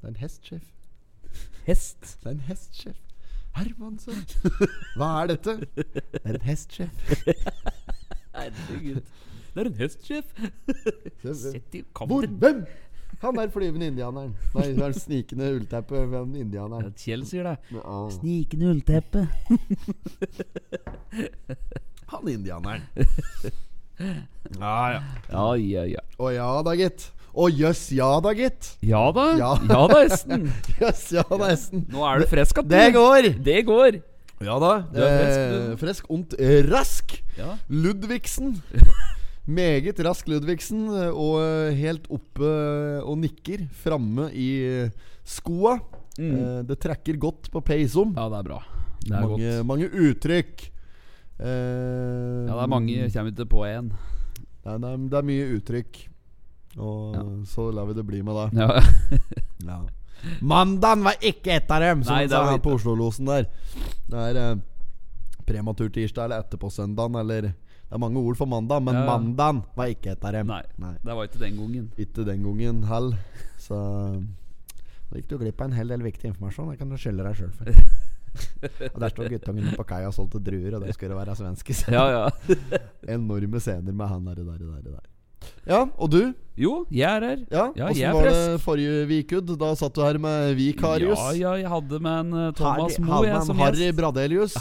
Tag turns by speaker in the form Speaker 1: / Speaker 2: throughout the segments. Speaker 1: Det er en hest, sjef.
Speaker 2: Hest.
Speaker 1: Det er en hest, sjef. Hermansson! Hva er dette? Det er en hest, sjef.
Speaker 2: Herregud. Det er en hestsjef.
Speaker 1: Se-
Speaker 2: Sett i
Speaker 1: Hvor?
Speaker 2: kampen.
Speaker 1: Hvem? Han der flyvende indianeren. Nei, det er den snikende ullteppet med den
Speaker 2: Ja,
Speaker 1: indianeren.
Speaker 2: Kjell sier det.
Speaker 1: Men, ah,
Speaker 2: Snikende ullteppe.
Speaker 1: Han indianeren. Ja, ja.
Speaker 2: Ja, ja, ja.
Speaker 1: Å ja da, gitt. Å jøss, ja da, gitt.
Speaker 2: Ja da. Ja,
Speaker 1: Ja.
Speaker 2: da, Esten.
Speaker 1: Jøss, ja da, hesten.
Speaker 2: Nå er du frisk att.
Speaker 1: Det går!
Speaker 2: Det går.
Speaker 1: Ja da.
Speaker 2: Du er fresk, du.
Speaker 1: eh, fresk, ondt, eh, rask.
Speaker 2: Ja.
Speaker 1: Ludvigsen. Meget rask Ludvigsen, eh, og eh, helt oppe eh, og nikker framme i eh, skoa. Eh, Det trekker godt på peisom.
Speaker 2: Mm. Ja, det er bra. Det er
Speaker 1: mange,
Speaker 2: godt.
Speaker 1: mange uttrykk. Eh,
Speaker 2: Ja, det er mange. Jeg Kommer ikke på én.
Speaker 1: Nei, det, er, det er mye uttrykk. Og så lar vi det bli med det.
Speaker 2: Ja.
Speaker 1: Ja. Mandagen var ikke et av dem, som
Speaker 2: Nei,
Speaker 1: han
Speaker 2: det
Speaker 1: sa
Speaker 2: var
Speaker 1: her
Speaker 2: ikke
Speaker 1: på Oslo-losen der. Det er eh, prematur tirsdag eller etterpå søndagen eller Det er mange ord for mandag, men
Speaker 2: Ja, ja.
Speaker 1: mandagen var ikke et av dem.
Speaker 2: Nei, det var ikke den gangen.
Speaker 1: Ikke den gangen hell. Så da gikk du glipp av en hel del viktig informasjon. Det kan du skylde deg sjøl for. Og Der står guttungen på kaia og solgte druer, og det skulle være svenske.
Speaker 2: Ja, ja.
Speaker 1: Enorme scener med han der, der, der, der. Ja, og du?
Speaker 2: Jo, jeg er her.
Speaker 1: Ja,
Speaker 2: Ja,
Speaker 1: Åssen
Speaker 2: jeg er
Speaker 1: var det forrige vikudd? Da satt du her med Vikarius.
Speaker 2: Ja, ja, jeg hadde med en eh, Thomas
Speaker 1: Harry,
Speaker 2: Moe, jeg,
Speaker 1: Harman
Speaker 2: som
Speaker 1: Harry
Speaker 2: gjest.
Speaker 1: Bradelius.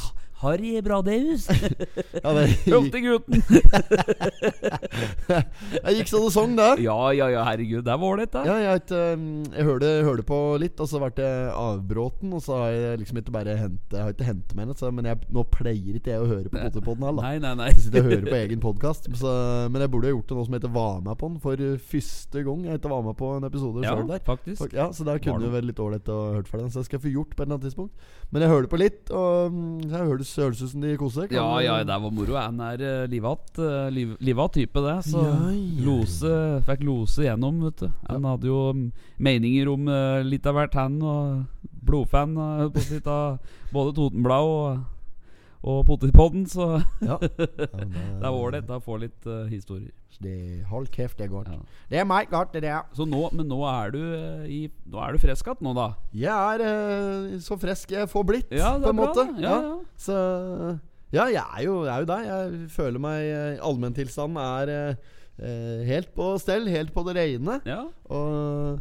Speaker 2: Harry Bradeus.
Speaker 1: Ja, det gikk,
Speaker 2: Hørte gutten.
Speaker 1: jeg gikk så det sang, det.
Speaker 2: Ja, ja, ja, herregud. Det var ålreit, det.
Speaker 1: Ja, jeg, het, um, jeg hørte, hørte på litt, og så ble jeg avbråten. Og så har jeg liksom ikke bare hentet, jeg har ikke hentet meg noe, men jeg, nå pleier ikke jeg å høre på Potterpodden heller.
Speaker 2: Nei, nei, nei.
Speaker 1: Jeg sitter og hører på egen podkast. Men jeg burde ha gjort det nå som heter Var med på den, for første gang jeg ikke var med på en episode
Speaker 2: Ja,
Speaker 1: selv der.
Speaker 2: faktisk.
Speaker 1: Fuck, Ja, Så der kunne
Speaker 2: Var
Speaker 1: det
Speaker 2: det.
Speaker 1: vært litt ålreit å høre for den. Så jeg skal få gjort på et eller annet tidspunkt. Men jeg hører på litt, og um, jeg høres høres ut som de koser.
Speaker 2: Ja,
Speaker 1: Kan-
Speaker 2: ja, det var moro. Han er eh, livat eh, liv, livat type, det. Så
Speaker 1: Ja, ja.
Speaker 2: lose Fikk lose gjennom, vet du. Han hadde jo mm, meninger om eh, litt av hvert, han. Og blodfan eh, holdt på å si, av både Totenblad og, og Potipodden, så
Speaker 1: Ja.
Speaker 2: det er ålreit å få litt eh, historier.
Speaker 1: Det, hold kjeft, det er godt.
Speaker 2: Ja.
Speaker 1: Det er meg godt, det der.
Speaker 2: Så nå, men nå er du eh, i Nå er du frisk igjen, nå, da?
Speaker 1: Jeg er eh, så frisk jeg får blitt,
Speaker 2: Ja, det
Speaker 1: på
Speaker 2: er
Speaker 1: en
Speaker 2: bra,
Speaker 1: måte.
Speaker 2: det. Ja, ja.
Speaker 1: Så Ja, jeg er jo, jeg er jo der. Jeg føler meg eh, Allmenntilstanden er eh, eh, helt på stell, helt på det rene.
Speaker 2: Ja.
Speaker 1: Og,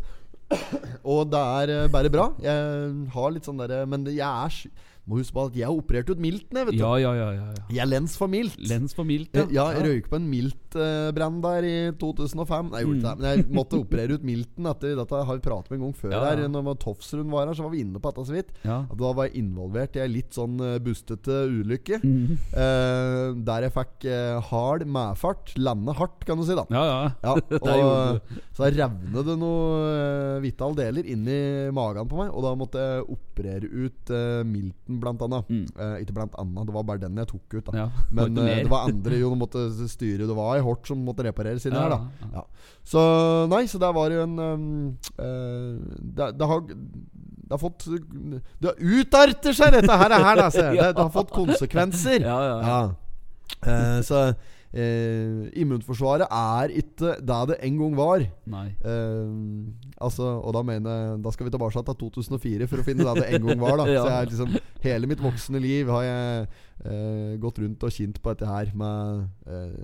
Speaker 1: og det er eh, bare bra. Jeg har litt sånn derre Men jeg er sy- Må huske på at jeg har operert ut milten, jeg, vet
Speaker 2: ja, ja, ja, ja, ja.
Speaker 1: du. Jeg er lens for mildt.
Speaker 2: Lens for mildt,
Speaker 1: Ja, jeg røyk på en miltbrann der i 2005. Nei, jeg gjorde ikke det, men jeg måtte operere ut milten etter dette. har vi pratet med en gang før
Speaker 2: Ja, ja.
Speaker 1: her. Når Tofsrud var her, så var vi inne på dette så vidt.
Speaker 2: Ja.
Speaker 1: At Da var jeg involvert i ei litt sånn eh, bustete ulykke.
Speaker 2: Mhm.
Speaker 1: eh, der jeg fikk eh, hard medfart. Lande hardt, kan du si, da.
Speaker 2: ja, ja.
Speaker 1: Ja,
Speaker 2: gjorde
Speaker 1: og så revnet det noe eh, vitale deler inni magen på meg, og da måtte jeg operere ut eh, milten, blant annet.
Speaker 2: Mm.
Speaker 1: Eh, ikke blant annet, det var bare den jeg tok ut, da.
Speaker 2: ja.
Speaker 1: Men eh,
Speaker 2: Var ikke
Speaker 1: det
Speaker 2: mer.
Speaker 1: var andre jo, de måtte styre. Det var ei hort som måtte repareres inni
Speaker 2: Ja,
Speaker 1: her,
Speaker 2: ja,
Speaker 1: da. Ja. Så nei, så der var jo en um, eh, det, det har det har fått Det har utarter seg, dette her, her da, se. det, det har fått konsekvenser.
Speaker 2: Ja, ja, ja.
Speaker 1: Ja. Eh, så eh, immunforsvaret er ikke det det en gang var.
Speaker 2: Nei.
Speaker 1: Eh, altså, og da mener jeg Da skal vi tilbake til 2004 for å finne det det en gang var. Da.
Speaker 2: Ja.
Speaker 1: Så jeg er liksom Hele mitt voksne liv har jeg eh, gått rundt og kjent på dette her med eh,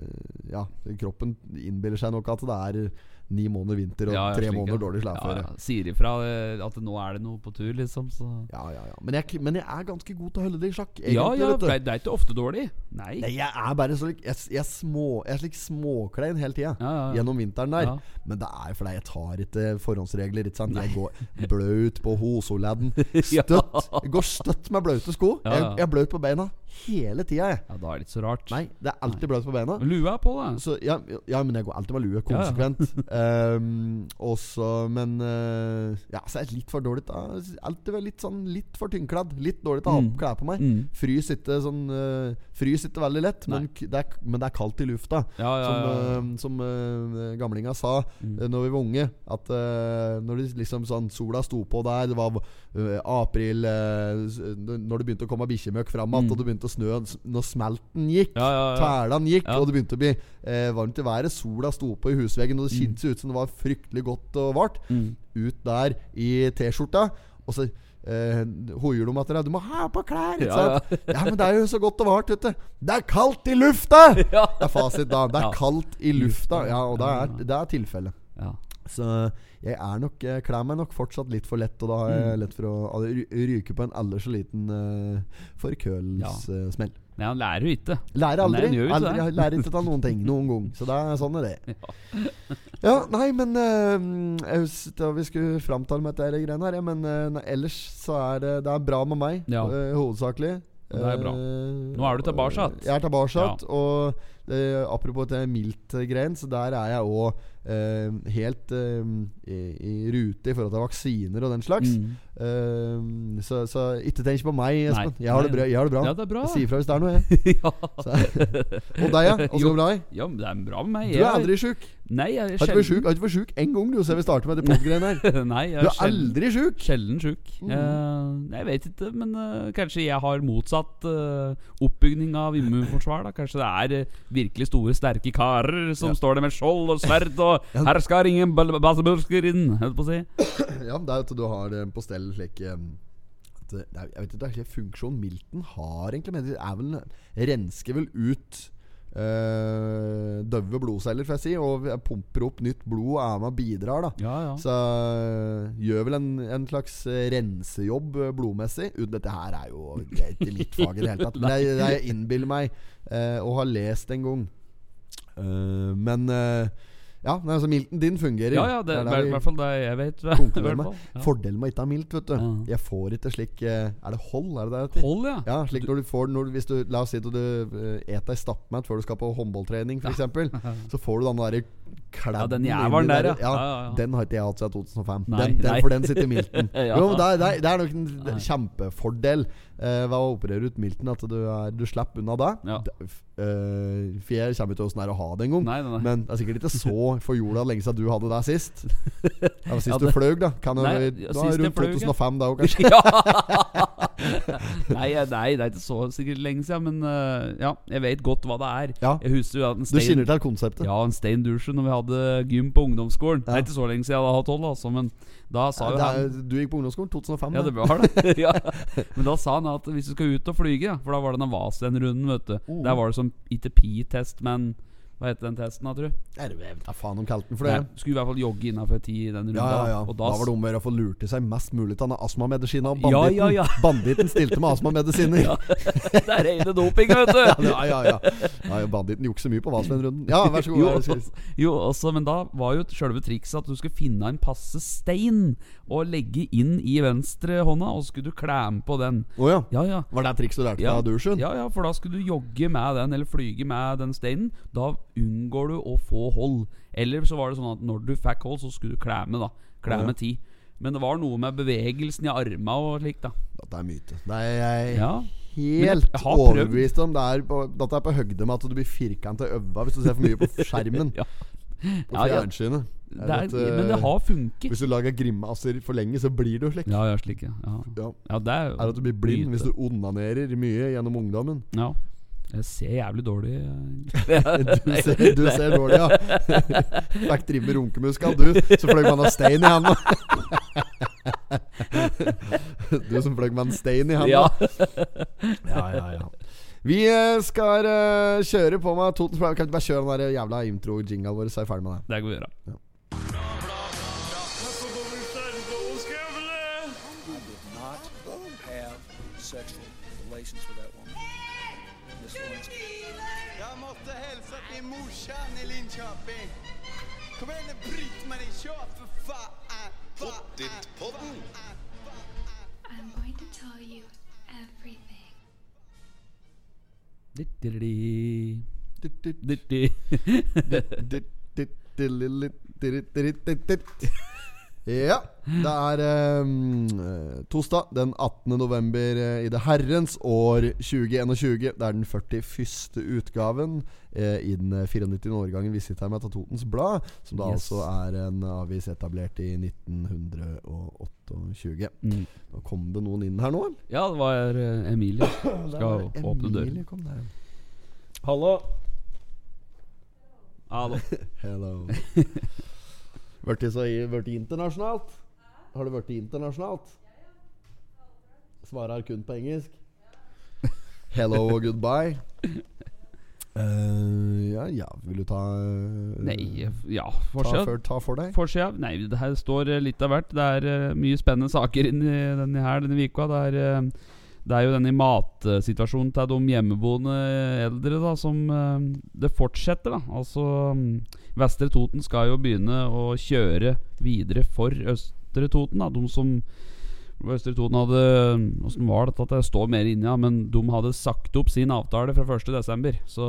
Speaker 1: Ja, kroppen innbiller seg nok at det er ni måneder vinter og
Speaker 2: Ja, ja,
Speaker 1: tre
Speaker 2: slik, ja.
Speaker 1: måneder dårlig
Speaker 2: Ja,
Speaker 1: slæføre.
Speaker 2: ja. Sier ifra eh, at nå er det noe på tur, liksom. Så.
Speaker 1: Ja, ja, ja. Men, jeg, men jeg er ganske god til å holde det i sjakk, egentlig.
Speaker 2: Ja, ja,
Speaker 1: vet du.
Speaker 2: det er- det er ikke ofte dårlig. Nei.
Speaker 1: Nei, jeg er bare så lik- Jeg, jeg, små, jeg er slik småklein hele tida.
Speaker 2: Ja, ja, ja.
Speaker 1: Gjennom vinteren der.
Speaker 2: Ja.
Speaker 1: Men det er fordi jeg tar ikke forhåndsregler. Ikke sant? Jeg går bløt på hosoladden. Støtt. Jeg går støtt med bløte sko.
Speaker 2: Ja,
Speaker 1: Jeg,
Speaker 2: ja.
Speaker 1: jeg er bløt på beina hele tida, jeg.
Speaker 2: ja, da er det ikke så rart.
Speaker 1: Nei, det er alltid bløt på beina.
Speaker 2: Lua er på, da.
Speaker 1: Så, ja, ja, men jeg går alltid med lue,
Speaker 2: Mm. Ja, ja.
Speaker 1: konsekvent. um, og så, men eh, Ja, så er jeg litt for dårlig til å- Alltid vært litt sånn litt for tynnkladd. Litt dårlig til å ha
Speaker 2: Mm.
Speaker 1: på klær på meg.
Speaker 2: Mm.
Speaker 1: Frys ikke sånn eh, Frys ikke veldig lett, men, k- det er, men det er kaldt i lufta.
Speaker 2: Ja, ja,
Speaker 1: Som,
Speaker 2: ja.
Speaker 1: eh, som eh, gamlinga sa
Speaker 2: Mm.
Speaker 1: eh, Når vi var unge, at eh, når det liksom sånn sola sto på der, det var eh, april eh, s- eh, Når det begynte å komme bikkjemøkk fram igjen,
Speaker 2: Mm.
Speaker 1: og det begynte begynte å snø når smelten gikk.
Speaker 2: Ja, ja, ja.
Speaker 1: Tælan gikk,
Speaker 2: Ja.
Speaker 1: og det begynte å bli eh, varmt i været. Sola sto på i husveggen, og det kjentes ut som det var fryktelig godt og vart.
Speaker 2: Mm.
Speaker 1: Ut der i T-skjorta, og så eh, hoier de etter deg. 'Du må ha på klær!' Ikke
Speaker 2: Ja,
Speaker 1: sant? Ja. men det er jo så godt og vart ute. 'Det er kaldt i lufta!'
Speaker 2: Ja.
Speaker 1: Det er fasit da. Det er
Speaker 2: Ja.
Speaker 1: kaldt i lufta.
Speaker 2: Lufta.
Speaker 1: Ja, og det
Speaker 2: Ja,
Speaker 1: er, det er tilfellet.
Speaker 2: ja.
Speaker 1: Så jeg er nok Jeg kler meg nok fortsatt litt for lett, og da har
Speaker 2: Mm.
Speaker 1: jeg lett for å å ry- ryke på en ellers så liten eh, uh, forkølelsessmell.
Speaker 2: Nei, han lærer jo ikke.
Speaker 1: Lærer aldri.
Speaker 2: Nei, den gjør jo ikke
Speaker 1: aldri
Speaker 2: det.
Speaker 1: lærer ikke av noen ting noen gang. Så det er sånn er det. Ja, nei, men eh, jeg husker at vi skulle framtale med dette her greiene her, ja, men eh, nei, ellers så er det, det er bra med meg,
Speaker 2: Ja.
Speaker 1: eh, hovedsakelig.
Speaker 2: Det er bra.
Speaker 1: Eh,
Speaker 2: Nå er du tilbake igjen.
Speaker 1: Jeg er tilbake igjen. Og eh, apropos det mildt-greien, så der er jeg òg helt eh, i, i rute i forhold til vaksiner og den slags.
Speaker 2: Mm.
Speaker 1: Eh, så, så ikke tenk på meg,
Speaker 2: Nei.
Speaker 1: Espen. Jeg har det bra. Jeg har det bra.
Speaker 2: Ja, det er bra.
Speaker 1: Jeg sier fra hvis det er noe, jeg.
Speaker 2: ja.
Speaker 1: Og deg, ja. Åssen går det med deg?
Speaker 2: ja, men det er bra med meg.
Speaker 1: Du er aldri sjuk.
Speaker 2: Nei, jeg er
Speaker 1: Har ikke vært
Speaker 2: sjelden
Speaker 1: sjuk, har ikke vært sjuk en gang, du, siden vi starter med de podgreiene her.
Speaker 2: Nei,
Speaker 1: Du
Speaker 2: jeg er
Speaker 1: er
Speaker 2: sjelden,
Speaker 1: aldri sjuk!
Speaker 2: sjelden sjuk.
Speaker 1: Mm.
Speaker 2: Eh, jeg vet ikke, men eh, kanskje jeg har motsatt eh, oppbygning av immunforsvar. da Kanskje det er eh, virkelig store, sterke karer som
Speaker 1: Ja.
Speaker 2: står der med skjold og sverd og 'Her skal ingen bal- basebusker inn', holdt på å si.
Speaker 1: Ja, men det er jo at du har eh, på stell slik eh, at det- det er- Jeg vet ikke, det er ikke funksjon Milton har, egentlig. Men det er vel rensker vel ut eh, døve blodceller, får jeg si, og vi- pumper opp nytt blod og er med og bidrar, da.
Speaker 2: Ja, ja.
Speaker 1: Så eh, gjør vel en, en slags eh, rensejobb eh, blodmessig. Uten dette her er jo det er ikke mitt fag i det hele tatt. Men jeg, jeg innbiller meg eh, å ha lest en gang. Eh, men eh, ja, nei, altså milten din fungerer.
Speaker 2: ja, ja, det
Speaker 1: er
Speaker 2: er
Speaker 1: der
Speaker 2: i
Speaker 1: vi
Speaker 2: hvert fall det jeg vet. i
Speaker 1: konkluderer
Speaker 2: hvert
Speaker 1: med.
Speaker 2: fall. Ja.
Speaker 1: Fordelen med å ikke ha milt, vet du.
Speaker 2: Ja.
Speaker 1: Jeg får ikke slik eh, Er det hold? Er det det heter?
Speaker 2: Hold, ja.
Speaker 1: Ja, slik når du får når, du- Hvis du La oss si at du eh, et ei stappmat før du skal på håndballtrening, f.eks. eksempel Så får du den derre
Speaker 2: Ja,
Speaker 1: kladden
Speaker 2: den
Speaker 1: inni
Speaker 2: jævelen der, ja.
Speaker 1: ja.
Speaker 2: Ja, ja, ja.
Speaker 1: Den har ikke jeg hatt siden 2005.
Speaker 2: Nei,
Speaker 1: den, den,
Speaker 2: nei.
Speaker 1: for den sitter milten.
Speaker 2: Ja.
Speaker 1: Jo, men det, er- det, er- det er nok en
Speaker 2: Nei.
Speaker 1: kjempefordel eh, ved å operere ut milten, at du, er, du slipper unna det.
Speaker 2: Ja.
Speaker 1: Det- f- eh, for jeg kommer ikke til åssen det er å ha det engang.
Speaker 2: Nei, nei, nei.
Speaker 1: Men det er sikkert ikke så for jorda lenge siden du hadde det sist. Det var sist
Speaker 2: Ja,
Speaker 1: du
Speaker 2: det-
Speaker 1: fløy, da. Kan jo-
Speaker 2: Nei, ja,
Speaker 1: da
Speaker 2: sist jeg
Speaker 1: rundt
Speaker 2: fløy, ja.
Speaker 1: 2005, da òg, kanskje.
Speaker 2: ja. nei, jeg- nei, det er ikke så sikkert lenge siden, men eh, ja, jeg vet godt hva det er.
Speaker 1: Ja.
Speaker 2: Jeg husker jo at en
Speaker 1: Du
Speaker 2: stein
Speaker 1: kjenner til konseptet?
Speaker 2: ja, en stein dusje når vi hadde gym på ungdomsskolen.
Speaker 1: Ja.
Speaker 2: Det er ikke så lenge siden jeg hadde hatt hold, altså, men da sa jo
Speaker 1: det er, sånn,
Speaker 2: han
Speaker 1: du gikk på ungdomsskolen 2005?
Speaker 2: ja, det
Speaker 1: da.
Speaker 2: var det. ja. Men da sa han at hvis du skal ut og flyge, ja, for da var det den Vasen-runden, vet du.
Speaker 1: Oh.
Speaker 2: Der var det sånn som ikke pi-test, men hva heter den testen, da, tror du?
Speaker 1: Er det vel- Ja, faen, de kalte den for
Speaker 2: Nei,
Speaker 1: det.
Speaker 2: skulle i hvert fall jogge innafor ti i den runden.
Speaker 1: Ja, ja, ja.
Speaker 2: Og
Speaker 1: Da
Speaker 2: da,
Speaker 1: var det om å gjøre å få lurt i seg mest mulig av den astmamedisinen. Og
Speaker 2: Ja,
Speaker 1: banditten,
Speaker 2: ja, ja.
Speaker 1: banditten stilte med astmamedisiner. Ja.
Speaker 2: det er rene doping, vet du!
Speaker 1: ja, ja, ja. ja, Banditten jukser mye på Vazelin-runden. Ja, vær så god.
Speaker 2: Jo,
Speaker 1: vær så god.
Speaker 2: Jo, også, men da var jo selve trikset at du skulle finne en passe stein og legge inn i venstre hånda, og så skulle du klemme på den.
Speaker 1: Å ja.
Speaker 2: Ja, ja.
Speaker 1: Var det triks du lærte deg
Speaker 2: Ja.
Speaker 1: av dusjen?
Speaker 2: Ja, ja, for da skulle du jogge med den, eller flyge med den steinen. Da unngår du å få hold. Eller så var det sånn at når du fikk hold, så skulle du klemme, da.
Speaker 1: Ja.
Speaker 2: Klemme ti. Men det var noe med bevegelsen i arma og slikt, da.
Speaker 1: Dette er myte. Det er Eh, jeg
Speaker 2: Ja. Men
Speaker 1: helt
Speaker 2: jeg har prøvd.
Speaker 1: overbevist om. Det er på, dette er på høgde med at du blir firkanta i øva hvis du ser for mye på skjermen.
Speaker 2: ja.
Speaker 1: På
Speaker 2: Ja, ja.
Speaker 1: fjernsynet. Jeg
Speaker 2: Det er,
Speaker 1: vet, eh,
Speaker 2: men det har funket.
Speaker 1: Hvis du lager grimaser for lenge, så blir du slik.
Speaker 2: Ja, ja, slik, ja. Ja,
Speaker 1: Ja.
Speaker 2: ja det er jo
Speaker 1: Er at du blir blind
Speaker 2: myte.
Speaker 1: hvis du onanerer mye gjennom ungdommen.
Speaker 2: Ja. Jeg ser jævlig dårlig. eh,
Speaker 1: Du ser, du ser dårlig, ja. Fikk drive med runkemuskelen, du. Så fløy man av stein i handa. Du som fløy med en stein i handa.
Speaker 2: Ja.
Speaker 1: ja, ja, ja. Vi eh, skal eh, kjøre på med Toten Pride. Kan ikke bare kjøre den der jævla intro-jingalen vår, så er jeg ferdig med det.
Speaker 2: Det kan vi gjøre.
Speaker 3: not have sexual relations with that woman. Miss Lewinsky.
Speaker 4: Jeg måtte hilse til morsan i Linköping. Kom igjen, Britt-Marie, kjør for faen! Pottit-podden.
Speaker 5: I'm going to tell you everything.
Speaker 2: Ditteri,
Speaker 1: Ditt, ditt,
Speaker 2: ditteri.
Speaker 1: ditt, ditt, ditt, ditt, ditt, ditt, ditt. Ja, det er eh, tosdag den 18. november eh, i det herrens år 2021. Det er den 41. utgaven eh, i den 94-årgangen vi sitter her med av Totens Blad, som da
Speaker 2: Yes.
Speaker 1: altså er en avis etablert i 1928.
Speaker 2: Mm.
Speaker 1: Nå Kom det noen inn her nå, eller?
Speaker 2: Ja, det var eh, Emilie.
Speaker 1: Der var
Speaker 2: Skal
Speaker 1: det
Speaker 2: åpne
Speaker 1: Emilie
Speaker 2: døren.
Speaker 1: kom der, ja.
Speaker 2: Hallo. Hallo.
Speaker 1: Hello. Vært i så vært i internasjonalt? Har du vært i internasjonalt? Svarer kun på engelsk. Hello og goodbye. Eh, ja, ja, vil du ta eh,
Speaker 2: Nei, ja,
Speaker 1: ta
Speaker 2: fortsett.
Speaker 1: for, ta for deg?
Speaker 2: Forsida? Nei, det her står eh, litt av hvert. Det er eh, mye spennende saker inni denne her denne uka. Det er, eh, det er jo denne matsituasjonen til de hjemmeboende eldre da, som eh, Det fortsetter, da. Altså mm, Vestre Toten skal jo begynne å kjøre videre for Østre Toten. da De som Østre Toten hadde Åssen var det at jeg står mer inni, ja, men de hadde sagt opp sin avtale fra 1.12. Så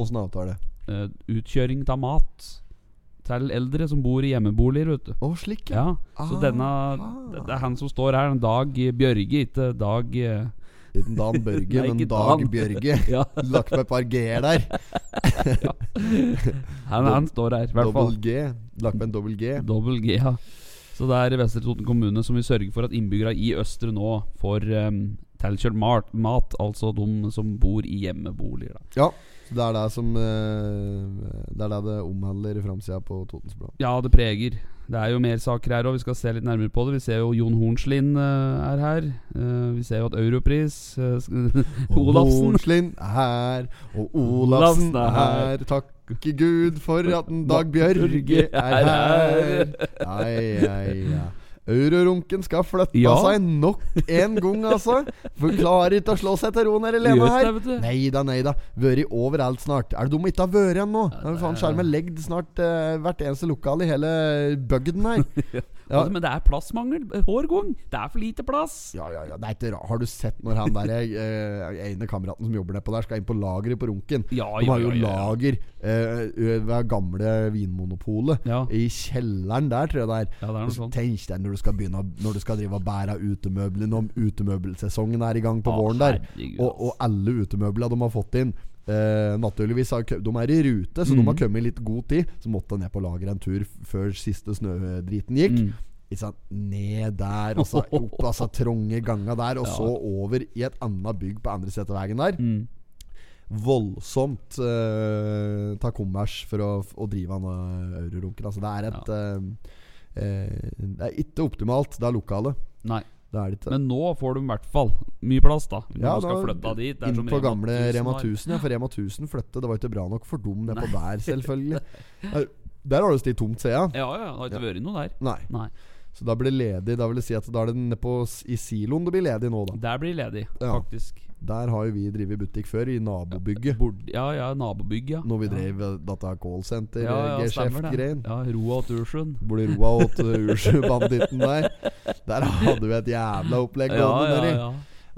Speaker 1: Åssen avtale?
Speaker 2: eh, utkjøring av mat til eldre som bor i hjemmeboliger, vet du.
Speaker 1: Å, slik, ja.
Speaker 2: Ja, så
Speaker 1: Ah,
Speaker 2: denne
Speaker 1: ah.
Speaker 2: Det det er han som står her, Dag Bjørge, ikke Dag eh,
Speaker 1: Ikke Dan Børge,
Speaker 2: Nei,
Speaker 1: men
Speaker 2: ikke
Speaker 1: Dag
Speaker 2: Dan.
Speaker 1: Bjørge.
Speaker 2: Ja,
Speaker 1: Lagt på et par g-er der.
Speaker 2: han, han står her, i hvert fall.
Speaker 1: Dobbel G. Lagt på en dobbel G.
Speaker 2: Dobbel G, ja. Så det er Vestre Toten kommune som vil sørge for at innbyggere i Østre nå får um, tilkjørt mat, mat, altså de som bor i hjemmeboliger. Da.
Speaker 1: Ja. Så det er det som eh, Det er det det omhandler i framsida på Totens Blad.
Speaker 2: Ja, det preger. Det er jo mer saker her òg, vi skal se litt nærmere på det. Vi ser jo Jon Hornslin eh, er her. Eh, vi ser jo at Europris eh, sk-
Speaker 1: Og
Speaker 2: Olafsen
Speaker 1: Hornslin er her, og Olafsen
Speaker 2: Olafsen er
Speaker 1: er
Speaker 2: her.
Speaker 1: her. Takke Gud for at en Dag Bjørge er her. Nei, nei, ja. Eurorunken skal flytte
Speaker 2: Ja.
Speaker 1: seg nok en gang, altså. For klarer ikke å slå seg til ro nede
Speaker 2: Gjør
Speaker 1: alene
Speaker 2: ikke
Speaker 1: her.
Speaker 2: det, vet du.
Speaker 1: Nei da, nei da. Vært overalt snart. Er det dumt ikke har vært igjen nå? Nå har faen skjermen legd snart eh, hvert eneste lokal i hele bygden her. Ja.
Speaker 2: Altså, men det er plassmangel hver gang. Det er for lite plass.
Speaker 1: Ja, ja, ja, det er ikke rart. Har du sett når han der eh, ene kameraten som jobber nedpå der, skal inn på lageret på Runken?
Speaker 2: Ja,
Speaker 1: De har jo
Speaker 2: ja, ja, ja.
Speaker 1: lager eh, ø- ved gamle Vinmonopolet.
Speaker 2: Ja.
Speaker 1: I kjelleren der, tror jeg det er.
Speaker 2: Ja, det er noe sånt.
Speaker 1: Tenk deg når du skal begynne å- Når du skal drive og bære av utemøblene om utemøbelsesongen er i gang på
Speaker 2: Å,
Speaker 1: våren der.
Speaker 2: herregud,
Speaker 1: Og, og alle utemøblene de har fått inn eh, naturligvis har, kø- De er i rute, så de
Speaker 2: Mhm.
Speaker 1: har kommet i litt god tid. Så måtte jeg ned på lageret en tur f- før siste snødriten gikk.
Speaker 2: Mm.
Speaker 1: Ikke sant? Ned der, og så opp altså, trange ganga der, og
Speaker 2: Ja.
Speaker 1: så over i et annet bygg på andre siden av veien der.
Speaker 2: Mm.
Speaker 1: Voldsomt eh, ta kommers for å, å drive han eurorunken. Altså, det er et eh, eh, Det er ikke optimalt, det er lokale.
Speaker 2: Nei,
Speaker 1: Det er det ikke.
Speaker 2: men nå får du i hvert fall mye plass, da. Når
Speaker 1: Ja,
Speaker 2: du skal
Speaker 1: da-
Speaker 2: flytte dit. Det er
Speaker 1: Inn
Speaker 2: som
Speaker 1: på gamle Rema
Speaker 2: har.
Speaker 1: 1000, ja. For Rema 1000 flytte, det var ikke bra nok for dem nedpå der, selvfølgelig. Eh, Der har du stilt tomt, ser jeg.
Speaker 2: Ja, ja. Det har ikke vært noe der.
Speaker 1: Nei.
Speaker 2: Nei.
Speaker 1: Så da blir det ledig. Da vil det si at da er det nedpå i siloen det blir ledig nå, da.
Speaker 2: Der blir ledig,
Speaker 1: Ja.
Speaker 2: faktisk.
Speaker 1: Der har jo vi drevet butikk før, i nabobygget.
Speaker 2: Bord, ja, ja, nabobygg, ja.
Speaker 1: Når vi drev eh, dette callsenter,
Speaker 2: ja, ja, stemmer det.
Speaker 1: G-sjef-greien.
Speaker 2: Ja, Roa og Tursund.
Speaker 1: Hvor de roa åt Ursjø-banditten der. Der hadde vi et jævla opplegg
Speaker 2: Ja,
Speaker 1: gående
Speaker 2: ja,
Speaker 1: nedi.
Speaker 2: ja.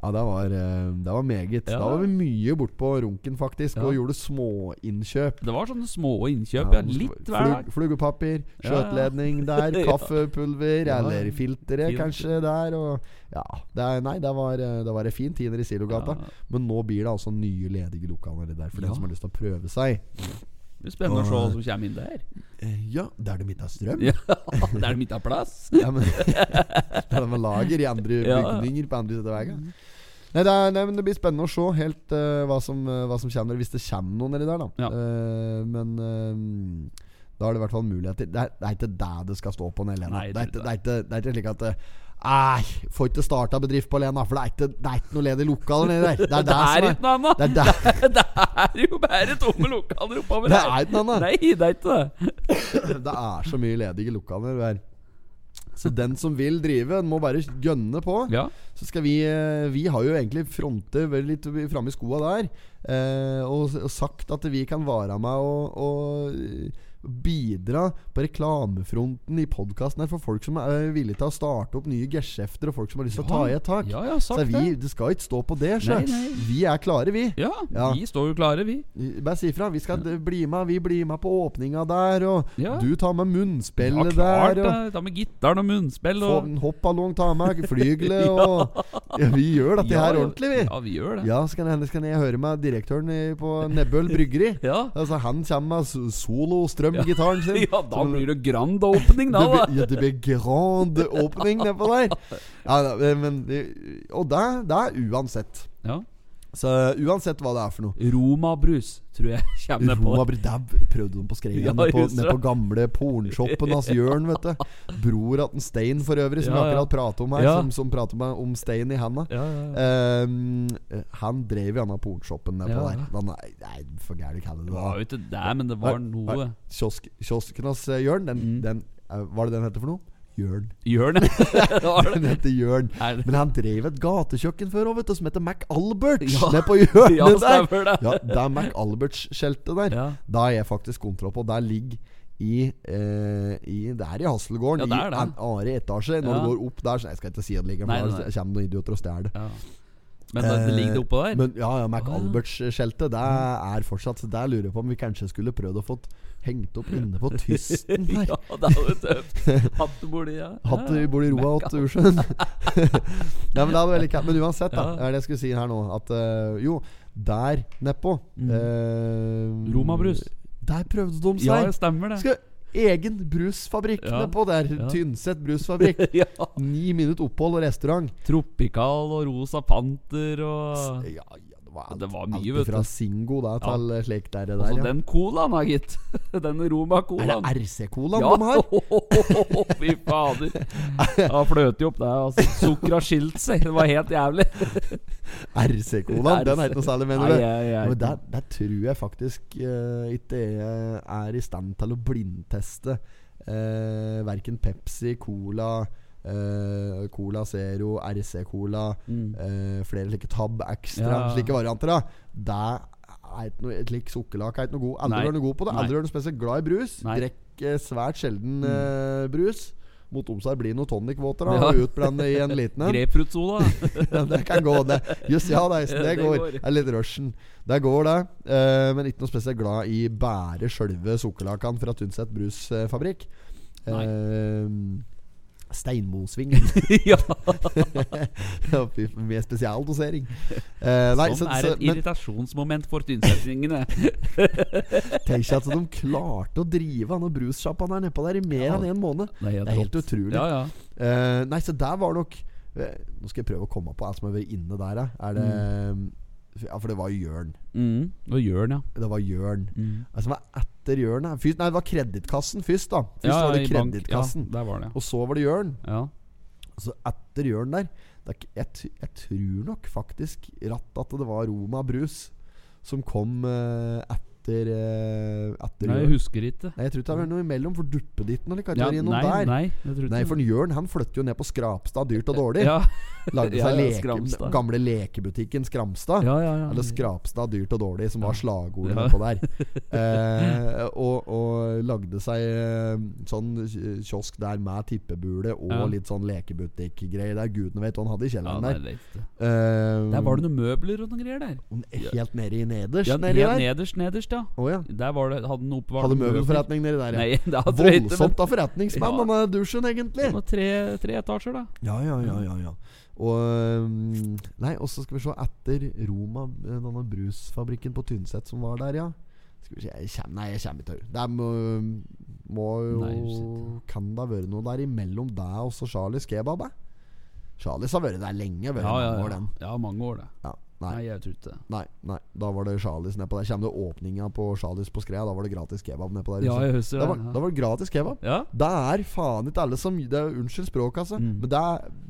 Speaker 1: Ja, det var, eh, det var meget.
Speaker 2: Ja.
Speaker 1: Da var vi mye bortpå runken, faktisk,
Speaker 2: Ja.
Speaker 1: og gjorde småinnkjøp.
Speaker 2: Det var sånne små innkjøp, ja. Litt hver dag.
Speaker 1: Flug, flugepapir,
Speaker 2: Ja, ja.
Speaker 1: skjøteledning der,
Speaker 2: Ja.
Speaker 1: kaffepulver,
Speaker 2: Ja.
Speaker 1: eller filtre
Speaker 2: Filter.
Speaker 1: kanskje der. Og, ja, det er, nei, det var, eh, det var en fin tiner i Silogata.
Speaker 2: Ja.
Speaker 1: Men nå blir det altså nye ledige lokaler der for
Speaker 2: Ja.
Speaker 1: den som har lyst til å prøve seg.
Speaker 2: Det blir spennende å se hva som kommer inn der.
Speaker 1: Eh, Ja, der du midt av strøm.
Speaker 2: Ja, Der de ikke har plass.
Speaker 1: Ja, men Det er med lager i andre
Speaker 2: Ja, ja.
Speaker 1: bygninger på andre siden av veien. Nei, det, er, nei, men det blir spennende å se helt eh, hva, som, eh, hva som kommer, hvis det kommer noe nedi der. da
Speaker 2: Ja.
Speaker 1: Eh, Men eh, da er det i hvert fall muligheter. Det er, det er ikke det det skal stå på, Lena.
Speaker 2: Nei,
Speaker 1: det, er
Speaker 2: det-
Speaker 1: ikke, det, er ikke, det er ikke slik at eh, Nei, får ikke starta bedrift på Lena, for det er ikke, det er ikke noe ledig lokale nedi der. Det er
Speaker 2: Det
Speaker 1: det
Speaker 2: er
Speaker 1: som
Speaker 2: ikke noe annet!
Speaker 1: Det er der.
Speaker 2: Det er jo bare tomme lokaler oppover
Speaker 1: Det er ikke noe annet.
Speaker 2: Nei, det er ikke det.
Speaker 1: Det er så mye ledige lokaler der. Så den som vil drive, må bare gønne på.
Speaker 2: Ja.
Speaker 1: Så skal vi eh, Vi har jo egentlig frontet vært litt framme i skoa der. eh, Og, og sagt at vi kan være med og, og bidra på reklamefronten i podkasten her for folk som er villige til å starte opp nye geskjefter, og folk som har lyst til å ta i et tak.
Speaker 2: Ja, ja,
Speaker 1: Så
Speaker 2: sagt
Speaker 1: vi, det skal ikke stå på det. sjø.
Speaker 2: Nei, nei.
Speaker 1: Vi er klare, vi.
Speaker 2: det. Ja,
Speaker 1: Ja.
Speaker 2: vi står jo klare, vi.
Speaker 1: Bare si ifra. Vi skal d- bli med. Vi blir med på åpninga der, og
Speaker 2: Ja.
Speaker 1: du tar med munnspillet
Speaker 2: klart
Speaker 1: der. Og,
Speaker 2: det. Ta med gitaren og munnspill
Speaker 1: Få
Speaker 2: og
Speaker 1: en hoppballong, ta med flygelet og ja, Vi gjør dette her ordentlig, vi.
Speaker 2: Ja, vi gjør det.
Speaker 1: Ja, så kan det hende skal jeg høre med direktøren i- på Nebbøl bryggeri.
Speaker 2: Ja.
Speaker 1: Altså Han kommer med s- solo strøm med gitaren sin.
Speaker 2: Ja, da
Speaker 1: Som-
Speaker 2: blir det grand opening, da.
Speaker 1: det
Speaker 2: da.
Speaker 1: blir, ja, det blir grand opening nedpå der. Ja, da, eh, men, det- og det, det er uansett.
Speaker 2: Ja.
Speaker 1: Så eh, uansett hva det er for noe.
Speaker 2: Romabrus, tror jeg kommer ned på.
Speaker 1: Roma blir dab, prøvde de på skreia
Speaker 2: Ja,
Speaker 1: ned, på,
Speaker 2: just det.
Speaker 1: ned på gamle pornshoppen hans Jørn, vet du. Bror atten Stein for øvrig, som
Speaker 2: Ja,
Speaker 1: vi
Speaker 2: ja.
Speaker 1: akkurat prater om her.
Speaker 2: Ja.
Speaker 1: Som, som prater med, om Stein i handa.
Speaker 2: Ja, ja, ja.
Speaker 1: Ehm, han drev i denne pornshoppen nedpå
Speaker 2: Ja.
Speaker 1: der. Den er, nei, for gæren kan det
Speaker 2: Det var
Speaker 1: da.
Speaker 2: jo ikke det, men det var noe.
Speaker 1: Kiosk, kiosken hans eh, Jørn, den,
Speaker 2: Mm.
Speaker 1: den eh, Hva er det den heter for noe? Jørn.
Speaker 2: Gjør det? Det var det.
Speaker 1: Den heter Jørn.
Speaker 2: Er det-
Speaker 1: Men han drev et gatekjøkken før òg, vet du, som heter McAlberts.
Speaker 2: Ja.
Speaker 1: Nede på hjørnet
Speaker 2: Ja,
Speaker 1: der.
Speaker 2: stemmer det.
Speaker 1: Ja, det er McAlberts-skjeltet der.
Speaker 2: Ja.
Speaker 1: Da har jeg faktisk kontroll på. Der ligger i, eh, i Det er i Hasselgården.
Speaker 2: Ja, det er det.
Speaker 1: I an- andre etasje. Når
Speaker 2: Ja.
Speaker 1: du går opp der så Jeg skal ikke si at det ligger, for
Speaker 2: Nei, nei,
Speaker 1: da
Speaker 2: nei.
Speaker 1: kommer noen idioter og stjeler det.
Speaker 2: Ja. Men det, det ligger det oppå der?
Speaker 1: Men, ja, ja
Speaker 2: Å, ja.
Speaker 1: McAlberts-skjeltet Det
Speaker 2: Mm.
Speaker 1: er fortsatt Så der lurer jeg på om vi kanskje skulle prøvd å få hengt opp inne på tysten der.
Speaker 2: ja, Ah, det er jo tøft. Hattebolig, ja.
Speaker 1: Hatt
Speaker 2: Ja,
Speaker 1: i
Speaker 2: ja.
Speaker 1: bor i roa åt Ursjøen. Nei, men, det hadde vært litt kalt. men uansett, da.
Speaker 2: Ja.
Speaker 1: Hva er det jeg skulle si her nå? At eh, jo, der nedpå
Speaker 2: Mm.
Speaker 1: eh,
Speaker 2: Romabrus.
Speaker 1: Der prøvde de
Speaker 2: Ja,
Speaker 1: seg.
Speaker 2: det stemmer det.
Speaker 1: Skal egen brusfabrikk
Speaker 2: Ja.
Speaker 1: nedpå der.
Speaker 2: Ja.
Speaker 1: Tynset brusfabrikk.
Speaker 2: Ja.
Speaker 1: Ni minutt opphold og restaurant.
Speaker 2: Tropical og Rosa Panter og
Speaker 1: Ja, ja, det var alt,
Speaker 2: Ah. Det var mye,
Speaker 1: alt
Speaker 2: vet
Speaker 1: fra
Speaker 2: du.
Speaker 1: Singo da,
Speaker 2: Ja.
Speaker 1: til eh, slik der, det der
Speaker 2: Altså,
Speaker 1: ja.
Speaker 2: den colaen, da, gitt. Den
Speaker 1: Er
Speaker 2: Roma-colaen.
Speaker 1: det RC-colaen
Speaker 2: Ja,
Speaker 1: de har?
Speaker 2: fy fader. Ja, fløter jo opp der. Altså, Sukkeret har skilt seg. Det var helt jævlig.
Speaker 1: RC-colaen, den er ikke noe særlig, mener
Speaker 2: Nei,
Speaker 1: du?
Speaker 2: jeg- jeg-
Speaker 1: Men der, der tror jeg faktisk eh, ikke jeg er i stand til å blindteste uh, verken Pepsi, Cola eh, Cola Zero, RC-cola,
Speaker 2: mm.
Speaker 1: eh, flere slike Tab Extra,
Speaker 2: Ja.
Speaker 1: slike varianter. da Det er ikke noe Et slikt sukkerlake er ikke noe god. Aldri
Speaker 2: Nei.
Speaker 1: vært noe god på det.
Speaker 2: Nei.
Speaker 1: Aldri vært noe spesielt glad i brus.
Speaker 2: Nei. Mm.
Speaker 1: Drekk eh, svært sjelden eh, brus. Mot om seg blir noe tonicwater da,
Speaker 2: Ja.
Speaker 1: og utblande i en liten en.
Speaker 2: Grapefruktsola.
Speaker 1: Ja, det kan gå, det. Jøss, ja, det, er- det
Speaker 2: Det
Speaker 1: går.
Speaker 2: går.
Speaker 1: Det er litt rushen. Det går, det. Eh, men ikke noe spesielt glad i bære sjølve sukkerlakene fra Tynset brusfabrikk.
Speaker 2: Nei.
Speaker 1: Uh, Steinmosvingen.
Speaker 2: ja.
Speaker 1: Ja, fy, Med spesialdosering. Eh, nei,
Speaker 2: Som
Speaker 1: så,
Speaker 2: sånn er
Speaker 1: så,
Speaker 2: et
Speaker 1: men
Speaker 2: irritasjonsmoment for tynsetningene.
Speaker 1: tenk at de klarte å drive han og brussjappa der nedpå der i mer
Speaker 2: Ja.
Speaker 1: enn en måned. Det er helt utrolig.
Speaker 2: Ja, ja.
Speaker 1: Eh, nei, så der var nok eh, Nå skal jeg prøve å komme på alt som har vært inne der, ja. Er det Ja, for det var Jørn.
Speaker 2: Mm. Og Jørn, ja.
Speaker 1: Det var Jørn.
Speaker 2: Mm.
Speaker 1: Altså, hva er etter Jørn? her? Fyrst, nei, det var Kredittkassen først, da. Først
Speaker 2: ja,
Speaker 1: var det
Speaker 2: i bank.
Speaker 1: Kredittkassen.
Speaker 2: Ja, der var det.
Speaker 1: Og så var det Jørn.
Speaker 2: Ja.
Speaker 1: Og så etter Jørn der det er, ikke- jeg, t- jeg tror nok faktisk ratt at det var Roma Brus som kom eh, etter, eh, etter
Speaker 2: Nei, jeg
Speaker 1: Jørn.
Speaker 2: husker ikke.
Speaker 1: Nei, jeg tror ikke det var noe imellom, for duppeditten eller kan ikke
Speaker 2: Ja,
Speaker 1: være
Speaker 2: nei,
Speaker 1: innom der.
Speaker 2: nei, jeg tror ikke
Speaker 1: Nei, for
Speaker 2: det.
Speaker 1: Jørn han flytter jo ned på Skrapstad, dyrt og dårlig.
Speaker 2: ja.
Speaker 1: Lagde
Speaker 2: Ja,
Speaker 1: seg
Speaker 2: ja,
Speaker 1: leke,
Speaker 2: Skramstad.
Speaker 1: gamle lekebutikken Skramstad.
Speaker 2: ja, ja, ja.
Speaker 1: Eller Skrapstad dyrt og dårlig, som var slagordet
Speaker 2: Mm. Ja.
Speaker 1: på der. Eh, og, og lagde seg eh, sånn ki- kiosk der med tippebule og
Speaker 2: Ja.
Speaker 1: litt sånn lekebutikkgreier der. Gudene vet hva han hadde i
Speaker 2: ja,
Speaker 1: kjelleren
Speaker 2: nei,
Speaker 1: der.
Speaker 2: det er ikke det.
Speaker 1: Eh,
Speaker 2: Der var det noen møbler og noen greier der.
Speaker 1: Helt nede i nederst?
Speaker 2: Ja,
Speaker 1: nedi
Speaker 2: helt
Speaker 1: der?
Speaker 2: nederst, nederst, ja.
Speaker 1: Å ja.
Speaker 2: Der var det, hadde den oppbevart
Speaker 1: Hadde
Speaker 2: noen
Speaker 1: møbelforretning nedi der,
Speaker 2: Nei,
Speaker 1: ja.
Speaker 2: det hadde jeg ikke.
Speaker 1: Voldsomt av forretningsmann,
Speaker 2: Ja.
Speaker 1: denne dusjen,
Speaker 2: Men
Speaker 1: egentlig.
Speaker 2: det var tre, tre etasjer, da.
Speaker 1: Ja, ja, ja,
Speaker 2: Mm.
Speaker 1: ja, ja. Og um, Nei, og så skal vi se etter Roma, eh, denne brusfabrikken på Tynset som var der, ja. Skal vi se, jeg kjem, Nei, jeg kommer ikke til å Det må, må jo
Speaker 2: Nei, shit.
Speaker 1: Kan det ha vært noe der imellom deg og så Charlies kebab? eh? Charlies har vært der lenge. Vært
Speaker 2: Ja, ja,
Speaker 1: mange år,
Speaker 2: ja.
Speaker 1: den.
Speaker 2: ja mange år, det.
Speaker 1: Ja, nei,
Speaker 2: Nei, jeg tror ikke det.
Speaker 1: nei, nei, da var det Charlies nedpå der. Kommer det åpninga på Charlies på Skrea, da var det gratis kebab nedpå der.
Speaker 2: Ja, jeg husker
Speaker 1: da, var,
Speaker 2: det.
Speaker 1: da var det gratis kebab.
Speaker 2: Ja.
Speaker 1: Det er faen ikke alle som det er, Unnskyld språket, altså. Men det er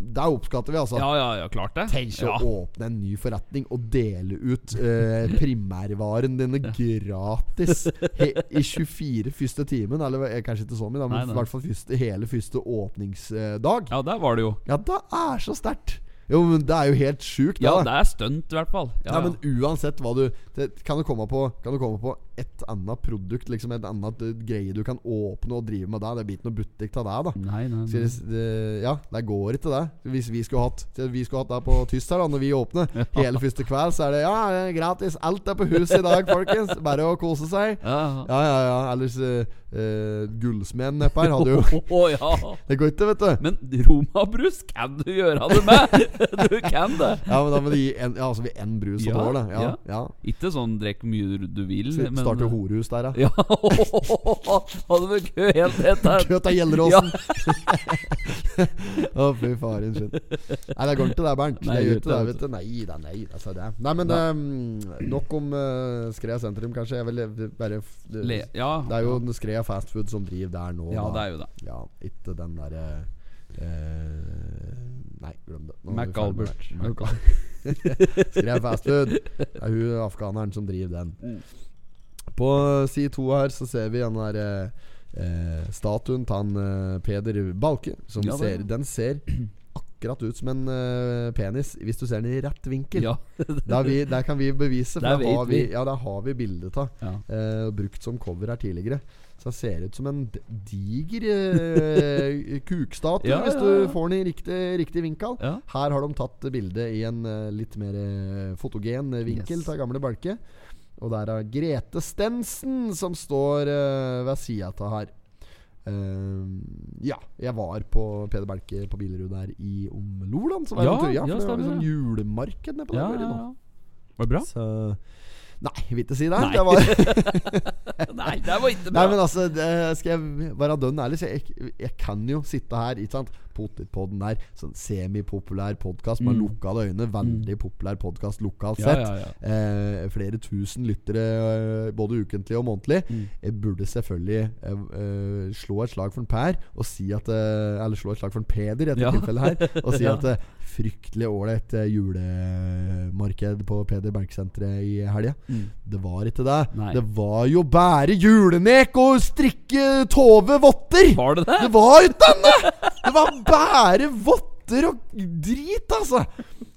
Speaker 1: Der oppskatter vi, altså.
Speaker 2: Mm. Ja, ja, ja, klart det.
Speaker 1: Tenk å
Speaker 2: ja.
Speaker 1: åpne en ny forretning og dele ut eh, primærvaren dine gratis he, i 24 første timen. Eller eh, kanskje ikke så mye, da,
Speaker 2: Nei,
Speaker 1: men
Speaker 2: nei.
Speaker 1: i hvert fall første, hele første åpningsdag. Ja,
Speaker 2: Ja, der var det jo.
Speaker 1: det er så sterkt! Jo, men det er jo helt sjukt,
Speaker 2: Ja,
Speaker 1: da.
Speaker 2: det er stunt, i hvert fall. Ja,
Speaker 1: Ja, men uansett hva du det, kan, du komme på, kan du komme på et annet produkt, liksom et annet eh, greie du kan åpne og drive med der? Det blir ikke noe butikk av deg, da.
Speaker 2: Nei, nei,
Speaker 1: Skal
Speaker 2: nei.
Speaker 1: jeg s- det, ja, det går ikke, det. Hvis vi skulle hatt så Vi skulle hatt det på tyst her da Når vi åpner hele første kveld, så er det ja, det er gratis. Alt er på huset i dag, folkens. Bare å kose seg.
Speaker 2: Ja.
Speaker 1: Ja, ja, ja. Ellers uh, Gullsmeden nedpå her hadde jo
Speaker 2: Å, ja.
Speaker 1: Det går ikke, vet du.
Speaker 2: Men romabrus kan du gjøre det med! Du kan det!
Speaker 1: Ja, men da må de gi en, ja, altså, vi en brus og
Speaker 2: Ja,
Speaker 1: tål, da. Ja,
Speaker 2: ja.
Speaker 1: ja.
Speaker 2: Ikke sånn drikk mye du vil,
Speaker 1: Så
Speaker 2: men
Speaker 1: starte horehus der, ja.
Speaker 2: Ja, hadde vært gøy helt tett her.
Speaker 1: Køta Gjelleråsen! Å, fy faren sin. Nei, det går ikke det, Bernt. det gjør
Speaker 2: Nei, det
Speaker 1: ikke det,
Speaker 2: gjør
Speaker 1: vet du. Nei da, nei da, sa det. Nei, men eh, nok om eh, Skrea sentrum, kanskje. Jeg vil eh, bare f-
Speaker 2: Le
Speaker 1: Det
Speaker 2: ja.
Speaker 1: er jo en Skrea fast food som driver der nå.
Speaker 2: Ja,
Speaker 1: da.
Speaker 2: det er jo det.
Speaker 1: Ja, ikke den derre eh, Nei, glem det. Nå er vi ferdig med
Speaker 2: McAlbert.
Speaker 1: det. Skrev fast food. Det er hun afghaneren som driver
Speaker 2: Mm.
Speaker 1: den. På side to her så ser vi den der eh, eh, statuen til han eh, Peder Balke. Som
Speaker 2: Ja, det er
Speaker 1: ser,
Speaker 2: det.
Speaker 1: den ser akkurat ut som en eh, penis hvis du ser den i rett vinkel.
Speaker 2: Ja.
Speaker 1: Der, vi, der kan vi bevise, for
Speaker 2: Der
Speaker 1: der har
Speaker 2: vet
Speaker 1: vi,
Speaker 2: vi.
Speaker 1: ja, der har vi bildet av.
Speaker 2: Ja.
Speaker 1: eh, og brukt som cover her tidligere. Så det ser ut som en d- diger eh, kukstatue,
Speaker 2: Ja,
Speaker 1: hvis
Speaker 2: ja,
Speaker 1: du
Speaker 2: ja.
Speaker 1: får den i riktig, riktig vinkel.
Speaker 2: Ja.
Speaker 1: Her har de tatt bildet i en eh, litt mer eh, fotogen eh, vinkel
Speaker 2: Yes.
Speaker 1: av gamle Balke. Og der er Grete Stensen som står eh, ved sida av her. Eh, ja, jeg var på Peder Belke på Billerud der i om Loland. Så var
Speaker 2: Ja,
Speaker 1: jeg en tur, ja,
Speaker 2: ja,
Speaker 1: for det var
Speaker 2: stemmer
Speaker 1: liksom
Speaker 2: det.
Speaker 1: julemarked nede på
Speaker 2: Ja,
Speaker 1: der. nå.
Speaker 2: ja, ja. Var det bra?
Speaker 1: Så Nei, jeg vil ikke si det.
Speaker 2: Nei.
Speaker 1: Det var
Speaker 2: Nei, det var ikke
Speaker 1: Nei, men altså, det, skal jeg være dønn ærlig, så jeg, jeg kan jo sitte her, ikke sant. Potetpodden er sånn semipopulær podkast med
Speaker 2: Mm.
Speaker 1: lukkede øyne. Veldig populær podkast lokalt
Speaker 2: Ja,
Speaker 1: sett.
Speaker 2: ja, ja.
Speaker 1: Eh, flere tusen lyttere, eh, både ukentlig og månedlig.
Speaker 2: Mm.
Speaker 1: Jeg burde selvfølgelig eh, eh, slå et slag for en Per, og si at eh, Eller slå et slag for en Peder, i dette
Speaker 2: Ja.
Speaker 1: tilfellet her, og si
Speaker 2: Ja.
Speaker 1: at eh, fryktelig ålreit eh, julemarked på Peder Berg-senteret i helga.
Speaker 2: Mm.
Speaker 1: Det var ikke det.
Speaker 2: Nei.
Speaker 1: Det var jo bare julenek og strikke Tove votter!
Speaker 2: Var det det?
Speaker 1: Det var ikke denne! Det var bare votter og drit, altså!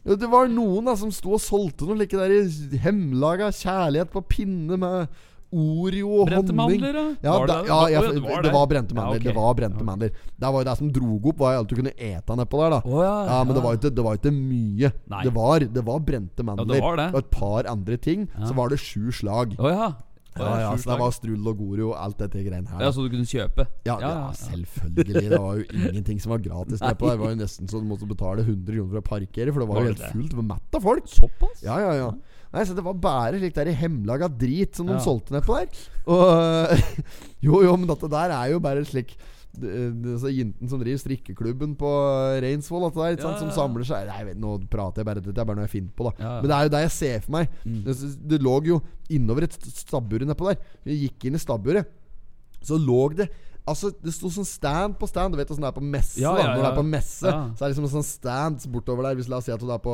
Speaker 1: Det var noen da som sto og solgte noe like der hemmelaga kjærlighet på pinne med Oreo og
Speaker 2: Brente
Speaker 1: honning.
Speaker 2: mandler, da?
Speaker 1: Ja,
Speaker 2: Var
Speaker 1: da,
Speaker 2: det-
Speaker 1: ja,
Speaker 2: var-
Speaker 1: jeg,
Speaker 2: oi,
Speaker 1: det,
Speaker 2: det var
Speaker 1: var
Speaker 2: det.
Speaker 1: brente
Speaker 2: Ja,
Speaker 1: mandler.
Speaker 2: ok.
Speaker 1: Det var brente
Speaker 2: Ja, ok.
Speaker 1: mandler Det var jo det som drog opp, var alt du kunne ete nedpå der. da
Speaker 2: Å, ja,
Speaker 1: ja, men det var jo ikke, det var jo ikke mye.
Speaker 2: Nei.
Speaker 1: Det var, det var brente mandler
Speaker 2: var det.
Speaker 1: og et par andre ting. Så
Speaker 2: Ja.
Speaker 1: var det sju slag.
Speaker 2: Å ja.
Speaker 1: Ja, ja, så det var strull og goro og alt dette greiene her.
Speaker 2: ja, så du kunne kjøpe?
Speaker 1: Ja, ja, selvfølgelig. Det var jo ingenting som var gratis. Der på. Det var jo nesten så du måtte betale 100 kroner for å parkere, for det var,
Speaker 2: Var
Speaker 1: jo helt
Speaker 2: det det?
Speaker 1: fullt. Det var mett av folk.
Speaker 2: Såpass?
Speaker 1: Ja, ja, ja. Nei, så Det var bare slik der hemmelaga drit som de
Speaker 2: Ja.
Speaker 1: solgte nedpå der. Og Jo, jo, men dette der er jo bare slik det- det- så Jenten som driver strikkeklubben på eh, Reinsvoll, dette der, ikke sant,
Speaker 2: Ja,
Speaker 1: som
Speaker 2: ja, ja.
Speaker 1: samler seg Nei, vet, nå prater jeg bare dette, er bare noe jeg finner på, da.
Speaker 2: Ja, Mm. ja.
Speaker 1: Men det er jo det jeg ser for meg. Det, det lå jo innover et st- stabbur nedpå der. Vi gikk inn i stabburet, så lå det Altså, det sto sånn stand på stand. Du vet åssen det er på messe.
Speaker 2: Ja,
Speaker 1: da,
Speaker 2: ja,
Speaker 1: når det
Speaker 2: ja.
Speaker 1: er på messe
Speaker 2: Ja.
Speaker 1: Så er det liksom en sånn stand bortover der. Hvis La oss si at du er på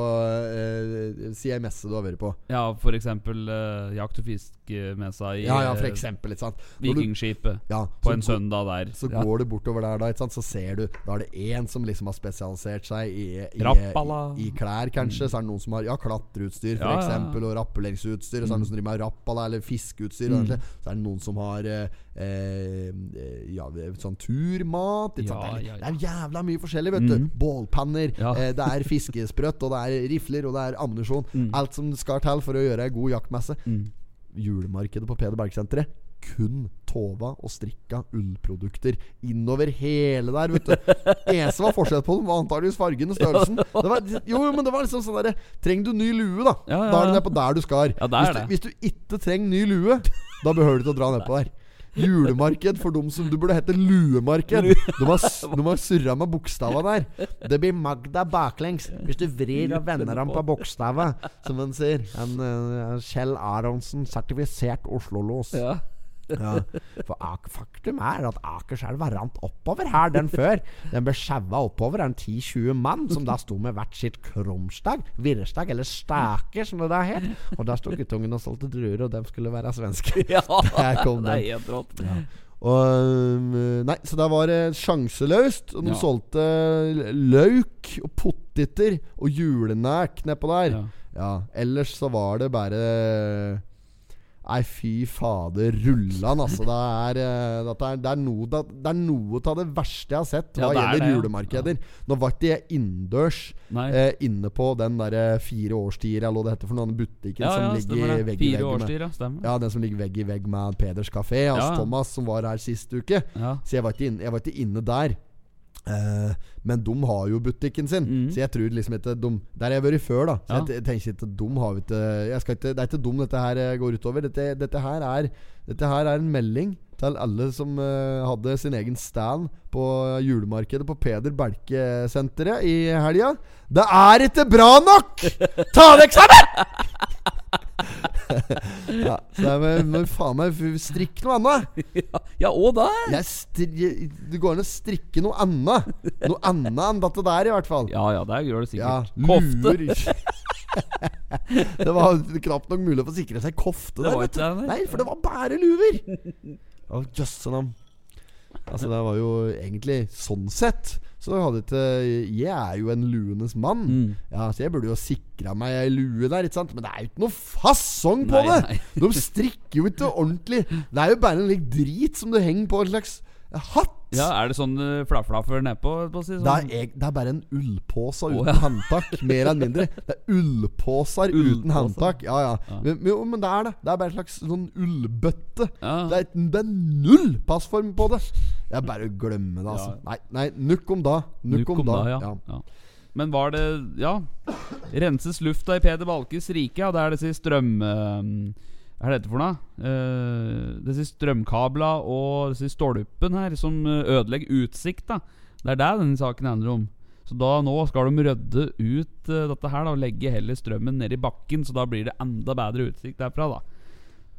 Speaker 1: eh, Si ei messe du har vært på.
Speaker 2: Ja, for eksempel eh, jakt- og fiskemessa i
Speaker 1: Ja, ja, for
Speaker 2: eh,
Speaker 1: eksempel, ikke sant. Når du-
Speaker 2: Vikingskipet.
Speaker 1: ja,
Speaker 2: På
Speaker 1: så
Speaker 2: en
Speaker 1: gå-
Speaker 2: søndag der.
Speaker 1: Så
Speaker 2: ja.
Speaker 1: går du bortover der, da, ikke sant? så ser du Da er det én som liksom har spesialisert seg i, i,
Speaker 2: Rappala. Mm.
Speaker 1: i, i klær, kanskje. Så er det noen som har ja, klatreutstyr, for
Speaker 2: Ja, ja, ja.
Speaker 1: eksempel, og rappelleringsutstyr. Og så er det noen som driver med rappala eller fiskeutstyr.
Speaker 2: Mm.
Speaker 1: og egentlig. Så er det noen som har eh, eh, eh, ja, sånn turmat. Ikke sant?
Speaker 2: Ja,
Speaker 1: det, er,
Speaker 2: ja, ja. Mm.
Speaker 1: det er jævla mye forskjellig, vet du. Bålpanner,
Speaker 2: Ja.
Speaker 1: eh, det er fiskesprøtt, og det er rifler, og det er ammunisjon.
Speaker 2: Mm.
Speaker 1: Alt som skal til for å gjøre ei god jaktmesse julemarkedet på Peder Berg-senteret. Kun Tova og strikka ullprodukter innover hele der, vet du. Eneste var forskjell på dem, var antakeligvis fargen og størrelsen. Det var, jo, jo, men det var liksom sånn derre Trenger du ny lue, da?
Speaker 2: Ja, ja,
Speaker 1: Da er
Speaker 2: ja.
Speaker 1: du nede på der du skal.
Speaker 2: Ja,
Speaker 1: hvis,
Speaker 2: der er
Speaker 1: du,
Speaker 2: det.
Speaker 1: hvis du ikke trenger ny lue, da behøver du ikke å dra nedpå der. Julemarked for dem som Du burde hete luemarked. De har, s- de har surra med bokstava der. Det blir Magda baklengs hvis du vrir og vender ham på bokstava, som en sier. En eh, Kjell Aronsen, sertifisert Oslo-los.
Speaker 2: Ja.
Speaker 1: Ja. For ak- faktum er at Akerselva rant oppover her den før. Den ble sjaua oppover av en 10-20 mann som da sto med hvert sitt krumstag, virrestag eller staker, som det da het. Og da sto guttungen og solgte druer, og dem skulle være svenske.
Speaker 2: ja.
Speaker 1: Der kom
Speaker 2: Det er
Speaker 1: den.
Speaker 2: helt rått.
Speaker 1: Og, øhm, nei, så der var det sjanseløst. Og de
Speaker 2: Ja.
Speaker 1: solgte løk og poteter og julenek nedpå der.
Speaker 2: Ja.
Speaker 1: Ja, ellers så var det bare Nei, fy fader, rullan, altså. Det er, eh, dette er, det er noe det er- det er noe av det verste jeg har sett hva
Speaker 2: Ja, det er
Speaker 1: gjelder
Speaker 2: det, ja.
Speaker 1: julemarkeder. Nå var ikke jeg innendørs
Speaker 2: Nei.
Speaker 1: eh, inne på den derre fire årstider eller hva det heter for noen butikken
Speaker 2: ja, ja,
Speaker 1: som
Speaker 2: stemmer
Speaker 1: ligger
Speaker 2: det.
Speaker 1: vegg i
Speaker 2: Fire
Speaker 1: vegg med
Speaker 2: årstider, ja. Stemmer.
Speaker 1: Ja, den som ligger vegg i vegg med Peders kafé. Altså
Speaker 2: Ja.
Speaker 1: Thomas, som var her sist uke.
Speaker 2: Ja.
Speaker 1: Så jeg var ikke inne, jeg var ikke inne der. Eh, Men de har jo butikken sin, så jeg tror liksom ikke de Der har jeg vært før, da. Så
Speaker 2: Mm. Ja.
Speaker 1: jeg t- tenker ikke at de har vi ikke, jeg skal ikke Det er ikke dem dette her eh, går utover. Dette, dette, her, er, dette her er en melding til alle som eh, hadde sin egen stand på julemarkedet på Peder Belke-senteret i helga. Det er ikke bra nok! Ta deg sammen! ja, så det er vel- må faen meg f- strikke noe annet.
Speaker 2: Ja, og der!
Speaker 1: Jeg stri det går an å strikke noe annet. Noe annet enn dette der, i hvert fall.
Speaker 2: Ja ja, det gjør det
Speaker 1: Ja,
Speaker 2: sikkert. Kofte.
Speaker 1: luer. det var knapt nok mulig å få sikre seg kofte
Speaker 2: Det
Speaker 1: der.
Speaker 2: var
Speaker 1: vet
Speaker 2: ikke det,
Speaker 1: du.
Speaker 2: nei.
Speaker 1: Nei, for det var bare luer! Å, jøsse navn. Altså, det var jo egentlig sånn sett så hadde ikke Jeg er jo en luenes mann.
Speaker 2: Mm.
Speaker 1: Ja, så jeg burde jo sikra meg ei lue der, ikke sant? Men det er jo ikke noe fasong på
Speaker 2: Nei,
Speaker 1: det! De strikker jo ikke ordentlig. Det er jo bare en lik drit som du henger på en slags hatt!
Speaker 2: Ja, er det sånn uh, flafflaffer nedpå? holdt på å Si,
Speaker 1: Det
Speaker 2: sånn?
Speaker 1: er, eg- det er bare en ullpåse
Speaker 2: Å,
Speaker 1: uten
Speaker 2: ja.
Speaker 1: håndtak. Mer enn mindre. Det er ullpåser
Speaker 2: Ullpåser.
Speaker 1: uten håndtak. Ja, ja.
Speaker 2: Ja.
Speaker 1: Men, men jo, men det er det. Det er bare en slags sånn ullbøtte. Det
Speaker 2: ja.
Speaker 1: er, ikke- det er null passform på det! Det er bare å glemme det, altså. Nei, nei, nukk om da. Nukk, om, da.
Speaker 2: ja.
Speaker 1: Ja.
Speaker 2: ja. Men var det Ja. Renses lufta i Peder Balkes rike, ja. Det er disse strøm... eh, Hva er dette for noe? Eh, disse strømkabla og disse stolpen her som eh, ødelegger utsikt, da. Det er det denne saken handler om. Så da nå skal de rydde ut eh, dette her da og legge heller strømmen ned i bakken, så da blir det enda bedre utsikt derfra, da.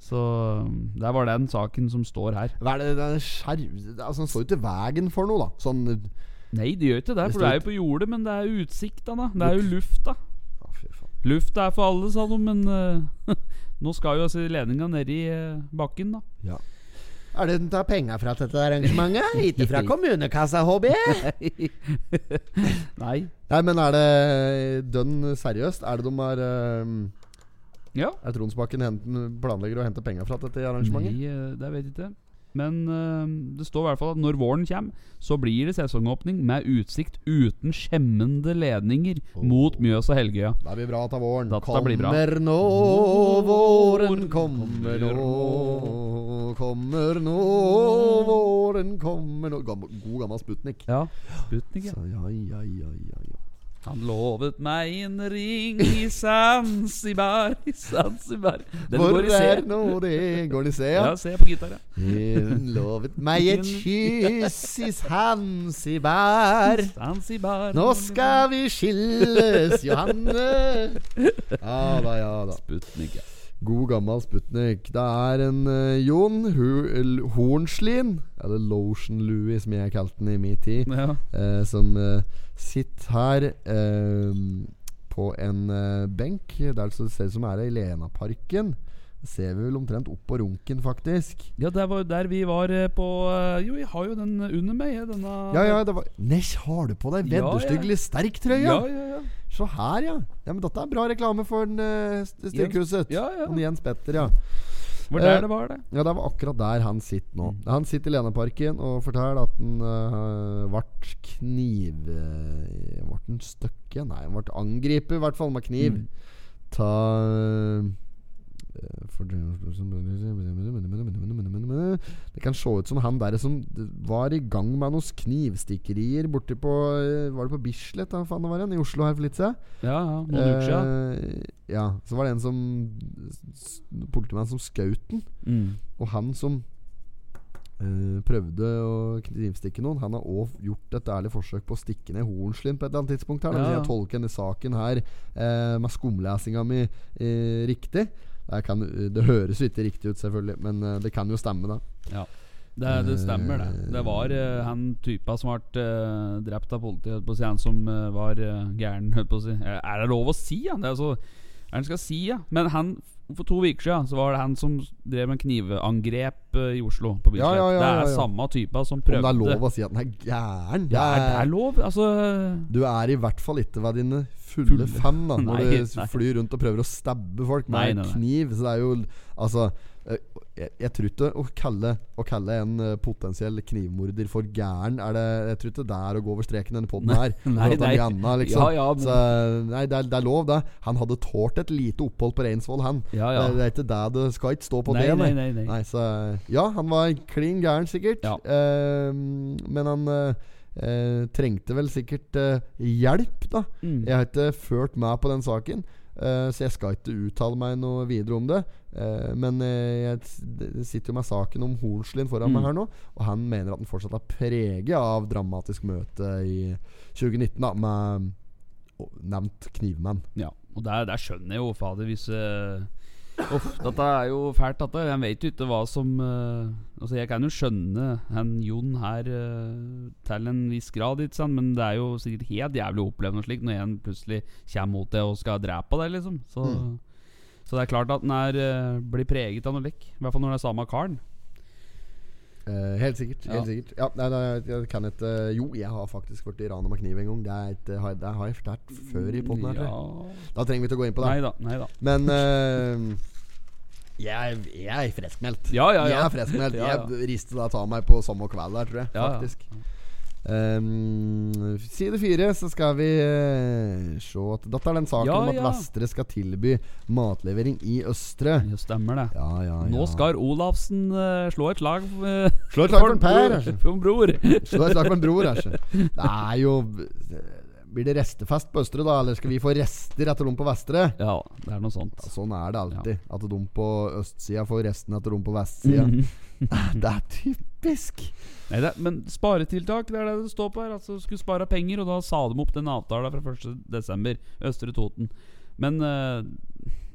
Speaker 2: Så eh, der var den saken som står her.
Speaker 1: Hva er det, det er skjerv... det- Altså, den står jo til veien for noe, da. Sånn
Speaker 2: Nei, det gjør ikke det,
Speaker 1: Det
Speaker 2: for
Speaker 1: står
Speaker 2: det er jo på jordet, men det er jo utsikta, da. Det er jo lufta.
Speaker 1: Å, fy faen.
Speaker 2: Lufta er for alle, sa de, men eh, nå skal jo altså ledninga ned i eh, bakken, da.
Speaker 1: Er det den tar penger fra dette arrangementet? Ikke fra kommunekassa, HB?
Speaker 2: Nei.
Speaker 1: Nei, men er det dønn seriøst? Er det de har ehm,
Speaker 2: Ja.
Speaker 1: Er Tronsbakken henten, planlegger å hente penger fra dette
Speaker 2: Nei,
Speaker 1: arrangementet?
Speaker 2: eh, det vet jeg ikke. Men eh, det står i hvert fall at når våren kommer, så blir det sesongåpning med utsikt uten skjemmende ledninger
Speaker 1: Oh.
Speaker 2: mot Mjøs og Helgøya.
Speaker 1: Det blir bra til våren.
Speaker 2: Dette
Speaker 1: kommer
Speaker 2: blir bra.
Speaker 1: nå, våren kommer nå. Kommer nå, våren kommer nå. Gammel, god gammel Sputnik.
Speaker 2: Ja. Sputnik, ja.
Speaker 1: Så, ja, ja, ja, ja, ja.
Speaker 2: Han lovet meg en ring i Zanzibar, i Zanzibar Den
Speaker 1: Hvor
Speaker 2: går i C.
Speaker 1: er nå det går i se?
Speaker 2: Ja,
Speaker 1: Ja.
Speaker 2: C på gitar, ja.
Speaker 1: Hun lovet meg et kyss i Zanzibar.
Speaker 2: Zanzibar
Speaker 1: Nå skal vi skilles, Johanne. Ja da, ja da.
Speaker 2: Sputnik, ja.
Speaker 1: God gammel Sputnik. Det er en eh, Jon Hu- L- Hornslien, eller Lotion Louie som jeg kalte den i min tid,
Speaker 2: ja.
Speaker 1: eh, som eh, sitter her eh, på en eh, benk. Der så det ser ut som er det i Lenaparken. Det Ser vi vel omtrent opp på runken, faktisk.
Speaker 2: Ja, det var jo der vi var eh, på eh, Jo, jeg har jo den under meg, jeg, denne
Speaker 1: Ja, ja, det var Nesj, har du på deg
Speaker 2: Ja, ja.
Speaker 1: vedderstyggelig sterk-trøya?
Speaker 2: ja, ja, ja.
Speaker 1: Se her, ja. ja men Dette er bra reklame for den, eh, st- Styrkhuset.
Speaker 2: Ja, ja.
Speaker 1: Og Jens Petter, ja.
Speaker 2: Var der
Speaker 1: Eh,
Speaker 2: det var, det.
Speaker 1: Ja, Det var akkurat der han sitter nå.
Speaker 2: Mm.
Speaker 1: Han sitter i Lenaparken og forteller at han uh, ble kniv... eh, Ble han støkke? Nei, han ble angrepet, i hvert fall, med kniv.
Speaker 2: Mm.
Speaker 1: Ta eh, for- det kan se ut som han der som var i gang med noen knivstikkerier borti på eh, Var det på Bislett? da, faen det var igjen, I Oslo her for litt siden.
Speaker 2: Ja, ja, noen uker siden.
Speaker 1: Eh, ja. Så var det en som s- Politimann som skjøt den.
Speaker 2: Mm.
Speaker 1: Og han som eh, prøvde å knivstikke noen, han har òg gjort et ærlig forsøk på å stikke ned Hornslien på et eller annet tidspunkt. her da. Hvis
Speaker 2: Ja, ja.
Speaker 1: jeg tolker denne saken her eh, med skumlesinga mi eh, riktig det, kan, det høres jo ikke riktig ut, selvfølgelig, men eh, det kan jo stemme, da.
Speaker 2: Det, det
Speaker 1: eh,
Speaker 2: stemmer, det. Det var eh, han typa som ble eh, drept av politiet, holdt på å si. Han som eh, var eh, gæren, holdt på å si. Eh, Er det lov å si, ja? Det er så er det en skal si, ja. Men han for to uker siden så var det han som drev med knivangrep eh, i Oslo, på Bislett.
Speaker 1: Ja, ja, ja,
Speaker 2: det
Speaker 1: ja,
Speaker 2: er
Speaker 1: ja.
Speaker 2: samme typa som
Speaker 1: Om
Speaker 2: prøvde
Speaker 1: det er lov å si at den er gæren?
Speaker 2: Ja, er det
Speaker 1: Det er-
Speaker 2: lov? Altså
Speaker 1: Du er i hvert fall ikke ved dine fulle
Speaker 2: Fulle.
Speaker 1: fem da når
Speaker 2: Nei,
Speaker 1: du
Speaker 2: nei.
Speaker 1: flyr rundt og prøver å stabbe folk med
Speaker 2: Nei,
Speaker 1: en
Speaker 2: nei, nei.
Speaker 1: kniv. Så det er jo Altså, eh, jeg, jeg tror ikke å kalle, å kalle en eh, potensiell knivmorder for gæren er det, Jeg tror ikke det er å gå over streken i denne poden her.
Speaker 2: nei,
Speaker 1: For at det er
Speaker 2: nei.
Speaker 1: mye annet, liksom.
Speaker 2: Ja, ja, men-
Speaker 1: Så nei, det er, det er lov, det. Han hadde tålt et lite opphold på Reinsvoll, han.
Speaker 2: Ja, ja.
Speaker 1: Det, det er ikke det du skal ikke stå på
Speaker 2: Nei,
Speaker 1: det.
Speaker 2: nei, nei, nei.
Speaker 1: Nei, så Ja, han var klin gæren, sikkert.
Speaker 2: Ja.
Speaker 1: Eh, Ehm, men han eh, eh, trengte vel sikkert eh, hjelp, da.
Speaker 2: Mm.
Speaker 1: Jeg har ikke ført meg på den saken, eh, så jeg skal ikke uttale meg noe videre om det. Eh, men eh, jeg s- d- sitter jo med saken om Hornslien foran meg
Speaker 2: Mm.
Speaker 1: her nå, og han mener at den fortsatt er preget av dramatisk møte i 2019, da, med å- nevnt knivmenn.
Speaker 2: Ja, og der, der skjønner jeg jo, fader, hvis eh, Uff, dette er jo fælt, dette. Jeg vet jo ikke hva som eh, Altså, jeg kan jo skjønne han Jon her eh, til en viss grad, ikke sant, men det er jo sikkert helt jævlig å oppleve noe slikt når en plutselig kommer mot deg og skal drepe deg, liksom. Så,
Speaker 1: Mm.
Speaker 2: så det er klart at den er, eh, blir preget av noe lekk. I hvert fall når det er samme karen.
Speaker 1: Eh, helt sikkert.
Speaker 2: Ja.
Speaker 1: Helt sikkert ja, nei, nei, jeg, jeg kan ikke eh, Jo, jeg har faktisk blitt rana med kniv en gang. Det, er ikke- har- det har jeg fortalt før i poden her. tror jeg.
Speaker 2: Ja.
Speaker 1: Da trenger vi ikke å gå inn på det.
Speaker 2: Nei da, nei da.
Speaker 1: Men eh, jeg, jeg er friskmeldt.
Speaker 2: Ja, ja,
Speaker 1: Jeg
Speaker 2: ja.
Speaker 1: er friskmeldt.
Speaker 2: Ja, ja.
Speaker 1: Jeg rister deg av meg på samme kveld der, tror jeg.
Speaker 2: Ja, ja.
Speaker 1: faktisk Ehm, Side fire, så skal vi eh, se at Dette er den saken
Speaker 2: Ja,
Speaker 1: om at
Speaker 2: ja.
Speaker 1: Vestre skal tilby matlevering i Østre.
Speaker 2: Ja, stemmer det.
Speaker 1: Ja, ja, ja.
Speaker 2: Mm. Nå skal Olavsen eh, slå et slag eh,
Speaker 1: Slå et slag for en Per, altså.
Speaker 2: For en bror.
Speaker 1: Slå et slag med en bror, æsj. Det er jo Blir det restefest på Østre, da? Eller skal vi få rester etter dem på Vestre?
Speaker 2: Ja, det er noe sånt.
Speaker 1: Ja, sånn er det alltid. At de på østsida får resten etter de på vestsida. det er typisk!
Speaker 2: Nei, det er, men sparetiltak, det er det det står på her. Altså Skulle spare penger, og da sa de opp den avtalen fra 1.12. Østre Toten. Men eh,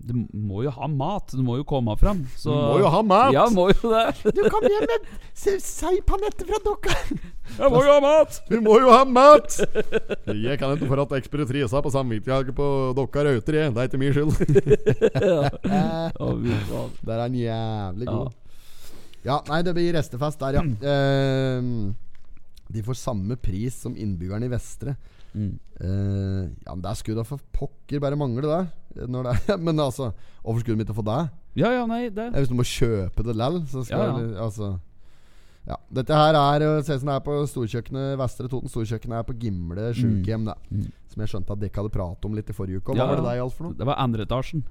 Speaker 2: du må jo ha mat. Du må jo komme fram. Så,
Speaker 1: Du må jo ha mat!
Speaker 2: Ja, må jo det.
Speaker 1: Du kom hjem med seigpanette fra dokka!
Speaker 2: Jeg må jo ha mat!
Speaker 1: Du må jo ha mat! Jeg kan ikke forlate eksperetrisa på samvittigheten på dokka Rauter, jeg. Det er ikke min skyld. Eh,
Speaker 2: Å, fy faen.
Speaker 1: Der er han jævlig
Speaker 2: Ja. Mm.
Speaker 1: god. Ja, nei, det blir restefest der, ja. Ehm, de får samme pris som innbyggerne i Vestre.
Speaker 2: Mm.
Speaker 1: Eh, ja, men der skulle da for pokker bare mangle, det. Når det er. Men altså, hvorfor skulle de ikke få det?
Speaker 2: ja, ja, nei, det
Speaker 1: Ja, Hvis du må kjøpe det lell, så skal
Speaker 2: Ja, ja.
Speaker 1: du Altså ja, Dette her er jo- ser ut som det er på storkjøkkenet Vestre Toten storkjøkken er på Gimle
Speaker 2: Mm.
Speaker 1: sjukehjem. det. Som jeg skjønte at dere hadde pratet om litt i forrige uke. Og Hva
Speaker 2: Ja,
Speaker 1: var det
Speaker 2: ja.
Speaker 1: det gjaldt for noe?
Speaker 2: Det var andre etasjen.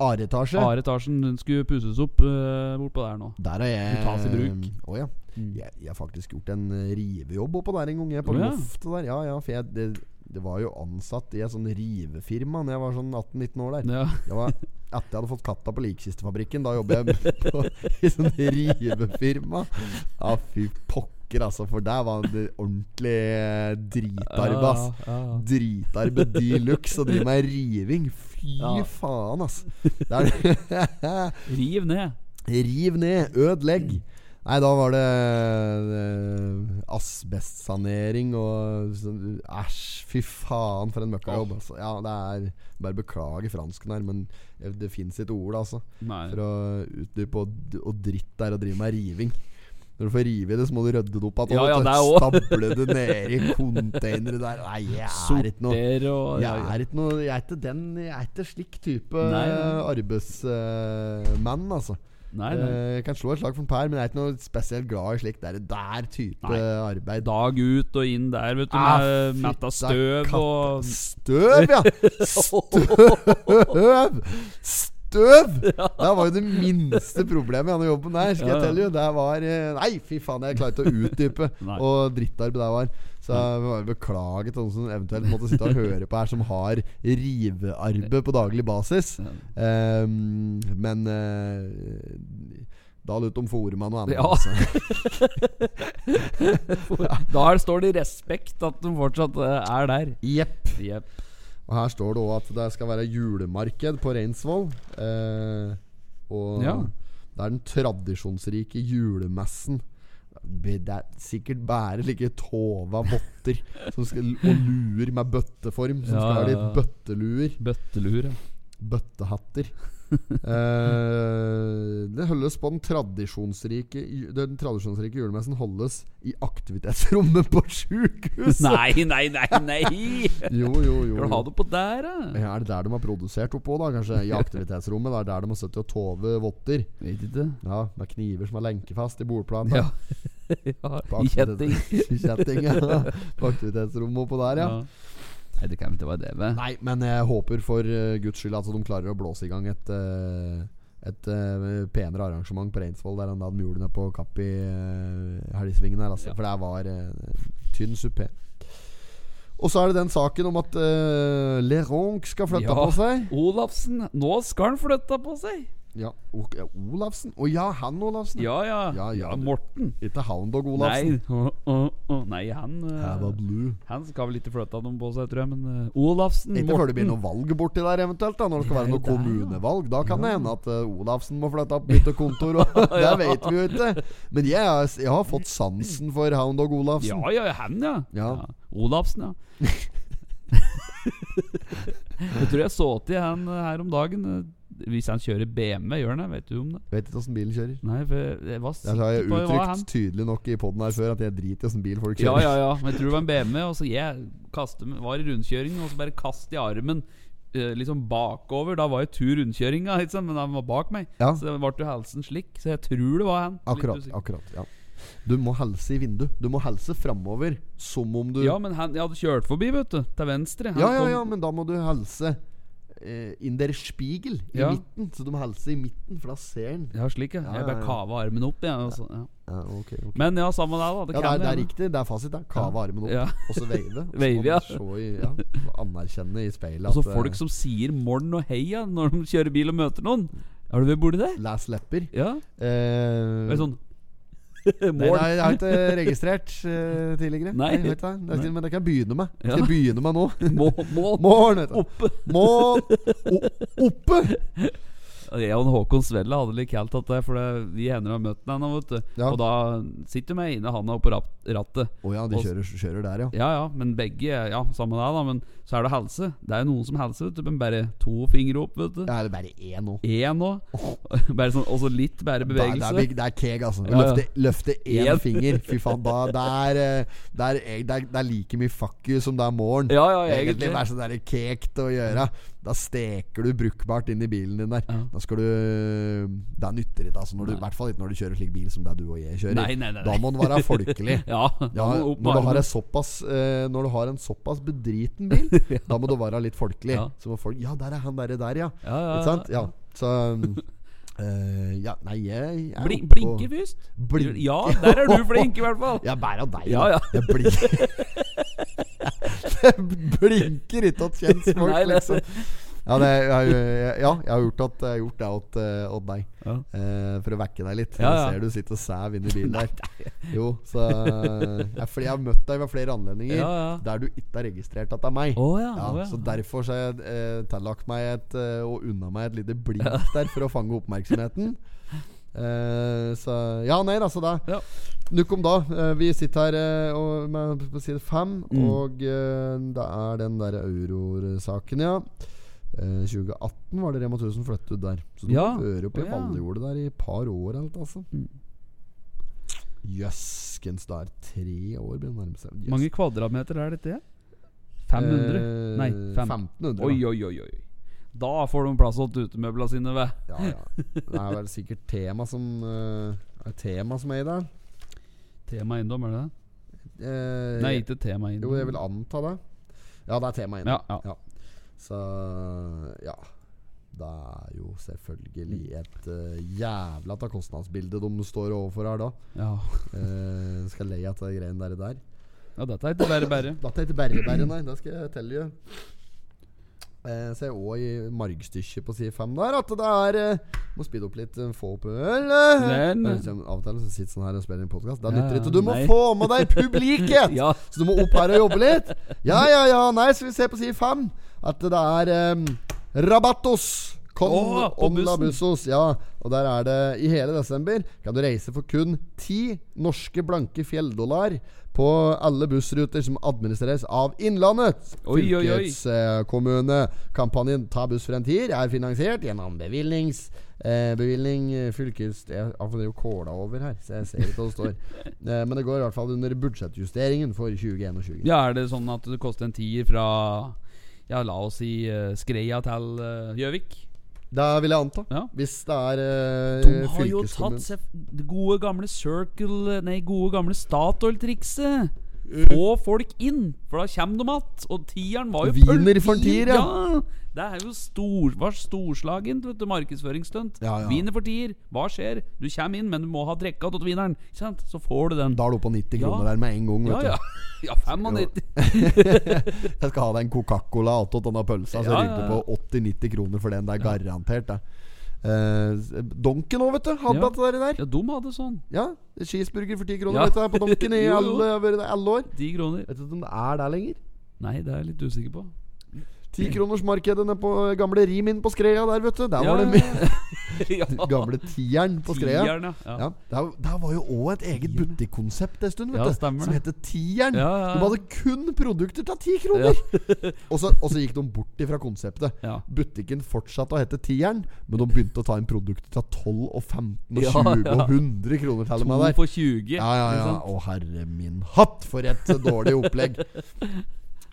Speaker 1: Areetasje?
Speaker 2: Andre etasjen den skulle pusses opp eh, bortpå der nå.
Speaker 1: der har jeg
Speaker 2: Det tas i bruk.
Speaker 1: Ehm, Å ja. Jeg, jeg har faktisk gjort en eh, rivejobb oppå der en gang. Jeg, på
Speaker 2: Å, ja.
Speaker 1: loftet der. Ja, ja, for jeg, det, det var jo ansatt i et sånn rivefirma Når jeg var sånn 18-19 år der.
Speaker 2: Ja.
Speaker 1: Det var etter jeg hadde fått katta på likkistefabrikken. Da jobber jeg på, i sånn rivefirma. Ja, fy pokker, altså. For der var det ordentlig eh, dritarbeid, ass.
Speaker 2: Ja, ja, ja.
Speaker 1: Dritarbeid de luxe å drive med riving. Fy
Speaker 2: Ja.
Speaker 1: faen, ass. Det er
Speaker 2: Riv ned.
Speaker 1: Riv ned, ødelegg. Nei, da var det eh, asbestsanering og sånn Æsj, fy faen for en møkkajobb. Altså. Ja, det er Bare beklager fransken her, men eh, det fins ikke ord, altså.
Speaker 2: Nei.
Speaker 1: For å utdype og, og dritt der og drive med riving. Når du får rive i det, så må du rydde det opp igjen.
Speaker 2: Ja, ja,
Speaker 1: og
Speaker 2: det er også.
Speaker 1: Stable det nedi containere der. Nei, jeg er ikke noe
Speaker 2: Sorter og
Speaker 1: jeg er ikke noe Jeg er ikke den Jeg er ikke slik type
Speaker 2: Nei, nei.
Speaker 1: arbeidsmann, altså.
Speaker 2: Nei, nei.
Speaker 1: Eh, Jeg kan slå et slag for en Per, men jeg er ikke noe spesielt glad i slik der, der type
Speaker 2: Nei.
Speaker 1: arbeid.
Speaker 2: dag ut og inn der, vet du,
Speaker 1: Ah,
Speaker 2: med
Speaker 1: fytta
Speaker 2: mett av støv
Speaker 1: katta.
Speaker 2: og
Speaker 1: Støv, ja! Støv! Støv! Det var jo det minste problemet i denne jobben der. Skal jeg
Speaker 2: Ja, ja.
Speaker 1: telle you. Det var eh, Nei, fy faen, jeg klarte å utdype
Speaker 2: Nei.
Speaker 1: og drittarbeid det var. Så jeg vil bare beklage til noen som eventuelt måtte sitte og høre på her, som har rivearbeid på daglig basis. Ehm, men eh, da lurer det om forumet og annet.
Speaker 2: Ja.
Speaker 1: altså.
Speaker 2: Der står det i respekt at de fortsatt eh, er der.
Speaker 1: Jepp.
Speaker 2: Jepp.
Speaker 1: Og her står det òg at det skal være julemarked på Reinsvoll. Eh, og
Speaker 2: Ja.
Speaker 1: det er den tradisjonsrike julemessen. Be- Det er sikkert bare like tova votter som skal, og luer med bøtteform. Som
Speaker 2: Ja,
Speaker 1: skal være
Speaker 2: ja,
Speaker 1: litt
Speaker 2: ja.
Speaker 1: bøtteluer.
Speaker 2: Bøttelur, ja.
Speaker 1: Bøttehatter. eh, det holdes på den tradisjonsrike ju- Den tradisjonsrike julemessen holdes i aktivitetsrommet på sjukehuset!
Speaker 2: Nei, nei, nei, nei!
Speaker 1: Jo, jo, jo.
Speaker 2: Skal du ha det på der, da?
Speaker 1: Ja, er det der de har produsert oppå, da? Kanskje i aktivitetsrommet? Det er der de har sittet og tovet votter?
Speaker 2: Vet ikke.
Speaker 1: Ja, med kniver som er lenkefast i bordplanen.
Speaker 2: Ja. ja.
Speaker 1: På
Speaker 2: I
Speaker 1: aktivitet-
Speaker 2: kjetting.
Speaker 1: I kjetting, ja. På aktivitetsrommet oppå der, ja.
Speaker 2: Ja. Nei, det kan ikke være det, vel?
Speaker 1: Nei, men jeg håper for eh, guds skyld at de klarer å blåse i gang et eh, et eh, penere arrangement på Reinsvoll der enn det de gjorde nede på Kapp i uh, helgesvingen eh, her. Altså.
Speaker 2: Ja.
Speaker 1: For det var eh, tynn supé. Og så er det den saken om at uh, Leronc skal flytte
Speaker 2: Ja.
Speaker 1: på seg.
Speaker 2: Olafsen, nå skal han flytte på seg!
Speaker 1: Ja, ok, Olafsen? Å ja, han Olafsen.
Speaker 2: Ja, ja.
Speaker 1: Ja, ja, du-
Speaker 2: Morten.
Speaker 1: Ikke Houndog Olafsen.
Speaker 2: Nei, å, å, å, nei han eh,
Speaker 1: Hava blue.
Speaker 2: Han skal vel ikke flytte noen på seg, tror jeg, men eh, Olafsen,
Speaker 1: Ikke før det blir noe valg borti der, eventuelt. da Når det skal
Speaker 2: Det er
Speaker 1: være noe
Speaker 2: jo der, ja.
Speaker 1: kommunevalg. Da kan det hende at eh, Olafsen må flytte opp, bytte kontor. Og det vet vi jo ikke. Men jeg, har- jeg har fått sansen for Hound Dog
Speaker 2: Ja,
Speaker 1: Olafsen.
Speaker 2: ja, han, ja.
Speaker 1: Ja.
Speaker 2: Olafsen, ja. jeg tror jeg så til han eh, her om dagen. eh, Hvis han kjører BMW, gjør han det? Vet du om det?
Speaker 1: Vet ikke åssen bilen kjører.
Speaker 2: Nei, for jeg- jeg var
Speaker 1: Det har
Speaker 2: sikker
Speaker 1: jeg
Speaker 2: på det var han.
Speaker 1: uttrykt tydelig nok i poden her før at jeg driter i åssen bil folk
Speaker 2: Ja,
Speaker 1: kjører.
Speaker 2: ja, ja. Men jeg tror det var en BMW. Og så jeg kastet, meg- var i rundkjøringen, og så bare kastet jeg armen eh, liksom bakover. Da var jeg tur rundkjøringa, ikke sant? men han var bak meg.
Speaker 1: Ja.
Speaker 2: Så ble jo halsen slik. Så jeg tror det var han. Litt
Speaker 1: Akkurat.
Speaker 2: usikker.
Speaker 1: akkurat ja. Du må helse i vindu. Du må helse framover som om du
Speaker 2: Ja, men han, jeg hadde kjørt forbi, vet du. Til venstre. Han
Speaker 1: Ja, ja,
Speaker 2: kom-
Speaker 1: ja, men da må du helse eh, in der spiegel i
Speaker 2: Ja.
Speaker 1: midten. Så du må helse i midten, for da ser den.
Speaker 2: Ja, slik, ja.
Speaker 1: Ja,
Speaker 2: Jeg
Speaker 1: ja,
Speaker 2: bare
Speaker 1: ja.
Speaker 2: kava armen opp, jeg. og så- ja.
Speaker 1: Ja, ok, ok.
Speaker 2: Men ja, samme det, da. Det
Speaker 1: Ja, det
Speaker 2: kan
Speaker 1: er, det er
Speaker 2: hende.
Speaker 1: riktig. Det er fasit. der Kave armen opp,
Speaker 2: Ja.
Speaker 1: og så veive. og så må
Speaker 2: Veive, ja.
Speaker 1: du se i- ja, anerkjenne i speilet
Speaker 2: Og så
Speaker 1: at,
Speaker 2: Altså, folk
Speaker 1: eh,
Speaker 2: som sier 'morn' og 'heia' når de kjører bil og møter noen. Har du vært borti det?
Speaker 1: Les lepper.
Speaker 2: Ja.
Speaker 1: Eh,
Speaker 2: Det er sånn
Speaker 1: nei,
Speaker 2: Morn.
Speaker 1: nei, jeg har ikke registrert eh, tidligere.
Speaker 2: Nei.
Speaker 1: jeg har ikke det. Det er- Men det kan jeg begynne med.
Speaker 2: Ja.
Speaker 1: Skal jeg begynne med nå?
Speaker 2: Må- må-
Speaker 1: Morgen, heter det.
Speaker 2: Oppe.
Speaker 1: Morgen. O- Oppe!
Speaker 2: Jeg og Håkon Svelle hadde litt kaldt at det, for det, vi hender har møtt den ennå, vet du.
Speaker 1: Ja.
Speaker 2: Og da sitter vi inne, han er oppå rapp- rattet.
Speaker 1: Å ja, de
Speaker 2: Og s-
Speaker 1: kjører, kjører der, ja.
Speaker 2: Ja ja, men begge Ja, samme det, da. Men så er det helse. Det er jo noen som helser, vet du. Men bare to fingre opp, vet du.
Speaker 1: Ja, Det er bare én nå.
Speaker 2: Én nå. Bare sånn, og så litt bare
Speaker 1: Det er, det, er,
Speaker 2: bevegelse.
Speaker 1: big- det er keg, altså. Å
Speaker 2: Ja, ja.
Speaker 1: Løfte, løfte én
Speaker 2: Én.
Speaker 1: finger. Fy faen, da det er, eh, det, er, eg- det, er, det er like mye fuck you som det er morgen.
Speaker 2: Ja, ja,
Speaker 1: egentlig
Speaker 2: egentlig.
Speaker 1: være sånn der kekt å gjøre. Da steker du brukbart inn i bilen din der.
Speaker 2: Ja.
Speaker 1: Da skal du Det er nytter ikke, altså. Når du, I hvert fall ikke når du kjører slik bil som det er du og jeg kjører.
Speaker 2: Nei, nei, nei,
Speaker 1: Da
Speaker 2: nei.
Speaker 1: må den være folkelig.
Speaker 2: Ja,
Speaker 1: Ja,
Speaker 2: da må
Speaker 1: når,
Speaker 2: opp med
Speaker 1: du har
Speaker 2: armen.
Speaker 1: en såpass, eh, når du har en såpass bedriten bil, da må du være litt folkelig.
Speaker 2: Ja.
Speaker 1: Så må folk Ja, der er han derre der, ja.
Speaker 2: Ja, ja,
Speaker 1: Ikke sant? Ja. Så um, eh, Ja, nei, jeg, jeg er
Speaker 2: Bli,
Speaker 1: oppe
Speaker 2: blinker
Speaker 1: og-
Speaker 2: først.
Speaker 1: Blink.
Speaker 2: Ja, der er du flink, i hvert fall.
Speaker 1: Jeg bærer av deg,
Speaker 2: Ja,
Speaker 1: da.
Speaker 2: ja.
Speaker 1: Jeg blinker Det blinker ikke at kjentfolk,
Speaker 2: Nei, det-
Speaker 1: liksom. Ja, det, jeg, jeg, ja, jeg har gjort, at, jeg har gjort det åt, eh, åt deg.
Speaker 2: Ja.
Speaker 1: Eh, for å vekke deg litt.
Speaker 2: Ja, ja.
Speaker 1: Jeg ser du sitter og sæv inni bilen der. Jo, så ja, fordi Jeg har møtt deg ved flere anledninger
Speaker 2: Ja, ja.
Speaker 1: der du ikke har registrert at det er meg.
Speaker 2: Å ja, å ja.
Speaker 1: Så derfor så har jeg eh, tillagt meg et eh, og unna meg et lite blink der for å fange oppmerksomheten. Eh, så Ja, nei da, så da.
Speaker 2: Ja.
Speaker 1: Nuk om da. Eh, vi sitter her eh, og, med, på side fem,
Speaker 2: Mm.
Speaker 1: og eh, det er den der Auror-saken, ja. Eh, 2018 var det Rema 1000 flyttet ut der. Så du
Speaker 2: Ja.
Speaker 1: hører opp i
Speaker 2: Å, ja. Mm.
Speaker 1: alle gjorde det der i et par år. Alt, altså. Jøskens, da er det tre år blir det nærmest. Jøss.
Speaker 2: Mange kvadratmeter er dette? 500?
Speaker 1: Eh,
Speaker 2: Nei, fem.
Speaker 1: 1500.
Speaker 2: Oi,
Speaker 1: da.
Speaker 2: oi, oi, oi. Da får de plass til utemøblene sine, ved.
Speaker 1: Ja, ja. Det er vel sikkert tema som eh, Er tema som er i der.
Speaker 2: Tema eiendom, er det det?
Speaker 1: Eh,
Speaker 2: Nei, ikke tema eiendom.
Speaker 1: Jo, jeg vil anta det. Ja, det er tema inne.
Speaker 2: Ja, ja.
Speaker 1: Så ja. Det er jo selvfølgelig et eh, jævla ta kostnadsbilde de står overfor her da.
Speaker 2: Ja.
Speaker 1: Eh, skal leie av de greiene der. der.
Speaker 2: ja, dette er ikke bare bare.
Speaker 1: Dette heter Berrebæret, nei. Det skal jeg telle deg. Eh, ser òg i margstykket på side fem der at det er eh, Må speede opp litt. eh, Få opp øl. eh.
Speaker 2: Den-
Speaker 1: Det er liksom Av og til så sitter sånn her og spiller en podkast. Det
Speaker 2: Ja,
Speaker 1: nytter
Speaker 2: ja,
Speaker 1: ikke. Du må
Speaker 2: nei.
Speaker 1: få med deg publiket!
Speaker 2: Ja.
Speaker 1: Så du må opp her og jobbe litt. Ja, ja, ja. Nei, så vi ser på side fem at det er um, Rabattos. Con
Speaker 2: Åh, på
Speaker 1: on la
Speaker 2: bussen.
Speaker 1: bussos. Ja, og der er det I hele desember kan du reise for kun ti norske blanke fjelldollar på alle bussruter som administreres av Innlandet.
Speaker 2: Oi, oi, oi.
Speaker 1: Fylkeskommunekampanjen Ta buss for en tier er finansiert gjennom bevilgnings... Eh, bevilgning eh, fylkes... Jeg har fått kåla over her, så jeg ser ikke hva det står. eh, men det går i hvert fall under budsjettjusteringen for 2021.
Speaker 2: ja, er det sånn at det koster en tier fra Ja, la oss si eh, Skreia til eh, Gjøvik?
Speaker 1: Det vil jeg anta.
Speaker 2: Ja.
Speaker 1: Hvis det er eh,
Speaker 2: De har jo tatt
Speaker 1: fylkeskommunen.
Speaker 2: seg f- det gode gamle Circle Nei, gode gamle Statoil-trikset.
Speaker 1: Eh.
Speaker 2: Få folk inn, for da kommer de igjen. Og tieren var jo
Speaker 1: Wiener
Speaker 2: pøl-
Speaker 1: for en tier, ja.
Speaker 2: ja. Det er jo stor, var storslagent vet du, markedsføringsstunt.
Speaker 1: Ja, ja.
Speaker 2: Wiener for tier. Hva skjer? Du kommer inn, men du må ha drikka til wieneren. ikke sant? Så får du den.
Speaker 1: Da er du oppe på 90
Speaker 2: Ja.
Speaker 1: kroner der med en gang.
Speaker 2: ja,
Speaker 1: Vet
Speaker 2: ja.
Speaker 1: du.
Speaker 2: ja, 95.
Speaker 1: Jeg skal ha deg en Coca-Cola attåt denne pølsa, så
Speaker 2: Ja,
Speaker 1: rygger
Speaker 2: ja,
Speaker 1: du på 80-90 kroner for den. Det er garantert, det. Eh, Donken òg, vet du. Hadde
Speaker 2: Ja.
Speaker 1: dette der.
Speaker 2: Ja, de hadde sånn.
Speaker 1: Ja, cheeseburger for 10 kroner
Speaker 2: Ja.
Speaker 1: vet du, her på Donken i
Speaker 2: Jo, jo.
Speaker 1: alle, jeg har vært der i alle år.
Speaker 2: Ti kroner.
Speaker 1: Vet du ikke om det er der lenger?
Speaker 2: Nei, det er jeg litt usikker på.
Speaker 1: 10-kronersmarkedet nede på eh, gamle Rim inn på Skreia der, vet du. Der var det mye.
Speaker 2: ja.
Speaker 1: Gamle tieren på Skreia.
Speaker 2: Tieren, ja. Ja.
Speaker 1: Ja, der, der var jo òg et eget butikkonsept en stund, vet
Speaker 2: Ja,
Speaker 1: du.
Speaker 2: stemmer
Speaker 1: som
Speaker 2: det.
Speaker 1: het Tieren.
Speaker 2: Ja, ja, ja.
Speaker 1: De hadde kun produkter til ti kroner! og, så, og så gikk de bort ifra konseptet.
Speaker 2: Ja.
Speaker 1: Butikken fortsatte å hete Tieren, men de begynte å ta inn produkter til 12 og 15 og
Speaker 2: Ja,
Speaker 1: 20
Speaker 2: ja.
Speaker 1: og 100 kroner til og med
Speaker 2: To
Speaker 1: der.
Speaker 2: for 20.
Speaker 1: Ja, ja,
Speaker 2: ikke
Speaker 1: ja.
Speaker 2: sant?
Speaker 1: Å, herre min hatt, for et dårlig opplegg.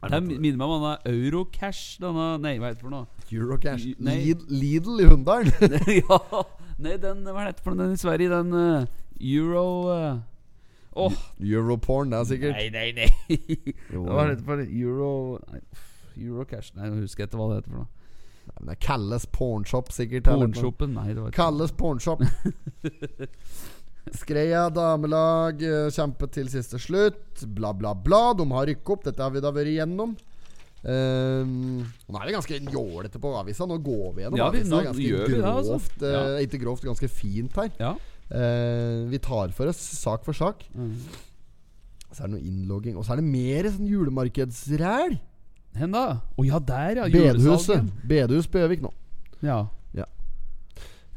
Speaker 2: Det minner meg om denne Eurocash. Denne Nei, hva heter det for noe?
Speaker 1: Eurocash.
Speaker 2: Nei.
Speaker 1: Lid, Lidl i Hunndalen.
Speaker 2: ja. Nei, den Hva er det for noe, den i Sverige? Den eh, Euro eh, Åh,
Speaker 1: Europorn, det er sikkert.
Speaker 2: nei, nei, nei.
Speaker 1: Jo,
Speaker 2: Hva er det for noe? Euro nei, uff, Eurocash Nei, nå husker jeg ikke hva det heter for noe.
Speaker 1: Men det kalles pornshop, sikkert. eller noe.
Speaker 2: Pornshopen? Nei, det var ikke
Speaker 1: Kalles pornshop. Skreia damelag eh, kjempet til siste slutt. Bla, bla, bla. De har rykket opp. Dette har vi da vært igjennom. Ehm, nå er det ganske jålete på avisa. Nå går vi gjennom
Speaker 2: Ja, vi-
Speaker 1: avisa.
Speaker 2: nå
Speaker 1: ganske
Speaker 2: gjør vi det, altså.
Speaker 1: grovt. eh, Ikke grovt, ganske fint her.
Speaker 2: Ja.
Speaker 1: Eh, vi tar for oss sak for sak.
Speaker 2: Mm.
Speaker 1: Så er det noe innlogging. Og så er det mer sånn julemarkedsræl.
Speaker 2: Hen da? Å ja, der, ja.
Speaker 1: Bedhuset.
Speaker 2: julesalget.
Speaker 1: Bedehus på Gjøvik nå.
Speaker 2: Ja.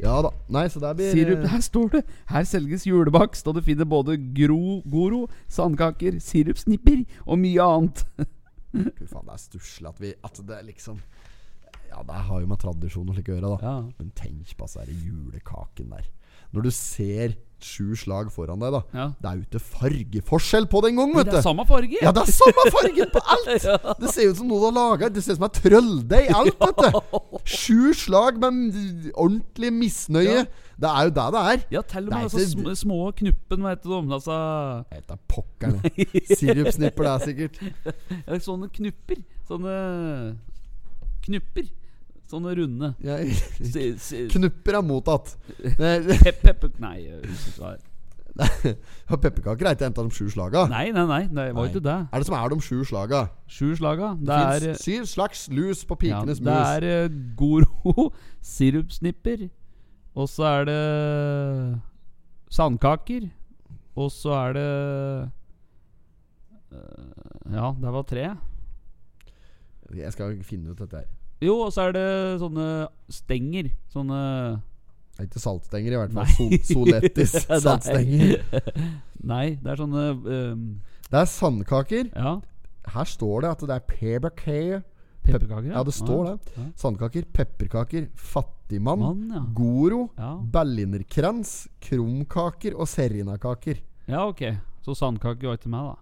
Speaker 1: Ja da. Nei, så der blir
Speaker 2: Sirup, her står det Her selges julebakst, og du finner både gro, goro, sandkaker, sirupsnipper og mye annet.
Speaker 1: Fy faen, det er stusslig at vi At det liksom Ja, det har jo med tradisjon og slik å gjøre, da.
Speaker 2: Ja.
Speaker 1: Men tenk på altså, den julekaken der. Når du ser sju slag foran deg, da.
Speaker 2: Ja.
Speaker 1: Det er jo ikke fargeforskjell på den gang, vet
Speaker 2: Det
Speaker 1: du.
Speaker 2: er samme farge!
Speaker 1: Ja, det er samme fargen på alt! Det ser ut som noe du har laga. Det ser ut som en trølldeig, alt, vet du. Sju slag med m- ordentlig misnøye.
Speaker 2: Ja.
Speaker 1: Det er jo det det er.
Speaker 2: Ja, til og
Speaker 1: Nei,
Speaker 2: med altså,
Speaker 1: det-
Speaker 2: sm små knuppen, hva heter de? Altså,
Speaker 1: Jeg vet da pokkeren. jeg. Sirupsnipper, det er sikkert.
Speaker 2: ja, sånne knupper. Sånne knupper. Sånne runde.
Speaker 1: Jeg,
Speaker 2: Si- si-
Speaker 1: knupper er mottatt. Nei,
Speaker 2: Pep, pep, nei, jeg husker ikke hva det er.
Speaker 1: Nei, Pepperkaker er ikke en av de sju slaga.
Speaker 2: nei, nei, nei, nei, det var
Speaker 1: Nei.
Speaker 2: ikke det.
Speaker 1: Er det som er de sju slaga?
Speaker 2: Sju slaga. Det,
Speaker 1: Det
Speaker 2: er
Speaker 1: finnes syv slags lus på
Speaker 2: ja,
Speaker 1: pikenes
Speaker 2: Det
Speaker 1: mus.
Speaker 2: er eh, Goro, sirupsnipper, og så er det sandkaker, og så er det eh, Ja, det var tre.
Speaker 1: Jeg skal finne ut dette her.
Speaker 2: Jo, og så er det sånne stenger. Sånne
Speaker 1: Det er ikke saltstenger, i hvert fall.
Speaker 2: Nei.
Speaker 1: Sol solettis
Speaker 2: Nei.
Speaker 1: saltstenger.
Speaker 2: Nei, det er sånne ehm,
Speaker 1: Det er sandkaker.
Speaker 2: Ja,
Speaker 1: Her står det at det er pepperkaker.
Speaker 2: pepperkaker.
Speaker 1: Ja, det står
Speaker 2: ja.
Speaker 1: det. Sandkaker, pepperkaker, fattigmann,
Speaker 2: Mann, ja.
Speaker 1: goro,
Speaker 2: Ja.
Speaker 1: berlinerkrans, krumkaker og serinakaker.
Speaker 2: ja, ok. Så sandkake var ikke meg, da.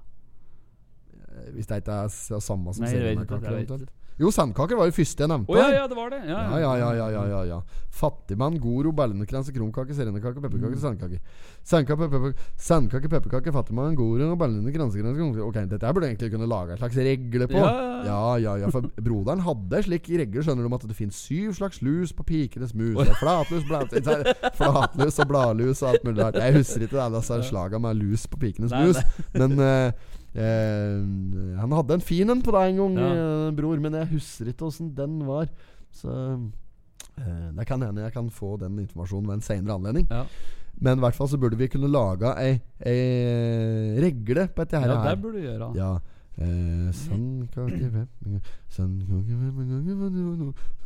Speaker 1: Eh, Hvis det ikke er s- samme som
Speaker 2: Nei, jeg vet ikke,
Speaker 1: serinakaker.
Speaker 2: jeg vet
Speaker 1: eventuelt. Jo, sandkaker var jo første jeg nevnte.
Speaker 2: Å ja,
Speaker 1: her.
Speaker 2: ja, det var det. Ja,
Speaker 1: Ja, ja, ja, ja, ja, ja, ja. Fattigmann, goro, berlinerkranse, krumkake, serenekake, pepperkake, sandkake. Sandkake, pepperkake, sandkake, pepperkake, fattigmann, goro, berlinerkranse, krumkake Ok, dette her burde jeg egentlig kunne lage en slags regle på.
Speaker 2: Ja, ja,
Speaker 1: ja, ja, ja for broderen hadde slik regle, skjønner du, om at det finnes syv slags lus på pikenes mus. Det er flatlus, blatlus, flatlus og bladlus og alt mulig rart. Jeg husker ikke det, det er slaga med lus på pikenes
Speaker 2: Nei,
Speaker 1: mus, men eh, eh, han hadde en fin en på deg en gang,
Speaker 2: Ja.
Speaker 1: eh, bror, men jeg husker ikke åssen den var. Så eh, det kan hende jeg kan få den informasjonen ved en seinere anledning.
Speaker 2: Ja.
Speaker 1: Men i hvert fall så burde vi kunne laga ei, ei regle på dette her.
Speaker 2: ja, det
Speaker 1: her.
Speaker 2: burde du gjøre.
Speaker 1: Ja. Eh, Sandkake pepperkake, sandkake, pepperkake,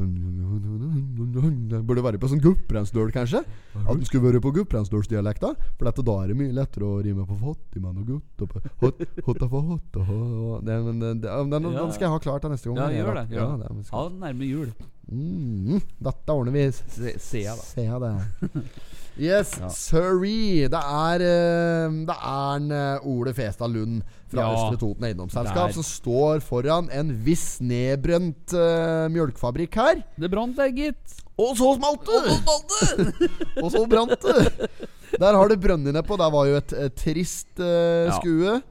Speaker 1: vann- sandkake Burde være på sånn Gudbrandsdøl, kanskje? At den skulle være på Gudbrandsdølsdialekta? For dette, da er det mye lettere å rime på fattigmann og gutt og på hot, hotta for hot og hå- og- Nei, men den, den, den, den skal jeg ha klar til neste gang.
Speaker 2: Ja, gjør
Speaker 1: da.
Speaker 2: det, gjør
Speaker 1: Ja,
Speaker 2: det.
Speaker 1: det er-
Speaker 2: Ha det nærme jul.
Speaker 1: Mm, dette ordner vi. S-
Speaker 2: Se, ser jeg, da.
Speaker 1: Se her det. Yes, sorry. Det er eh, Det er en eh, Ole Festad Lund fra
Speaker 2: Ja.
Speaker 1: Østre Toten
Speaker 2: Der.
Speaker 1: Eiendomsselskap som står foran en viss nedbrent eh, mjølkefabrikk her.
Speaker 2: Det brant der, gitt.
Speaker 1: Og så smalt det! Og så brant det! Der har det brønnet nedpå. Der var jo et eh, trist eh,
Speaker 2: Ja.
Speaker 1: skue.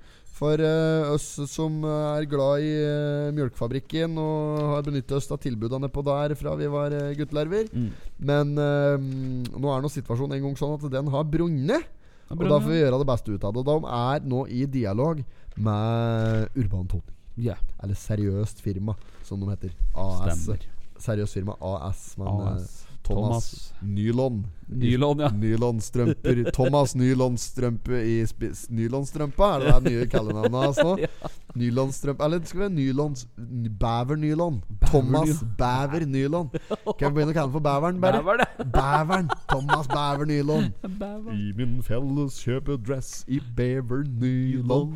Speaker 1: For eh, oss som er glad i eh, Mjølkefabrikken og har benyttet oss av tilbudene på der fra vi var eh, guttelarver.
Speaker 2: Mm.
Speaker 1: Men eh, nå er nå situasjonen en gang sånn at den har brunnet. Og da får vi gjøre det beste ut av det. Og de er nå i dialog med Urban Toning.
Speaker 2: Ja,
Speaker 1: Eller Seriøst Firma, som de heter. AS.
Speaker 2: stemmer.
Speaker 1: Seriøst Firma AS. Men eh,
Speaker 2: AS.
Speaker 1: Thomas,
Speaker 2: Thomas.
Speaker 1: Nylon.
Speaker 2: Nylon, ja.
Speaker 1: Nylonstrømper. Thomas Nylonstrømpe i spiss... Nylonstrømpa er det det nye kallenavnet hans nå? Nylonstrømpe Eller det skal være nylons... n- Bævernylon. Thomas Bævernylon. Kan vi begynne å kalle den for Bæveren, bare?
Speaker 2: Bæver, det.
Speaker 1: Bæveren. Thomas Bævernylon.
Speaker 2: Bæver.
Speaker 1: I min felles kjøpedress i bævernylon.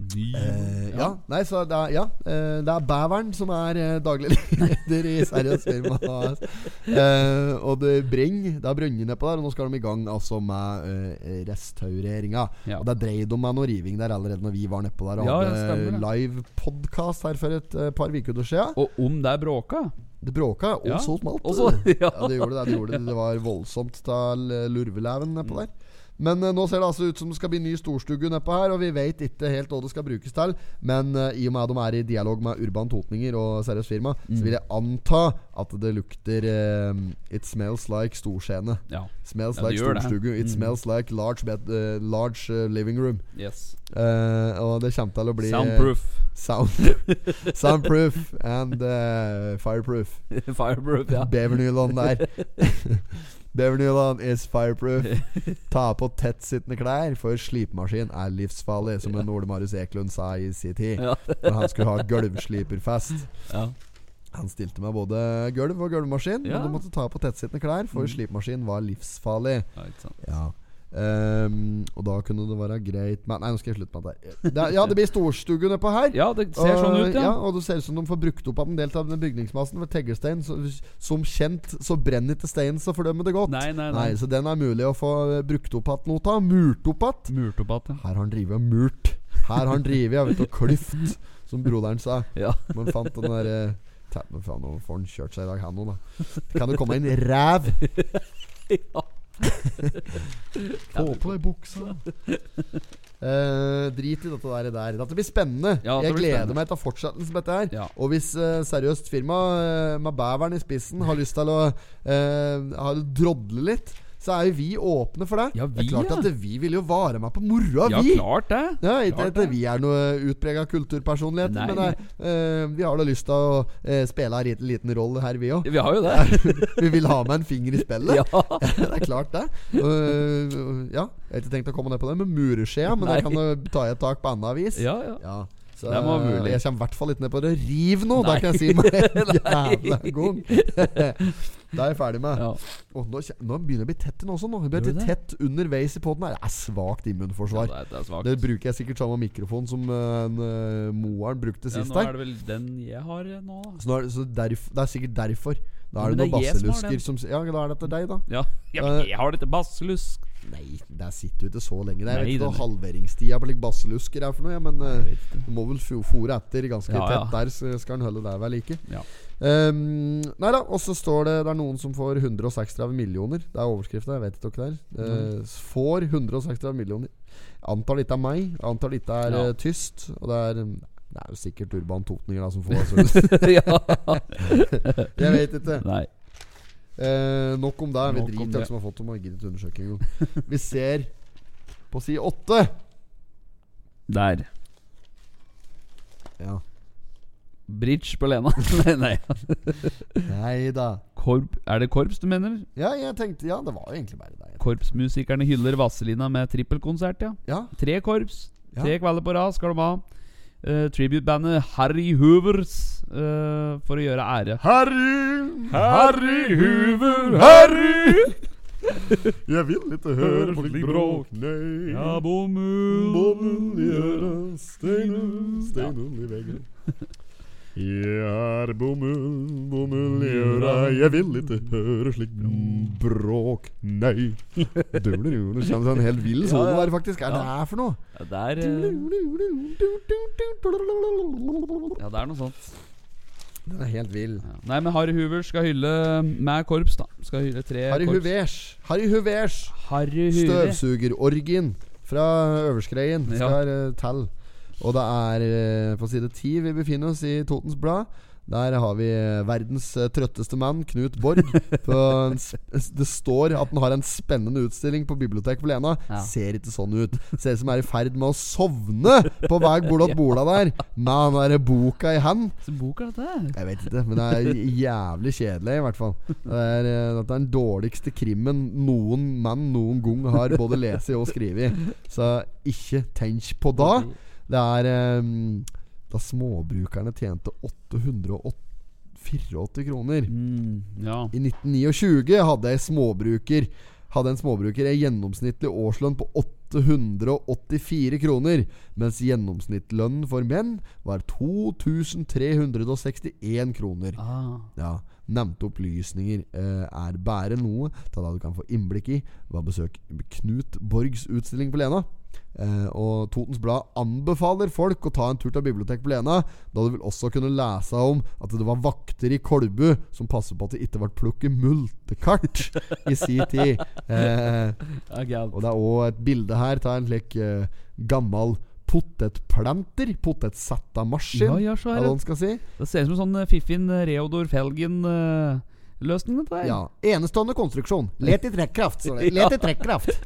Speaker 1: Eh, ja. Nei, så det er, ja, eh, det er Bæveren som er eh, daglig leder i Seriøst firma. AS. Eh, og det brenner. Det er brønner nedpå der, og nå skal de i gang altså med eh, restaureringa.
Speaker 2: Ja.
Speaker 1: Og der dreide de med noe riving der allerede når vi var nedpå der og
Speaker 2: Ja, ja,
Speaker 1: hadde
Speaker 2: stemmer det.
Speaker 1: live podkast her for et eh, par uker siden.
Speaker 2: Og om det er bråka
Speaker 1: Det bråka, og
Speaker 2: Ja.
Speaker 1: så smalt.
Speaker 2: Og så- ja.
Speaker 1: det gjorde det. Det, gjorde det. det var voldsomt til lurveleven nedpå
Speaker 2: Mm.
Speaker 1: der. Men eh, nå ser det altså ut som det skal bli ny storstue nedpå her, og vi vet ikke helt hva det skal brukes til. Men eh, i og med at de er i dialog med Urban Totninger og Seriøst Firma,
Speaker 2: Mm.
Speaker 1: så vil jeg anta at det lukter eh, It smells like storscene.
Speaker 2: Ja,
Speaker 1: Smells
Speaker 2: Ja, det
Speaker 1: like
Speaker 2: gjør det. Mm.
Speaker 1: storstue. It smells like large, bed, eh, large eh, living room.
Speaker 2: yes
Speaker 1: Eh, og det kommer til å bli
Speaker 2: Soundproof
Speaker 1: Sound, soundproof and eh, fireproof.
Speaker 2: Fireproof, ja
Speaker 1: Bevernylon der. Bevernylon is fireproof. Ta på tettsittende klær, for slipemaskin er livsfarlig, som en Ole Marius Eklund sa i sin tid.
Speaker 2: Ja,
Speaker 1: Når han skulle ha gulvsliperfest.
Speaker 2: ja.
Speaker 1: Han stilte meg både gulv og gulvmaskin,
Speaker 2: Ja.
Speaker 1: men
Speaker 2: Mm.
Speaker 1: du måtte ta på tettsittende klær, for slipemaskin var livsfarlig.
Speaker 2: ja ikke sant
Speaker 1: Ja Ehm, og da kunne det være greit Men Nei, nå skal jeg slutte med det der. Det er- Ja, det blir storstue nedpå her.
Speaker 2: Ja, det ser
Speaker 1: Og-
Speaker 2: sånn ut, ja,
Speaker 1: Og det ser ut som de får brukt opp av en del av den bygningsmassen. For teglstein, så, som kjent, så brenner ikke steinen så fordømmer det godt.
Speaker 2: Nei, nei, nei,
Speaker 1: så den er mulig å få eh, brukt opp igjen noe av. Murt opp igjen.
Speaker 2: Murt opp at,
Speaker 1: Her har han drevet og murt. Her har han drevet jeg vet, og klyft, som broderen sa.
Speaker 2: ja Ja,
Speaker 1: Man fant den der eh, ta- Men faen, nå får han kjørt seg i dag, han nå, da. Kan det komme en ræv?
Speaker 2: ja.
Speaker 1: Få på deg buksa. Eh, drit i dette der. der. Dette blir spennende.
Speaker 2: Ja, det
Speaker 1: jeg
Speaker 2: blir
Speaker 1: gleder
Speaker 2: spennende.
Speaker 1: meg til fortsettelsen på dette her.
Speaker 2: Ja.
Speaker 1: Og hvis eh, seriøst firma eh, med bæveren i spissen har lyst til å eh, ha det drodle litt, så er jo vi åpne for det.
Speaker 2: Ja,
Speaker 1: det
Speaker 2: vi,
Speaker 1: er klart
Speaker 2: ja.
Speaker 1: at det- vi vil jo vare meg på moroa, vi.
Speaker 2: klart det
Speaker 1: Ja, ikke
Speaker 2: Klart
Speaker 1: at vi er noe utprega kulturpersonligheter,
Speaker 2: Nei,
Speaker 1: men det er, eh, vi har da lyst til å eh, spille en liten, liten rolle her, vi òg.
Speaker 2: Vi har jo det
Speaker 1: vi vil ha med en finger i spillet.
Speaker 2: Ja,
Speaker 1: det er klart, det. Uh, ja, Jeg har ikke tenkt å komme ned på det med mureskjea, men jeg
Speaker 2: Nei.
Speaker 1: kan jo ta i et tak på annet vis.
Speaker 2: ja, ja
Speaker 1: Ja, så,
Speaker 2: Det var mulig.
Speaker 1: Jeg kommer i hvert fall ikke ned på det. Riv nå! Da
Speaker 2: Nei.
Speaker 1: kan jeg si meg en jævla gang. da er jeg ferdig med.
Speaker 2: Ja,
Speaker 1: Åh, nå, kje- nå begynner jeg å bli tett nå også. Nå. Jeg blir
Speaker 2: Gjør
Speaker 1: litt
Speaker 2: det?
Speaker 1: tett underveis i poden. Det er svakt
Speaker 2: ja
Speaker 1: immunforsvar.
Speaker 2: det, er, det er svagt
Speaker 1: det bruker jeg sikkert samme mikrofon som eh, en, eh, Moaren brukte
Speaker 2: ja,
Speaker 1: sist
Speaker 2: Nå er
Speaker 1: her.
Speaker 2: det vel den jeg har eh, nå da
Speaker 1: Så, nå er det, så derf, det er sikkert derfor. Da
Speaker 2: Ja,
Speaker 1: er det
Speaker 2: men
Speaker 1: noen
Speaker 2: det er jeg som har
Speaker 1: basselusker
Speaker 2: den.
Speaker 1: som s- Ja, da er det etter deg, da.
Speaker 2: Ja,
Speaker 1: Eh,
Speaker 2: ja men jeg har litt basselusk
Speaker 1: Nei, der sitter du ikke så lenge. Jeg vet
Speaker 2: Nei,
Speaker 1: ikke
Speaker 2: den-
Speaker 1: hva halveringstida på like basselusker er for noe, ja, men eh,
Speaker 2: Jeg vet ikke.
Speaker 1: du må vel fo- fôre etter ganske
Speaker 2: Ja, ja.
Speaker 1: tett der, så skal han holde deg ved like.
Speaker 2: Ja.
Speaker 1: Um, nei da, og så står det Det er noen som får 136 millioner. Det er overskriften, jeg vet ikke hva det er.
Speaker 2: Mhm.
Speaker 1: Eh, får 136 millioner. Antar det ikke er meg, antar det ikke er
Speaker 2: Ja.
Speaker 1: eh, tyst. Og det er mm, Det er jo sikkert Urban Totninger da som får. Altså.
Speaker 2: Ja,
Speaker 1: jeg vet ikke.
Speaker 2: nei
Speaker 1: Eh, nok om det. Vi
Speaker 2: Nok om
Speaker 1: driter i
Speaker 2: det.
Speaker 1: hvem som har fått dem. og gidder ikke undersøke engang. Vi ser på side åtte.
Speaker 2: Der
Speaker 1: Ja.
Speaker 2: Bridge på Lena Nei, nei
Speaker 1: Nei da.
Speaker 2: Korp, er det korps du mener?
Speaker 1: Ja, jeg tenkte Ja, det var jo egentlig bare deg.
Speaker 2: Korpsmusikerne hyller Vazelina med trippelkonsert, ja.
Speaker 1: Ja,
Speaker 2: Tre korps,
Speaker 1: Ja.
Speaker 2: tre kvelder på rad skal de ha. Eh, Tributebandet Harry Hoovers eh, for å gjøre ære.
Speaker 1: Harry,
Speaker 2: Harry Hoover, Harry!
Speaker 1: jeg vil ikke
Speaker 2: høre på ditt bråk,
Speaker 1: nei.
Speaker 2: Ja, bomul.
Speaker 1: steinen,
Speaker 2: steinen
Speaker 1: i veggen. Jeg er bomull, bomull
Speaker 2: i øra. Jeg
Speaker 1: vil ikke høre slik bråk, nei. Det kjennes som en helt vill solo der, faktisk. Hva er det her for noe?
Speaker 2: Ja, det er eh,
Speaker 1: Den
Speaker 2: Ja, det er noe sånt.
Speaker 1: er helt vill.
Speaker 2: Ja. Nei, men Harry Hoovers skal hylle med korps, da. Skal hylle tre
Speaker 1: Harry
Speaker 2: korps.
Speaker 1: Huvers. Harry Huvers.
Speaker 2: Harry Hoover.
Speaker 1: Støvsugerorgien fra Øverskreien
Speaker 2: Ja.
Speaker 1: skal ja. til. Og det er eh, på side ti vi befinner oss i Totens Blad. Der har vi eh, verdens eh, trøtteste mann, Knut Borg. På en sp det står at han har en spennende utstilling på biblioteket på Lena.
Speaker 2: Ja.
Speaker 1: Ser ikke sånn ut. Ser ut som er i ferd med å sovne på vei bort til bola der, med den der boka i hand.
Speaker 2: Så bok er dette?
Speaker 1: Jeg vet ikke, men det er jævlig kjedelig, i hvert fall. Det er, eh, dette er den dårligste krimmen noen mann noen gang har både lest og skrevet. Så ikke tenk på da. Det er eh, Da småbrukerne tjente 884 kroner.
Speaker 2: Mm, ja.
Speaker 1: I 1929 hadde ei småbruker Hadde en småbruker ei gjennomsnittlig årslønn på 884 kroner, mens gjennomsnittslønnen for menn var 2361 kroner.
Speaker 2: Ah.
Speaker 1: Ja, Nevnte opplysninger eh, er bare noe av det du kan få innblikk i ved å besøke Knut Borgs utstilling på Lena. Eh, og Totens Blad anbefaler folk å ta en tur til biblioteket på Lena, da du vil også kunne lese om at det var vakter i Kolbu som passet på at det ikke ble plukket multekart i si tid. Eh,
Speaker 2: Ja, galt.
Speaker 1: og det er òg et bilde her av en slik eh, gammel potetplanter. Potetsettamaskin,
Speaker 2: Ja, ja, så
Speaker 1: er
Speaker 2: er
Speaker 1: det
Speaker 2: det.
Speaker 1: man skal si.
Speaker 2: Det ser ut som sånn eh, fiffin eh, Reodor Felgen-løsning, dette her.
Speaker 1: Ja. Enestående konstruksjon. Let i trekkraft, står det. Let i trekkraft.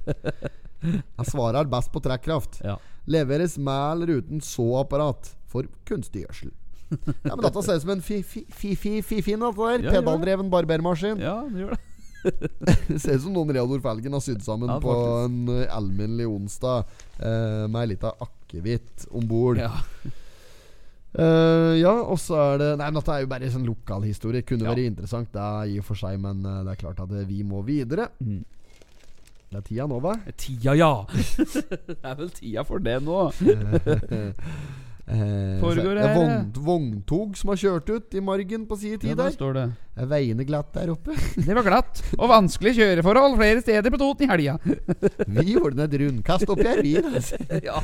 Speaker 1: Jeg svarer best på trekkraft.
Speaker 2: Ja.
Speaker 1: Leveres med eller uten såapparat for kunstig gjødsel. Ja, men dette ser ut som en fi-fi-fi-fin
Speaker 2: Ja, gjør det.
Speaker 1: pedaldreven barbermaskin.
Speaker 2: ja, det gjør det.
Speaker 1: Det ser ut som noen Reodor Felgen har sydd sammen
Speaker 2: Ja,
Speaker 1: på
Speaker 2: faktisk.
Speaker 1: en eh, alminnelig onsdag eh, med ei lita akevitt om bord.
Speaker 2: Ja.
Speaker 1: Eh, ja, og så er det Nei, men dette er jo bare sånn lokalhistorie. Kunne
Speaker 2: Ja.
Speaker 1: vært interessant, det er i og for seg, men eh, det er klart at eh, vi må videre.
Speaker 2: Mm.
Speaker 1: Det er tida nå, hva?
Speaker 2: Tida, ja! det er vel tida for det nå.
Speaker 1: Eh,
Speaker 2: Foregår
Speaker 1: så er det
Speaker 2: her,
Speaker 1: vogn, vogntog som har kjørt ut i margen på si
Speaker 2: Ja,
Speaker 1: tid
Speaker 2: der
Speaker 1: der.
Speaker 2: står det.
Speaker 1: Er veiene glatt der oppe?
Speaker 2: Det var glatt og vanskelig kjøreforhold flere steder på Toten i helga.
Speaker 1: Vi gjorde den et rundkast oppi her, vi. altså.
Speaker 2: ja.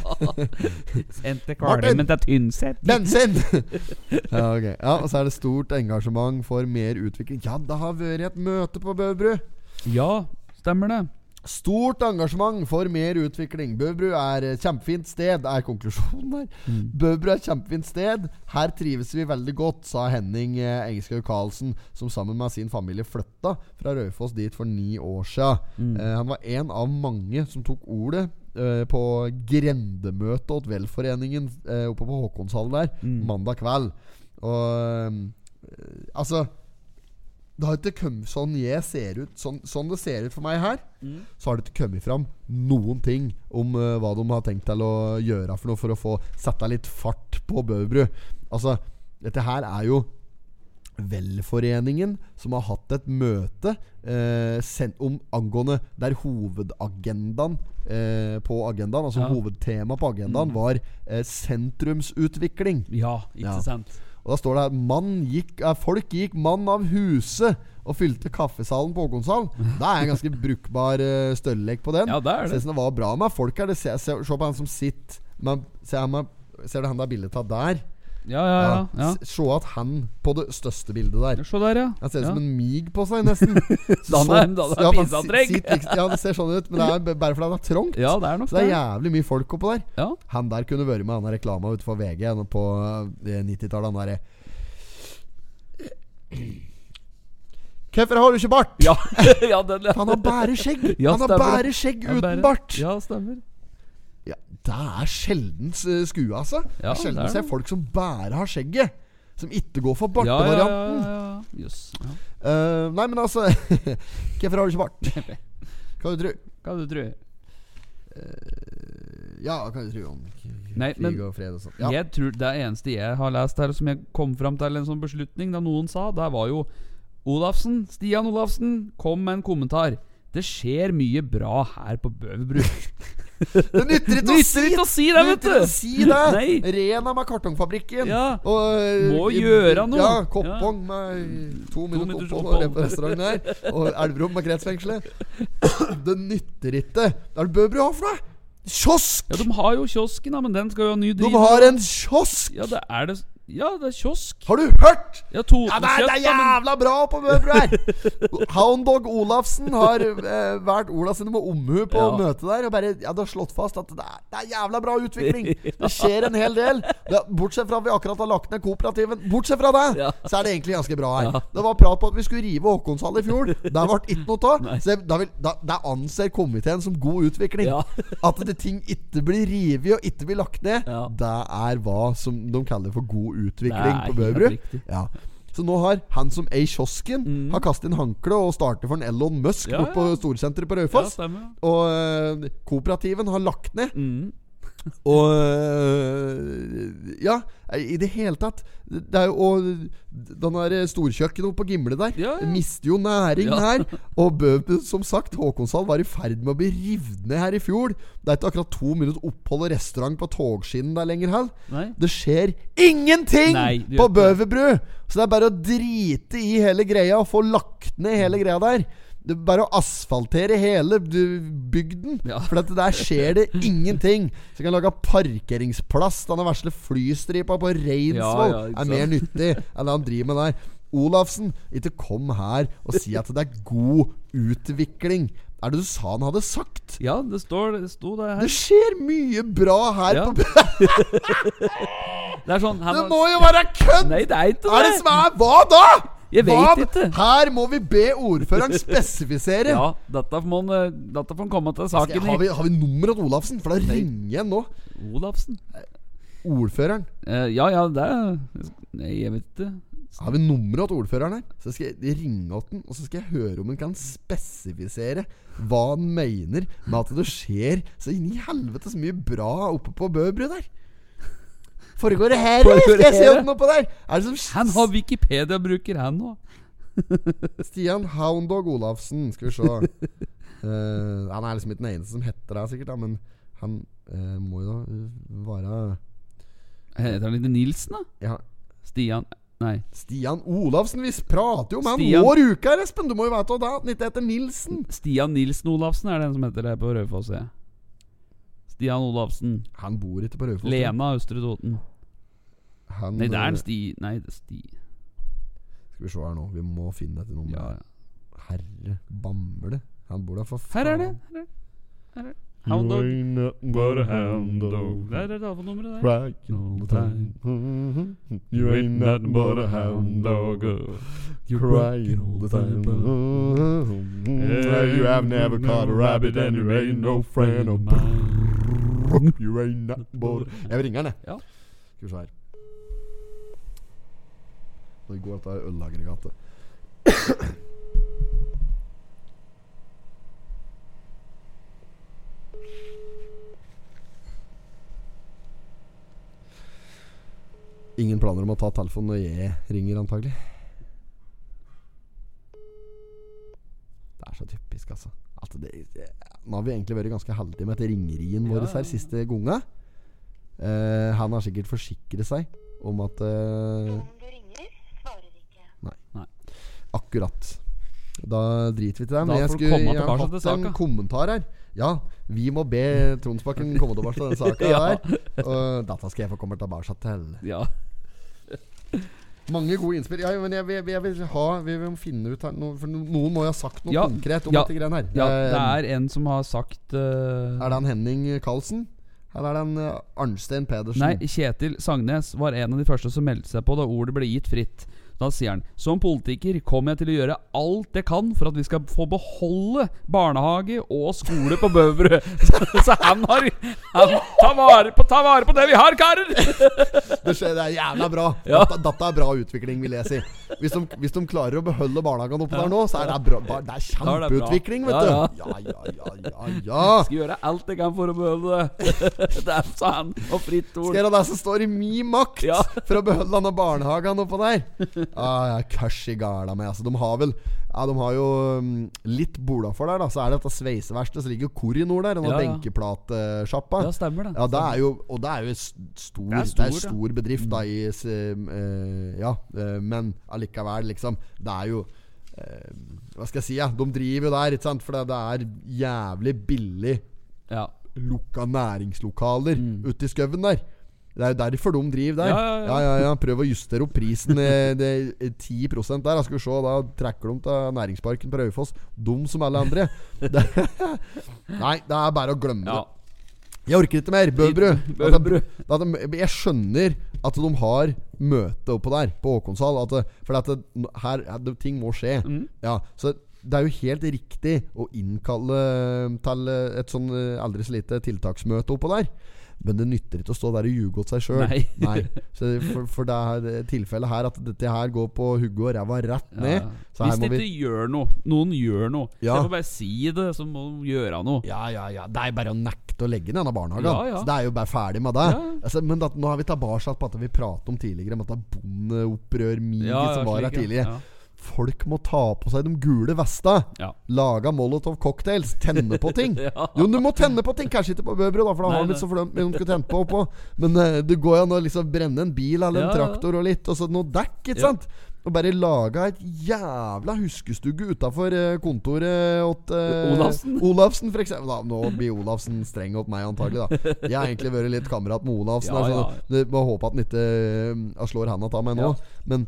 Speaker 2: Sendte
Speaker 1: Martin!
Speaker 2: kvalmen til Tynset.
Speaker 1: Bensin! ja, ok. ja, og så er det stort engasjement for mer utvikling. Ja, det har vært et møte på Bøverbru.
Speaker 2: Ja, stemmer det.
Speaker 1: Stort engasjement for mer utvikling. Bøverbru er et kjempefint sted, er konklusjonen der.
Speaker 2: Mm,
Speaker 1: Bøverbru er et kjempefint sted. Her trives vi veldig godt, sa Henning eh, Engeskaug Karlsen, som sammen med sin familie flytta fra Raufoss dit for ni år sia.
Speaker 2: mm,
Speaker 1: Eh, han var en av mange som tok ordet. eh, På grendemøtet åt velforeningen eh, oppe på Håkonshallen der
Speaker 2: Eh, mm.
Speaker 1: mandag kveld. Og eh, altså Det har ikke kommet sånn jeg ser ut Sånn, sånn det ser ut for meg her så har det ikke kommet fram noen ting om eh, hva de har tenkt til å gjøre for noe for å få sette litt fart på Bøverbru. Altså, dette her er jo Velforeningen som har hatt et møte eh, sen- om angående der hovedagendaen eh, på agendaen, altså
Speaker 2: Ja.
Speaker 1: hovedtemaet på agendaen, var eh, sentrumsutvikling.
Speaker 2: Ja, ikke
Speaker 1: Ja.
Speaker 2: sant.
Speaker 1: Og da står det her mann gikk, eh, Folk gikk mann av huset og fylte kaffesalen på Håkonshall. Det er en ganske brukbar uh, størrelek på den.
Speaker 2: Ja, det er
Speaker 1: Ser
Speaker 2: det.
Speaker 1: ut som det var bra med folk her. Det ser, ser, se på han som sitter Men ser, han med, ser du han der bildet av der?
Speaker 2: Ja, ja, ja. ja.
Speaker 1: S- Se at han på det største bildet der.
Speaker 2: Se der, ja.
Speaker 1: Han ser ut
Speaker 2: ja.
Speaker 1: som en mig på seg, nesten.
Speaker 2: Da han er- da han er
Speaker 1: ja, for han
Speaker 2: pinseantrekk.
Speaker 1: sit- sitter liksom- ja, det ser sånn ut, men det er b- bare fordi det er trangt.
Speaker 2: Ja, det er nok
Speaker 1: Så det er jævlig mye folk oppå der.
Speaker 2: Ja.
Speaker 1: Han der kunne vært med han der reklama utenfor VG nå på eh, 90-tallet. Han derre Hvorfor har du ikke bart?
Speaker 2: Ja, ja, den, ja.
Speaker 1: Han har bare skjegg!
Speaker 2: Ja,
Speaker 1: han har
Speaker 2: stemmer
Speaker 1: bare skjegg
Speaker 2: Ja,
Speaker 1: uten
Speaker 2: bare-
Speaker 1: bart! Ja.
Speaker 2: Ja, stemmer.
Speaker 1: det er sjelden eh, skue, altså.
Speaker 2: Ja,
Speaker 1: det er
Speaker 2: det
Speaker 1: sjelden
Speaker 2: er
Speaker 1: ser
Speaker 2: det.
Speaker 1: folk som bare har skjegget. Som ikke går for
Speaker 2: Ja, ja, ja,
Speaker 1: bartevarianten.
Speaker 2: ja, ja. Jøss. Ja.
Speaker 1: Eh, nei, men altså Hvorfor har du ikke bart? Hva du tror
Speaker 2: Hva du tror
Speaker 1: Ja, hva du tror om
Speaker 2: Nei,
Speaker 1: krig
Speaker 2: men
Speaker 1: og fred og sånn? Ja.
Speaker 2: Jeg tror det eneste jeg har lest her, som jeg kom fram til en sånn beslutning da noen sa, det var jo Olafsen, Stian Olafsen, kom med en kommentar. Det skjer mye bra her på Bøverbru.
Speaker 1: Det nytter ikke å si
Speaker 2: Nytter ikke å si det, vet
Speaker 1: Slutt å
Speaker 2: du!
Speaker 1: si det!
Speaker 2: Nei.
Speaker 1: Rena med kartongfabrikken.
Speaker 2: Ja.
Speaker 1: Og, eh,
Speaker 2: Må gjøre noe.
Speaker 1: Ja, Koppong med to minutter
Speaker 2: minutters
Speaker 1: opphold
Speaker 2: opphold.
Speaker 1: på restauranten her. Og Elverum med kretsfengselet. Det nytter ikke. Hva er det Bøbru har for noe? Kiosk!
Speaker 2: Ja, de har jo kiosken, da, men den skal jo ha ny
Speaker 1: De
Speaker 2: driv.
Speaker 1: har en kiosk!
Speaker 2: Ja, det er det s- Ja, det er kiosk.
Speaker 1: Har du hørt?!
Speaker 2: Ja, to,
Speaker 1: Ja, det, er, det er jævla bra på Møbler her! Houndog Olafsen har eh, vært Ola sine med omhu på
Speaker 2: Ja.
Speaker 1: møtet der. Og bare ja, det har slått fast at det er, det er jævla bra utvikling! Det skjer en hel del. Det, bortsett fra at vi akkurat har lagt ned kooperativen. Bortsett fra det,
Speaker 2: Ja.
Speaker 1: så er det egentlig ganske bra her. Det var prat på at vi skulle rive Håkonshall i fjor. Der ble det ikke noe av. Så da, vil, da, da anser komiteen som god utvikling.
Speaker 2: Ja.
Speaker 1: At det ting ikke blir revet og ikke blir lagt ned,
Speaker 2: Ja.
Speaker 1: det er hva som de kaller for god utvikling
Speaker 2: Det er
Speaker 1: på
Speaker 2: helt
Speaker 1: Bøbru.
Speaker 2: riktig.
Speaker 1: Ja. Så nå har han som er i kiosken, har kastet inn håndkle og starter for en Elon Musk
Speaker 2: Mm. Ja,
Speaker 1: bort på
Speaker 2: ja.
Speaker 1: storsenteret på
Speaker 2: Ja,
Speaker 1: Raufoss.
Speaker 2: stemmer.
Speaker 1: og øh, kooperativen har lagt ned.
Speaker 2: Mm.
Speaker 1: Og øh, Ja, i det hele tatt. Det er jo Og den der storkjøkkenet oppe på Gimle der
Speaker 2: Ja, ja.
Speaker 1: mister jo næring
Speaker 2: Ja.
Speaker 1: her. Og Bø, som sagt, Håkonshall var i ferd med å bli revet ned her i fjor. Det er ikke akkurat to minutter opphold og restaurant på togskinnen der lenger heller.
Speaker 2: Nei.
Speaker 1: Det skjer ingenting
Speaker 2: Nei, det
Speaker 1: på
Speaker 2: gjør ikke
Speaker 1: Bøverbru! Så det er bare å drite i hele greia og få lagt ned
Speaker 2: Mm.
Speaker 1: hele greia der. Det er bare å asfaltere hele du- bygden,
Speaker 2: Ja.
Speaker 1: for at der skjer det ingenting. Så kan du lage parkeringsplass. Den vesle flystripa på Reinsvoll
Speaker 2: Ja, ja, ikke
Speaker 1: er mer
Speaker 2: sant?
Speaker 1: nyttig enn det han driver med der. Olafsen, ikke kom her og si at det er god utvikling. Er det du sa han hadde sagt?
Speaker 2: Ja, det står det sto det
Speaker 1: Det
Speaker 2: her.
Speaker 1: skjer mye bra her
Speaker 2: Ja.
Speaker 1: på
Speaker 2: Det er sånn her
Speaker 1: Det
Speaker 2: må-
Speaker 1: må jo være kødd!
Speaker 2: Nei, det er ikke
Speaker 1: Er det som er Hva da?!
Speaker 2: Jeg vet
Speaker 1: Hva-
Speaker 2: ikke.
Speaker 1: Her må vi be ordføreren spesifisere.
Speaker 2: Ja, dette får man, eh, dette får man komme til
Speaker 1: Skal jeg-
Speaker 2: saken
Speaker 1: har, vi,
Speaker 2: i.
Speaker 1: har vi nummeret til Olafsen? For da ringer jeg nå.
Speaker 2: Olafsen.
Speaker 1: Ordføreren.
Speaker 2: Eh, ja, ja, det er Nei, jeg vet ikke.
Speaker 1: Har vi nummeret til ordføreren her? Så skal jeg ringe åt den, og så skal jeg høre om han kan spesifisere hva han mener med at det skjer så inn i helvete så mye bra oppe på Bøbru der. Foregår det her, eller?
Speaker 2: Foregår
Speaker 1: Skal
Speaker 2: det
Speaker 1: jeg se
Speaker 2: her,
Speaker 1: om noe på der? Er det som
Speaker 2: Han har Wikipedia-bruker, han nå.
Speaker 1: Stian Houndog Olafsen, skal vi se. Eh, han er liksom ikke den eneste som heter det, sikkert, da, men han eh, må jo da eh, være
Speaker 2: Eh, Heter han ikke Nilsen, da?
Speaker 1: ja.
Speaker 2: Stian Nei.
Speaker 1: Stian Olafsen, vi prater jo om han
Speaker 2: Stian-
Speaker 1: år uka, her, Espen! Du må jo vite hva det er, at han ikke heter Nilsen.
Speaker 2: Stian Nilsen Olafsen er den som heter det på Raufoss. ja. Stian Olafsen.
Speaker 1: Han bor ikke på Raufoss.
Speaker 2: Lena Østre Toten.
Speaker 1: Han,
Speaker 2: Nei, det er
Speaker 1: eh,
Speaker 2: en Sti... Nei, det er Sti...
Speaker 1: Skal vi se her nå, vi må finne etter noen.
Speaker 2: Ja, ja.
Speaker 1: Herre bamble. Han bor der for faen.
Speaker 2: Her er det. Her er det. Her er det. Hound Dog.
Speaker 6: But a hound dog.
Speaker 2: Der er telefonnummeret der.
Speaker 6: Right all the time.
Speaker 2: Mhm.
Speaker 6: You ain't nothing but a hound dog. You crying all the time. Yeah, you have never caught a rabbit and you ain't no friend of mine.
Speaker 1: You ain't nothing but Jeg vil ringe han, jeg.
Speaker 2: Ja.
Speaker 1: Skal vi se her. Nå går dette ølaggregatet. Ingen planer om å ta telefonen når jeg ringer, antagelig. Det er så typisk, altså. At det, det- nå har vi egentlig vært ganske heldige med at ringerien vår
Speaker 2: Ja, ja,
Speaker 1: her
Speaker 2: ja.
Speaker 1: siste gonga. Eh, han har sikkert forsikret seg om at eh,
Speaker 7: Om du ringer, svarer ikke.
Speaker 1: Akkurat. Da driter vi til den.
Speaker 2: Da
Speaker 1: Men jeg
Speaker 2: får du
Speaker 1: skulle
Speaker 2: komme
Speaker 1: gjerne
Speaker 2: tilbake
Speaker 1: hatt
Speaker 2: til
Speaker 1: en
Speaker 2: saka.
Speaker 1: kommentar her. Ja, vi må be Tronsbakken komme tilbake til den saka
Speaker 2: Ja.
Speaker 1: der. Og dette skal jeg få komme tilbake til.
Speaker 2: Ja.
Speaker 1: Mange gode innspill. Ja, men jeg, jeg, jeg vil ha Vi må finne ut her noe, For noen må jo ha sagt noe
Speaker 2: Ja,
Speaker 1: konkret om
Speaker 2: ja,
Speaker 1: dette greiene her.
Speaker 2: ja,
Speaker 1: Eh,
Speaker 6: Um,
Speaker 2: det er en som har sagt eh,
Speaker 1: er det han Henning Karlsen? Eller er det han eh, Arnstein Pedersen?
Speaker 2: Nei, Kjetil Sagnes var en av de første som meldte seg på da ordet ble gitt fritt. Da sier han Som politiker kommer jeg til å gjøre alt jeg kan for at vi skal få beholde barnehage og skole på Bøverud. Så, så han har han, ta, vare på, ta vare på det vi har, karer!
Speaker 1: Det, skjer, det er jævla bra.
Speaker 2: Ja.
Speaker 1: Dette, dette er bra utvikling, vil jeg si. Hvis de, hvis de klarer å beholde barnehagene oppe der nå, så er det, bra, ba- det er
Speaker 2: Da er det bra.
Speaker 1: kjempeutvikling, vet
Speaker 2: Ja,
Speaker 1: du. Ja, ja, ja, ja, ja.
Speaker 2: Skal gjøre alt jeg kan for å beholde det. Det er sa han. Og fritt
Speaker 1: Skal
Speaker 2: ord.
Speaker 1: jeg gjøre det som står i min makt
Speaker 2: Ja.
Speaker 1: for å beholde denne barnehagen oppå der? Ah, jeg er kørs i gala meg, altså. De har vel ja, De har jo mm, litt bola for der, da. Så er det dette sveiseverkstedet, så ligger jo Korinor der. Den
Speaker 2: Ja,
Speaker 1: ja,
Speaker 2: ja.
Speaker 1: benkeplatesjappa.
Speaker 2: Ja, stemmer det.
Speaker 1: Ja, det er jo Og det er jo s- stor Det
Speaker 2: Det
Speaker 1: er,
Speaker 2: er stor, ja. Mm.
Speaker 1: stor bedrift, da, i s- eh, Ja, eh, men allikevel, liksom. Det er jo eh, Hva skal jeg si, ja. De driver jo der, ikke sant? For det, det er jævlig billig
Speaker 2: Ja.
Speaker 1: lukka næringslokaler ute i skauen der. Det er jo derfor de driver der.
Speaker 2: Mm. Ja, ja, ja.
Speaker 1: Prøv å justere opp prisen eh, det, er 10 der. Da skal vi se, da trekker de til næringsparken på Raufoss. Dum som alle andre. Det, nei, det er bare å glemme
Speaker 2: Ja.
Speaker 1: det. Jeg orker ikke mer. Bøbru.
Speaker 2: Bøbru.
Speaker 1: At de, at de, jeg skjønner at de har møte oppå der, på Håkonshall. at det- For at det, her, her det, ting må skje.
Speaker 2: Mm.
Speaker 1: Ja, så det er jo helt riktig å innkalle til et sånn eh, aldri så lite tiltaksmøte oppå der. Men det nytter ikke å stå der og ljuge åt seg sjøl.
Speaker 2: Nei.
Speaker 1: Så For, for det er det tilfellet her at dette her går på hugget og ræva rett
Speaker 2: Ja.
Speaker 1: ned. Så her
Speaker 2: Hvis de
Speaker 1: må
Speaker 2: ikke
Speaker 1: vi
Speaker 2: gjør noe, noen gjør noe
Speaker 1: Ja.
Speaker 2: Jeg får bare si det, så må de gjøre noe.
Speaker 1: Ja, ja, ja. Det er jo bare å nekte å legge ned denne barnehagen.
Speaker 2: Ja, ja.
Speaker 1: Så det er jo bare ferdig med det.
Speaker 2: Ja, ja.
Speaker 1: Altså, men at, nå er vi tilbake på at vi pratet om tidligere, om at det er bondeopprør miget
Speaker 2: Ja, ja,
Speaker 1: som var her
Speaker 2: slik, ja.
Speaker 1: tidlig.
Speaker 2: Ja.
Speaker 1: Folk må ta på seg de gule vesta.
Speaker 2: Ja.
Speaker 1: Lage molotov cocktails. Tenne på ting.
Speaker 2: Ja.
Speaker 1: Jo, du må tenne på ting! Kanskje ikke på Bøbro, da, for da
Speaker 2: Nei,
Speaker 1: har de
Speaker 2: nei.
Speaker 1: ikke så fordømt mye de skulle tent på. Oppå. Men eh, det går jo an å liksom brenne en bil eller en
Speaker 2: Ja, ja.
Speaker 1: traktor og litt, og så noe dekk, ikke
Speaker 2: Ja.
Speaker 1: sant? Og bare laga et jævla huskestugge utafor eh, kontoret åt eh,
Speaker 2: Olafsen?
Speaker 1: Olafsen, for eksempel. Da, nå blir Olafsen streng mot meg, antagelig, da. Jeg har egentlig vært litt kamerat med Olafsen,
Speaker 2: Ja,
Speaker 1: her,
Speaker 2: ja.
Speaker 1: så det- må håpe at han ikke eh, slår handa av meg nå.
Speaker 2: Ja.
Speaker 1: Men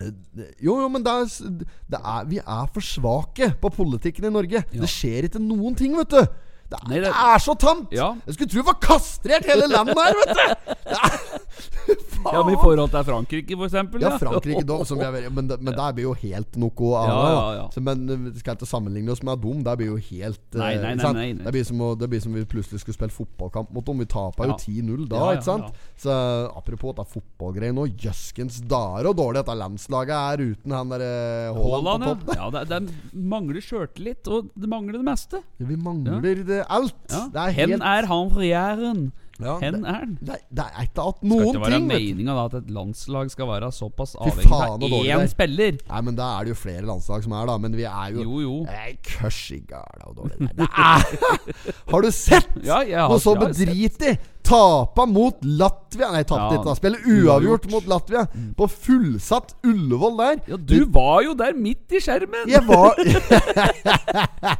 Speaker 1: Eh, det- Jo, jo, men det er, s- det er, vi er for svake på politikken i Norge. Det skjer ikke noen ting, vet du. Det er,
Speaker 2: Nei,
Speaker 1: det...
Speaker 2: det-
Speaker 1: er så tamt!
Speaker 2: Ja.
Speaker 1: Jeg skulle tro det var kastrert hele landet her, vet du!
Speaker 2: ja, men i forhold til Frankrike, for eksempel.
Speaker 1: Ja, Frankrike, da. Som vi er, veldig- men, det- men der blir jo helt noe annet.
Speaker 2: Ja, ja,
Speaker 1: da.
Speaker 2: ja.
Speaker 1: Så, men eh, vi skal ikke sammenligne oss med dem. Der blir jo helt eh,
Speaker 2: Nei, nei, nei,
Speaker 1: sant?
Speaker 2: nei, nei.
Speaker 1: Det blir som å- det blir som vi plutselig skulle spille fotballkamp mot dem. Vi tapa
Speaker 2: Ja.
Speaker 1: jo 10-0 da,
Speaker 2: Ja, ja,
Speaker 1: ikke sant?
Speaker 2: ja.
Speaker 1: Så apropos dette fotballgreiet nå. Jøskens dager og dårlig dette landslaget er uten han derre Haaland
Speaker 2: Haaland,
Speaker 1: på topp.
Speaker 2: ja. ja det, det mangler sjøltillit, og det mangler det meste.
Speaker 1: Vi mangler det alt.
Speaker 2: Ja.
Speaker 1: Det er
Speaker 2: Hen
Speaker 1: helt
Speaker 2: er han fra Jæren.
Speaker 1: ja,
Speaker 2: Hen
Speaker 1: det,
Speaker 2: er han.
Speaker 1: det, det er ikke at
Speaker 2: Skal
Speaker 1: noen
Speaker 2: ikke være
Speaker 1: ting. vet du.
Speaker 2: meninga at et landslag skal være såpass
Speaker 1: avhengig
Speaker 2: avhengig
Speaker 1: av faen,
Speaker 2: av
Speaker 1: så dårlig
Speaker 2: én
Speaker 1: det er.
Speaker 2: spiller?
Speaker 1: Nei, men da er det jo flere landslag som er, da. Men vi er jo,
Speaker 2: Jo, jo.
Speaker 1: Nei, kørs i gala og dårlig Nei, det er- Har du sett
Speaker 2: Ja, jeg har-
Speaker 1: noe så
Speaker 2: jeg har sett.
Speaker 1: bedritig? Tapa mot Latvia Nei, tapte
Speaker 2: Ja. Mm.
Speaker 1: ikke, da. Spiller uavgjort mot Latvia. På fullsatt Ullevål der.
Speaker 2: Ja, du var jo der midt i skjermen!
Speaker 1: Jeg var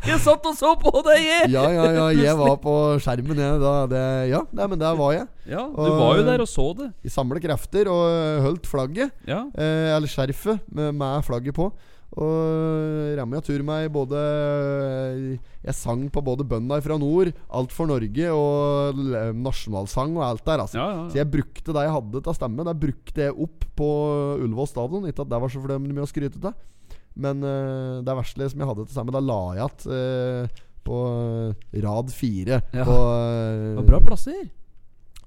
Speaker 2: Jeg satt og så på deg! jeg.
Speaker 1: Ja, ja, ja. Jeg var på skjermen, jeg. Da, det, ja, nei, men der var jeg.
Speaker 2: Ja, du var jo der og så det.
Speaker 1: Vi samlet krefter og holdt flagget.
Speaker 2: Ja.
Speaker 1: Eh, eller skjerfet med, med flagget på. Og ramma tur meg både eh, Jeg sang på både bønda fra nord, Alt for Norge og l- nasjonalsang og alt der, altså.
Speaker 2: Ja, ja, ja.
Speaker 1: Så jeg brukte det jeg hadde til stemme. Det brukte jeg opp på Ullevål stadion. Ikke at det var så fordømmelig mye å skryte av, men eh, det verste som jeg hadde til stemme, da la jeg igjen eh, på eh, rad fire.
Speaker 2: Ja.
Speaker 1: På
Speaker 2: Det
Speaker 1: eh,
Speaker 2: var bra plasser.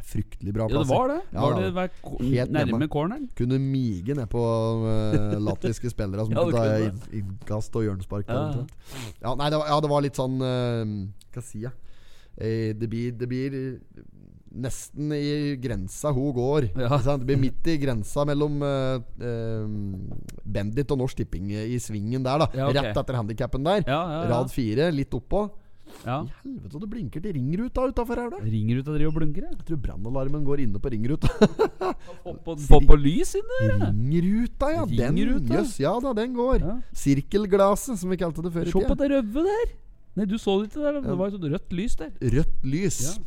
Speaker 1: fryktelig bra
Speaker 2: Ja, det
Speaker 1: plasser.
Speaker 2: var det.
Speaker 1: Ja,
Speaker 2: Var
Speaker 1: da.
Speaker 2: det hver ko-
Speaker 1: Helt hjemme.
Speaker 2: nærme corneren?
Speaker 1: Kunne mige ned på eh, latviske spillere som
Speaker 2: Ja,
Speaker 1: kunne
Speaker 2: du
Speaker 1: ta
Speaker 2: kunne
Speaker 1: inn- innkast og hjørnespark.
Speaker 2: Ja, ja.
Speaker 1: eventuelt. Ja, nei, det var, ja, det var litt sånn eh, Hva sier jeg? Eh, det, blir, det blir nesten i grensa hun går.
Speaker 2: Ja.
Speaker 1: Ikke sant? Det blir midt i grensa mellom eh, eh, Bendit og Norsk Tipping i svingen der, da.
Speaker 2: Ja, ok.
Speaker 1: Rett etter handikappen der.
Speaker 2: Ja, ja, ja.
Speaker 1: Rad fire, litt oppå.
Speaker 2: ja.
Speaker 1: I helvete, det blinker til ringruta utafor her, da.
Speaker 2: Ringer ut og driver og blunker, jeg.
Speaker 1: Jeg tror brannalarmen går inne på ringruta.
Speaker 2: Få på, få på lys inne, eller?
Speaker 1: Ringruta, ja. Den,
Speaker 2: Ringruta?
Speaker 1: Jøss, ja da, den går.
Speaker 2: Ja.
Speaker 1: Sirkelglaset, som vi kalte det før i
Speaker 2: Se på
Speaker 1: tida.
Speaker 2: det røde der! Nei, du så det ikke der. Det var et sånt rødt lys der.
Speaker 1: Rødt lys.
Speaker 2: Ja.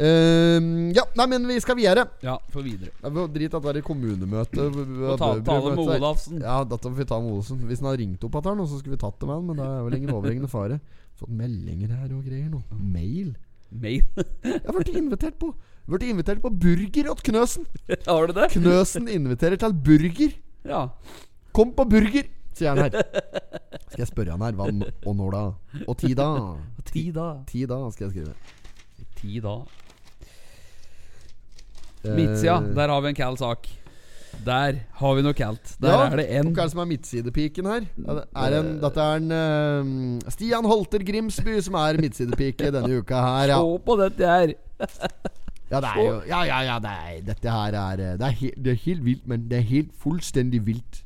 Speaker 1: Ehm, ja, nei, men vi skal videre.
Speaker 2: Ja, for videre.
Speaker 1: Ja, vi- Drit at det er kommunemøte.
Speaker 2: Og ta, tale med Olafsen.
Speaker 1: Ja, dette får vi ta med Olsen. Hvis han har ringt opp igjen, så skulle vi tatt det med han. Men det er vel ingen overhengende fare. Fått meldinger her og greier nå. Mail.
Speaker 2: Mail.
Speaker 1: Jeg har blitt invitert på Blitt invitert på burger åt Knøsen.
Speaker 2: Har du det?
Speaker 1: Knøsen inviterer til burger.
Speaker 2: Ja.
Speaker 1: Kom på burger, sier han her. Skal jeg spørre han her hva n- og når da? Og ti da?
Speaker 2: Ti da.
Speaker 1: Ti da, skal jeg skrive.
Speaker 2: Ti da.
Speaker 1: Eh,
Speaker 2: Midtsida, der har vi en kald sak. Der har vi noe kaldt. Der
Speaker 1: ja,
Speaker 2: er det en
Speaker 1: Hva er det som er midtsidepiken her? Er det- Er en, dette er en eh, Stian Holter Grimsby som er midtsidepike denne uka her, ja.
Speaker 2: Se på dette her!
Speaker 1: Ja, det er jo Ja, ja, ja, det er, dette her er eh, det er, helt, det er helt vilt, men det er helt fullstendig vilt.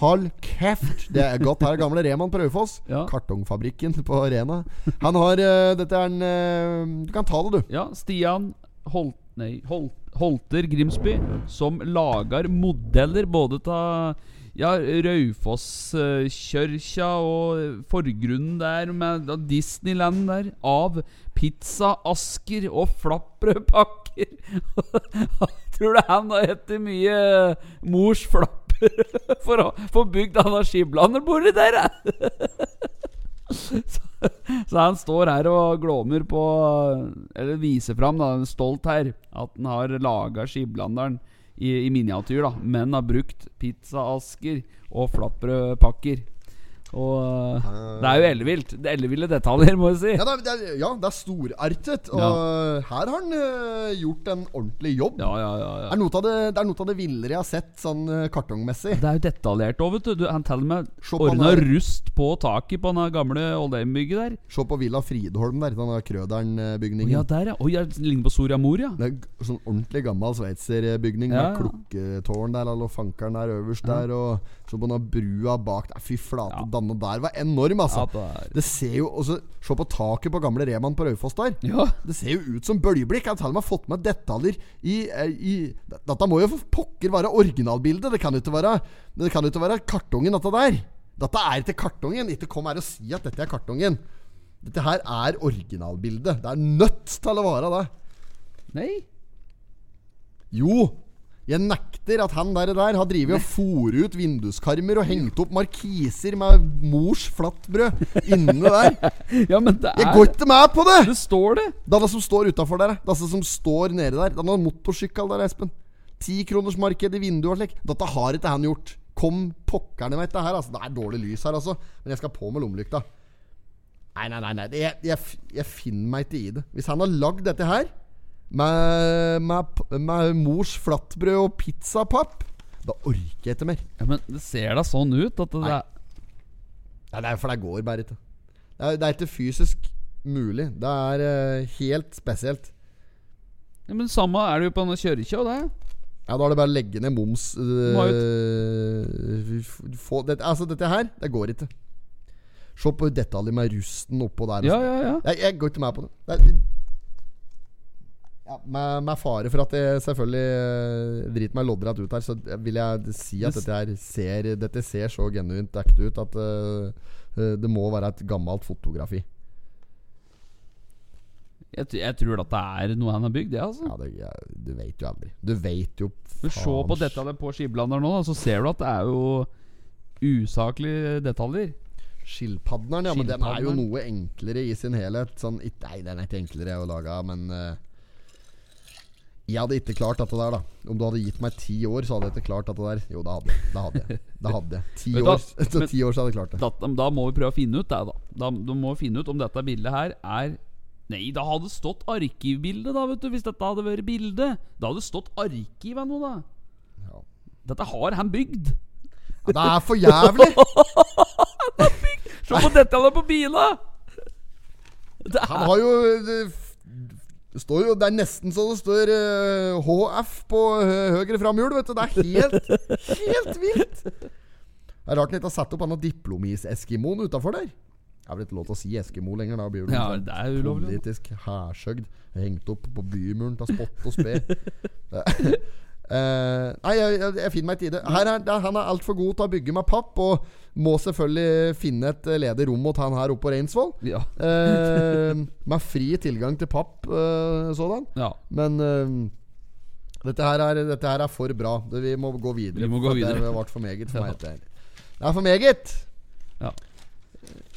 Speaker 1: Hold kjeft! Det er godt her, gamle Reman på Raufoss.
Speaker 2: Ja.
Speaker 1: Kartongfabrikken på Rena. Han har eh, Dette er en eh, Du kan ta det, du.
Speaker 2: Ja, Stian Holt... Nei, Holt... Holter Grimsby, som lager modeller både av ja, Raufoss-kjørkja og forgrunnen der med da Disneyland der, av pizzaasker og flatbrødpakker. Jeg tror det han har hett mye mors flapper for å få bygd han skiblanderbordet der. jeg. Så han står her og glåmer på Eller viser fram, da, stolt her, at han har laga skiblanderen i, i miniatyr, da, men har brukt pizzaasker og flatbrødpakker. Og det er jo ellevilt. Det er Elleville detaljer, må jeg si.
Speaker 1: Ja, det er, det er, ja, det er storartet. Og her har han øh, gjort en ordentlig jobb.
Speaker 2: Ja, ja, ja, ja.
Speaker 1: Det er noe av det, det, er noe av det villere jeg har sett sånn øh, kartongmessig.
Speaker 2: Det er jo detaljert òg, vet du. du. Han til og med
Speaker 1: Se på
Speaker 2: ordna
Speaker 1: den her.
Speaker 2: rust på taket på det gamle Oldheim-bygget der.
Speaker 1: Se på Villa Fridholm der, den der
Speaker 2: Å,
Speaker 1: Krøderen-bygningen.
Speaker 2: ja, der, ja. Oi, jeg ligner på Soria Moria.
Speaker 1: Det er g- sånn ordentlig gammel sveitserbygning
Speaker 2: Ja,
Speaker 1: med
Speaker 2: ja.
Speaker 1: klukketårn der og fankeren der øverst der. Og så på den brua bak der. Fy flate,
Speaker 2: Ja.
Speaker 1: danne der var enorm, altså.
Speaker 2: Ja, det er-
Speaker 1: det ser jo også, Se på taket på gamle Reman på Raufoss der.
Speaker 2: Ja.
Speaker 1: Det ser jo ut som bølgeblikk. Jeg har til og med fått med detaljer i, eh, i Dette må jo for pokker være originalbildet. Det kan jo ikke være Det kan jo ikke være kartongen, dette der. Dette er ikke kartongen. Ikke kom her og si at dette er kartongen. Dette her er originalbildet. Det er nødt til å være det.
Speaker 2: Nei.
Speaker 1: Jo, jeg nekter at han der, der har drevet og fòret ut vinduskarmer og hengt opp markiser med mors flatbrød inne der.
Speaker 2: Ja, men det
Speaker 1: Jeg
Speaker 2: er
Speaker 1: går ikke med på det!
Speaker 2: Det står det!
Speaker 1: Det er det som står utafor der. Det er det som står nede der. Det er noe motorsykkel der, Espen. Tikronersmarked i vinduet og slik. Dette har ikke han gjort. Kom pokkerne meg etter her, altså. Det er dårlig lys her, altså. Men jeg skal på med lommelykta. Nei, nei, nei. nei. Det- Jeg, jeg, f- jeg finner meg ikke i det. Hvis han har lagd dette her med, med, p- med mors flatbrød og pizzapapp, da orker jeg ikke mer.
Speaker 2: Ja, men det ser da sånn ut at det
Speaker 1: Nei.
Speaker 2: er
Speaker 1: Nei, det er for det går bare ikke. Det er, det er ikke fysisk mulig. Det er eh, helt spesielt.
Speaker 2: ja, Men samme er det jo på denne kjørekja, det.
Speaker 1: Ja, da er det bare å legge ned moms øh,
Speaker 2: Må
Speaker 1: f- få, dette, Altså, dette her, det går ikke. Se på detaljer med rusten oppå der.
Speaker 2: Ja,
Speaker 1: altså.
Speaker 2: ja, ja.
Speaker 1: Jeg, jeg går ikke med på det. det er, ja, med, med fare for at jeg selvfølgelig øh, driter meg loddrett ut her, så vil jeg si at
Speaker 2: Det s-
Speaker 1: dette her ser Dette ser så genuint ekte ut at øh, øh, det må være et gammelt fotografi.
Speaker 2: Jeg, t- jeg tror at det er noe han har bygd, det, altså.
Speaker 1: Ja, det, ja, du veit jo aldri. Du veit jo
Speaker 2: Men se
Speaker 1: faen
Speaker 2: på detaljene på skiblanderen nå, da, så ser du at det er jo usaklige detaljer.
Speaker 1: Skilpadderen, ja. Men den er jo
Speaker 2: Skilpadderen.
Speaker 1: noe enklere i sin helhet. Sånn, it- nei, den er ikke enklere å lage, men eh, Jeg hadde ikke klart dette der, da. Om du hadde gitt meg ti år, så hadde jeg ikke klart dette der. Jo, det hadde jeg. Det hadde jeg. Det hadde jeg. Ti
Speaker 2: Vet du hva?
Speaker 1: år, etter
Speaker 2: Men-
Speaker 1: ti år så hadde jeg klart det.
Speaker 2: Da, da må vi prøve å finne ut det, da. Da, da må vi finne ut om dette bildet her er Nei, da hadde det stått arkivbilde, da, vet du. Hvis dette hadde vært bilde. Da hadde det stått arkiv av noe, da.
Speaker 1: Ja.
Speaker 2: Dette har han bygd.
Speaker 1: Ja, Det er for jævlig!
Speaker 2: Se på detaljene på bila! Det
Speaker 1: Han
Speaker 2: er
Speaker 1: har jo det f- det står jo, Det er nesten så det står eh, HF på hø- høyre framhjul, vet du. Det er helt, helt vilt. Det er rart han ikke har satt opp han diplomis-eskimoen utafor der. Det er vel ikke lov til å si Eskimo lenger, da blir
Speaker 2: Ja,
Speaker 1: sånn
Speaker 2: det er ulovlig.
Speaker 1: Politisk hærsøgd. Hengt opp på bymuren til spott og spe. Eh, nei, jeg, jeg, jeg finner meg ikke i det. Her er, det han er altfor god til å bygge med papp, og må selvfølgelig finne et eh, ledig rom mot han her oppe på Reinsvoll.
Speaker 2: Ja.
Speaker 1: Eh, med fri tilgang til papp eh, sådan.
Speaker 2: ja.
Speaker 1: Men eh, dette, her er, dette her er for bra. Det, vi må gå videre.
Speaker 2: Vi må gå
Speaker 1: for
Speaker 2: videre.
Speaker 1: Det har vært for meget for
Speaker 2: Ja.
Speaker 1: meg. dette her. Det er for meget!
Speaker 2: Ja.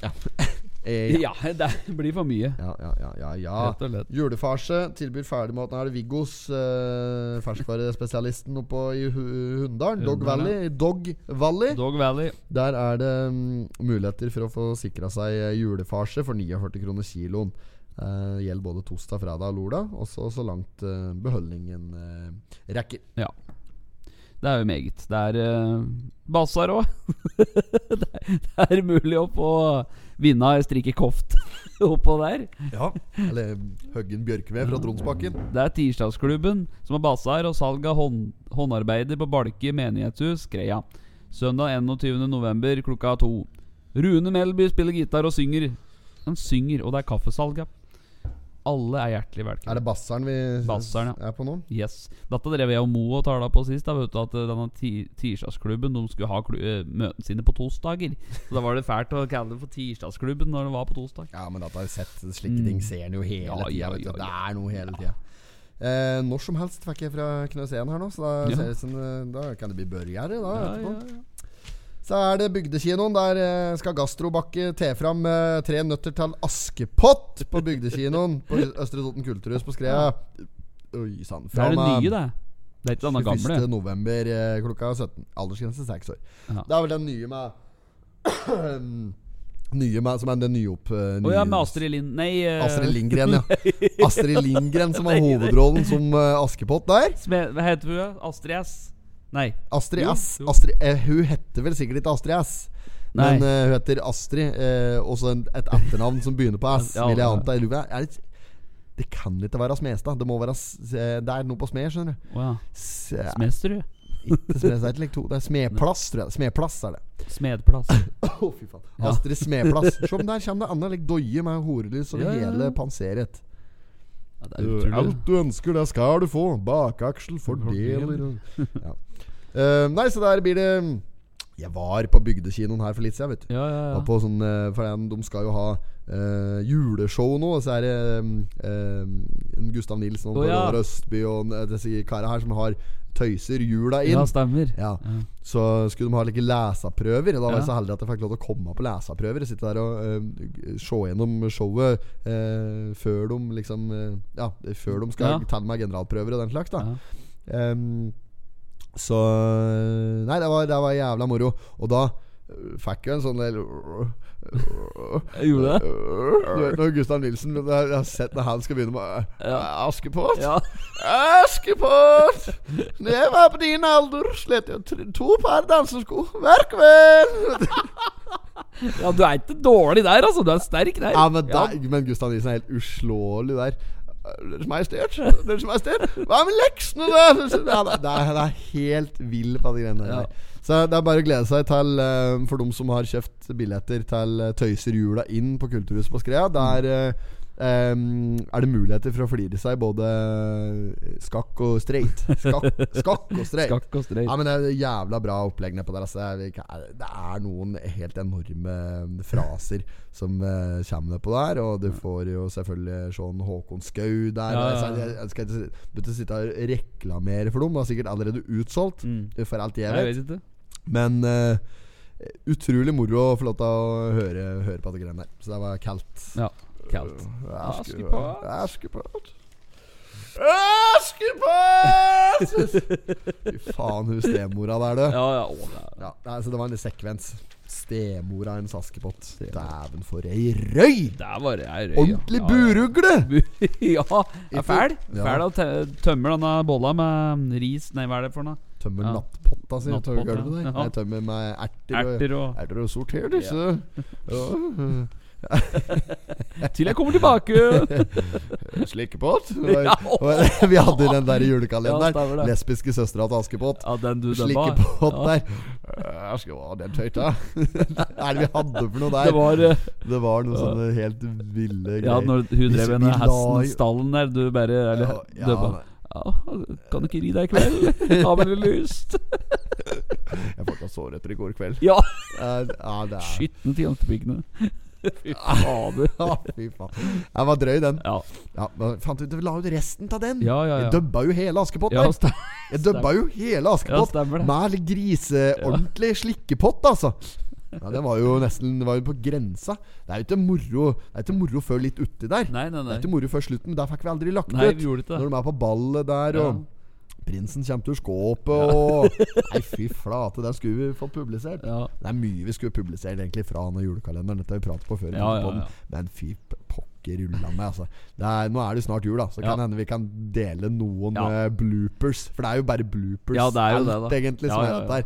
Speaker 1: Ja. Eh, ja.
Speaker 2: Ja, det blir for mye.
Speaker 1: Ja, ja, ja, ja,
Speaker 2: Rett og
Speaker 1: ja.
Speaker 2: slett.
Speaker 1: Julefarse tilbyr ferdigmaten. Her er det Viggos, eh, ferskvarespesialisten oppe i Hu- Hunndalen. Dog
Speaker 2: Hunndalen,
Speaker 1: Valley. Dog Valley.
Speaker 2: Dog Valley.
Speaker 1: Der er det mm, muligheter for å få sikra seg eh, julefarse for 49 kroner kiloen. Eh, gjelder både torsdag, fredag og lørdag. Også så langt eh, beholdningen eh, rekker.
Speaker 2: Ja. Det er jo meget. Det er uh, basar òg. det, er- det er mulig å få vinna ei strikke koft oppå der.
Speaker 1: Ja. Eller Høggen Bjørkve fra Tronsbakken.
Speaker 2: Det er Tirsdagsklubben som har basar og salg av hånd, håndarbeider på Balke menighetshus, Skreia. Søndag 21. november klokka to. Rune Melby spiller gitar og synger. Han synger, og det er kaffesalg, ja. Alle er hjertelig velkommen.
Speaker 1: Er det basseren vi
Speaker 2: Basseren,
Speaker 1: er på nå?
Speaker 2: Yes. Dette drev jeg og Mo og tala på sist. Da, vet du, at eh, denne ti- Tirsdagsklubben De skulle ha klu- eh, møtene sine på torsdager. Så da var det fælt å kalle det for Tirsdagsklubben når det var på torsdag.
Speaker 1: Ja, men dette har jeg sett. Slike ting ser en jo hele
Speaker 2: Mm. Ja,
Speaker 1: tiden tida.
Speaker 2: ja,
Speaker 1: vet du.
Speaker 2: ja,
Speaker 1: Det
Speaker 2: ja.
Speaker 1: er noe hele tida. Eh, når som helst fikk jeg fra Knøsén her nå, så da,
Speaker 2: Ja.
Speaker 1: ser det ut som, eh, da kan det bli burgere. Da,
Speaker 2: Ja,
Speaker 1: etterpå.
Speaker 2: ja, ja.
Speaker 1: Så er det Bygdekinoen. Der eh, skal Gastrobakke te fram eh, tre nøtter til Askepott på Bygdekinoen på Ø- Østre Toten Kulturhus på Skrea. Oi sann.
Speaker 2: Det er det nye,
Speaker 1: eh,
Speaker 2: det. Det er ikke den gamle.
Speaker 1: 21. november eh, klokka 17. Aldersgrense seks år.
Speaker 2: Ja.
Speaker 1: Det er vel den nye med Nye med, som er den nye opp... eh,
Speaker 2: Å ja,
Speaker 1: nye-
Speaker 2: med Astrid Lind... Nei eh,
Speaker 1: Astrid Lindgren, ja. Astrid Lindgren som har hovedrollen som eh, Askepott der.
Speaker 2: Sme- Hva heter hun? da? Astrid S? Nei.
Speaker 1: Astrid
Speaker 2: Jo,
Speaker 1: S.
Speaker 2: jo.
Speaker 1: Astrid, eh, hun heter vel sikkert ikke Astrid S.
Speaker 2: Nei.
Speaker 1: Men eh, hun heter Astrid, eh, og så en- et etternavn som begynner på S.
Speaker 2: Ja,
Speaker 1: vil jeg
Speaker 2: ja.
Speaker 1: anta. Jeg lurer- er det, det kan ikke være Smestad. Det må være S- eh, Det er noe på Smed, skjønner du.
Speaker 2: Å ja.
Speaker 1: S- eh,
Speaker 2: Smedsrud?
Speaker 1: ikke Smestad, det er ikke lek to. Det er Smedplass, tror jeg. Smedplass er det.
Speaker 2: Smedplass.
Speaker 1: Å, fy faen.
Speaker 2: Ja.
Speaker 1: Astrid Smedplass. Se om der kommer det anna like doie med horelys og det
Speaker 2: Ja, ja, ja.
Speaker 1: hele panseret.
Speaker 2: Ja, det er utrolig.
Speaker 1: du ønsker, det skal du få. Bakaksel
Speaker 2: fordeler.
Speaker 1: ja. Eh, nei, så der blir det Jeg var på bygdekinoen her for litt siden, vet du.
Speaker 2: Ja, ja, ja.
Speaker 1: Var På sånn, eh, for den- de skal jo ha eh, juleshow nå, og så er det eh, eh, Gustav Nilsen og
Speaker 2: Å, ja.
Speaker 1: Roar Østby og eh, disse kara her som har tøyser jula inn.
Speaker 2: Ja, stemmer.
Speaker 1: Ja.
Speaker 2: Ja.
Speaker 1: Så skulle de ha like leseprøver. Og Da var jeg
Speaker 2: Ja.
Speaker 1: så heldig at jeg fikk lov til å komme på leseprøver. Sitte der og eh, se gjennom showet eh, før de liksom eh, Ja, før de skal
Speaker 2: Ja.
Speaker 1: ta med generalprøver og den slags. da
Speaker 2: Ja.
Speaker 1: Em, Så eh, Nei, det var, det var jævla moro. Og da eh, fikk jeg en sånn del
Speaker 2: Jeg Gjorde det?
Speaker 1: Du vet når Gustav Nilsen men Jeg har sett når han skal begynne med
Speaker 2: Ja.
Speaker 1: Askepott.
Speaker 2: Ja.
Speaker 1: Askepott! Når jeg var på din alder, slet jeg tre- to par dansesko hver kveld.
Speaker 2: ja, du er ikke dårlig der, altså. Du er sterk der.
Speaker 1: Ja, men,
Speaker 2: Ja.
Speaker 1: da, men Gustav Nilsen er helt uslåelig der. Deres Majestet, Deres Majestet, hva med leksene, da? Han er, nei, han er helt vill på de greiene
Speaker 2: Ja.
Speaker 1: der. Så det er bare å glede seg til, eh, for dem som har kjøpt billetter til eh, Tøyser jula inn på Kulturhuset på Skrea. Der eh, eh, er det muligheter for å flire seg både eh, skakk og straight. Skakk, skakk og straight.
Speaker 2: Skakk og streit.
Speaker 1: Ja, men det er jævla bra opplegg nedpå der. Altså. Det, er, det er noen helt enorme fraser som eh, kommer nedpå der. Og du får jo selvfølgelig sånn Håkon Skau der.
Speaker 2: Ja, ja,
Speaker 1: Altså,
Speaker 2: ja.
Speaker 1: jeg, jeg skal ikke si- begynne å sitte her og reklamere for dem. Det er sikkert allerede utsolgt,
Speaker 2: Mm.
Speaker 1: for alt jeg
Speaker 2: Jeg
Speaker 1: vet.
Speaker 2: vet ikke.
Speaker 1: Men eh, utrolig moro å få lov til å høre, høre på de greiene der. Så det var kaldt.
Speaker 2: Ja. Kaldt.
Speaker 1: Askepott. Askepott. Askepott! Fy faen, hun stemora der, du.
Speaker 2: Ja, ja. Å, det er
Speaker 1: Ja, nei, så det var en sekvens. Stemora hennes Askepott.
Speaker 2: Stemor.
Speaker 1: Dæven, for ei røy!
Speaker 2: Der var det ei røy.
Speaker 1: Ordentlig burugle!
Speaker 2: ja, det er fæl.
Speaker 1: Ja.
Speaker 2: Fæl å tø- tømmer denne bolla med ris Nei, hva er det for noe?
Speaker 1: Tømmer
Speaker 2: Ja.
Speaker 1: nattpotta si ut av
Speaker 2: Nattpotta,
Speaker 1: gulvet der.
Speaker 2: ja.
Speaker 1: Nei, tømmer med erter og
Speaker 2: Erter og
Speaker 1: Erter og sorter disse. Ja.
Speaker 2: Til jeg kommer tilbake!
Speaker 1: eh, Slikkepott.
Speaker 2: Ja.
Speaker 1: Vi hadde den der i
Speaker 2: Ja,
Speaker 1: julekalenderen.
Speaker 2: stemmer det.
Speaker 1: Lesbiske søstera til Askepott.
Speaker 2: Ja, den du dømma.
Speaker 1: Slikkepott
Speaker 2: Ja.
Speaker 1: der. Eh, Jeg skal ha den tøyta. Hva er det vi hadde for noe der?
Speaker 2: Det var eh,
Speaker 1: Det var noen
Speaker 2: Ja.
Speaker 1: sånne helt ville greier.
Speaker 2: Ja, når hun
Speaker 1: Vi-
Speaker 2: drev
Speaker 1: vi
Speaker 2: denne
Speaker 1: la
Speaker 2: hesten
Speaker 1: jo-
Speaker 2: stallen der, du bare Eller
Speaker 1: Ja, ja,
Speaker 2: dømma. Ja, kan du ikke ri deg i kveld? Har veldig lyst.
Speaker 1: Jeg fikk sårrøtter i går kveld.
Speaker 2: Ja.
Speaker 1: Eh, ja, det er
Speaker 2: Skitne til jentepikene. Fy fader.
Speaker 1: Ja, fy faen. Den var drøy, den.
Speaker 2: Ja,
Speaker 1: Ja, men fant ut, Vi la ut resten av den.
Speaker 2: ja, ja.
Speaker 1: Jeg
Speaker 2: ja.
Speaker 1: dubba jo hele Askepott.
Speaker 2: Ja,
Speaker 1: der.
Speaker 2: sta-
Speaker 1: jeg dubba jo hele
Speaker 2: ja,
Speaker 1: Askepott.
Speaker 2: stemmer det.
Speaker 1: Med litt griseordentlig slikkepott, altså. Ja, Den var jo nesten det var jo på grensa. Det er jo ikke moro Det er ikke moro før litt uti der.
Speaker 2: Nei, nei,
Speaker 1: Det
Speaker 2: nei.
Speaker 1: er ikke moro før slutten. Der fikk vi aldri lagt
Speaker 2: Nei,
Speaker 1: ut.
Speaker 2: vi gjorde
Speaker 1: Når
Speaker 2: ikke det.
Speaker 1: de er på ballet der,
Speaker 2: Ja.
Speaker 1: og prinsen kommer til skåpet og Nei, fy flate, den skulle vi fått publisert.
Speaker 2: Ja,
Speaker 1: Det er mye vi skulle publisert egentlig fra denne julekalenderen. Dette har vi pratet på før. i
Speaker 2: ja, ja.
Speaker 1: podden.
Speaker 2: ja.
Speaker 1: Men fy p- pokker rulla meg, altså. Det er, nå er det jo snart jul, da. Så
Speaker 2: Ja.
Speaker 1: kan hende vi kan dele noen
Speaker 2: Ja.
Speaker 1: eh, bloopers. For det er jo bare bloopers
Speaker 2: Ja, det er jo
Speaker 1: alt,
Speaker 2: det, da.
Speaker 1: egentlig,
Speaker 2: Ja,
Speaker 1: som
Speaker 2: ja,
Speaker 1: er
Speaker 2: ja.
Speaker 1: der.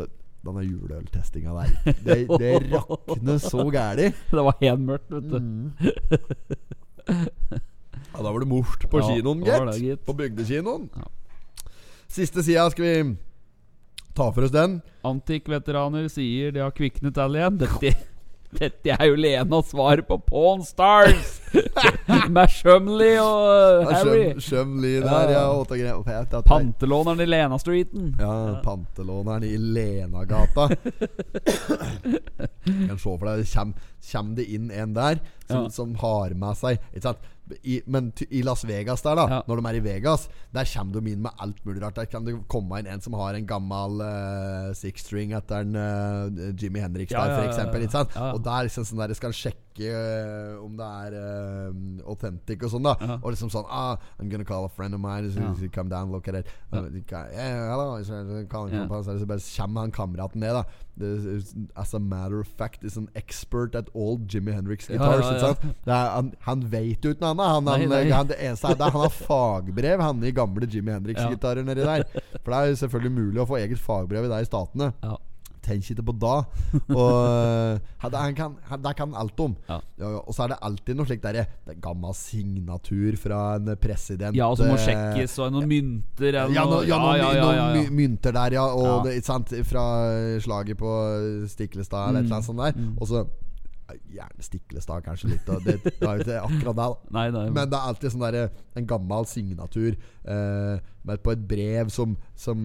Speaker 1: Det- Denne juleøltestinga der. Det, det rakner så gæli.
Speaker 2: Det var helt mørkt, vet
Speaker 1: Mm.
Speaker 2: du.
Speaker 1: Ja, da var det mort på
Speaker 2: Ja,
Speaker 1: kinoen,
Speaker 2: det
Speaker 1: gitt.
Speaker 2: var det, gitt.
Speaker 1: På bygdekinoen.
Speaker 2: Ja.
Speaker 1: Siste sida skal vi ta for oss den.
Speaker 2: Antikkveteraner sier de har kviknet all igjen. Dette, dette er jo Lenas svar på Pawn Stars! Med Shumley og
Speaker 1: Ja,
Speaker 2: Harry.
Speaker 1: Sjøm- Sjømli
Speaker 2: Ja,
Speaker 1: der,
Speaker 2: ja.
Speaker 1: ja. Og ta greier. Og jeg vet at-
Speaker 2: Pantelåneren i Lena-streeten.
Speaker 1: Ja, pantelåneren i Lenagata. Jeg kan se for deg, kjem, kjem det inn en der som,
Speaker 2: Ja.
Speaker 1: som har med seg ikke sant? I, Men ty- i Las Vegas der, da,
Speaker 2: Ja.
Speaker 1: når de er i Vegas, der kommer de inn med alt mulig rart. Der kan det komme inn en som har en gammel eh, six-string etter en eh, Jimmy Henriks
Speaker 2: Ja,
Speaker 1: der,
Speaker 2: ja, ja,
Speaker 1: for eksempel.
Speaker 2: ja.
Speaker 1: Ikke sant?
Speaker 2: Ja, ja.
Speaker 1: Og der liksom sånn der skal han sjekke eh, om det er eh, authentic og sånn, da.
Speaker 2: Ja.
Speaker 1: Og liksom sånn ah, I'm gonna call a friend of mine. So
Speaker 2: Ja.
Speaker 1: you come down, look at it.
Speaker 2: Ja.
Speaker 1: Uh, yeah, yeah, hello. it's, uh, calling
Speaker 2: Ja.
Speaker 1: from Palestine. Så bare kommer han kameraten ned, da. This is, as a matter of fact is an expert at all Jimmy Henriks
Speaker 2: Ja,
Speaker 1: guitars.
Speaker 2: ja,
Speaker 1: ikke
Speaker 2: ja.
Speaker 1: sant? Det er, han, han vet uten annet. Han, han,
Speaker 2: Nei, nei.
Speaker 1: han, det eneste er, det er, han har fagbrev, han i gamle Jimmy
Speaker 2: Ja.
Speaker 1: Henriks-gitarer nedi der. For det er jo selvfølgelig mulig å få eget fagbrev i de statene.
Speaker 2: Ja.
Speaker 1: Tenk ikke på da. Og ja, det- han kan, han, det kan han alt om.
Speaker 2: Ja.
Speaker 1: Ja, ja, og så er det alltid noe slikt derre det er Gammel signatur fra en president.
Speaker 2: Ja, og så må
Speaker 1: eh,
Speaker 2: sjekkes, og noen mynter eller
Speaker 1: ja, no,
Speaker 2: noe.
Speaker 1: ja, noen,
Speaker 2: ja, ja, ja,
Speaker 1: noen
Speaker 2: ja.
Speaker 1: my- mynter der, ja. Og
Speaker 2: Ja.
Speaker 1: Det, ikke sant, fra slaget på Stiklestad eller et eller annet
Speaker 2: Mm.
Speaker 1: sånt der. Og så Gjerne Stiklestad, kanskje litt. Og det, det er jo ikke akkurat der, da.
Speaker 2: Nei, nei,
Speaker 1: Men det er alltid sånn der, en gammel signatur eh, med på et brev som, som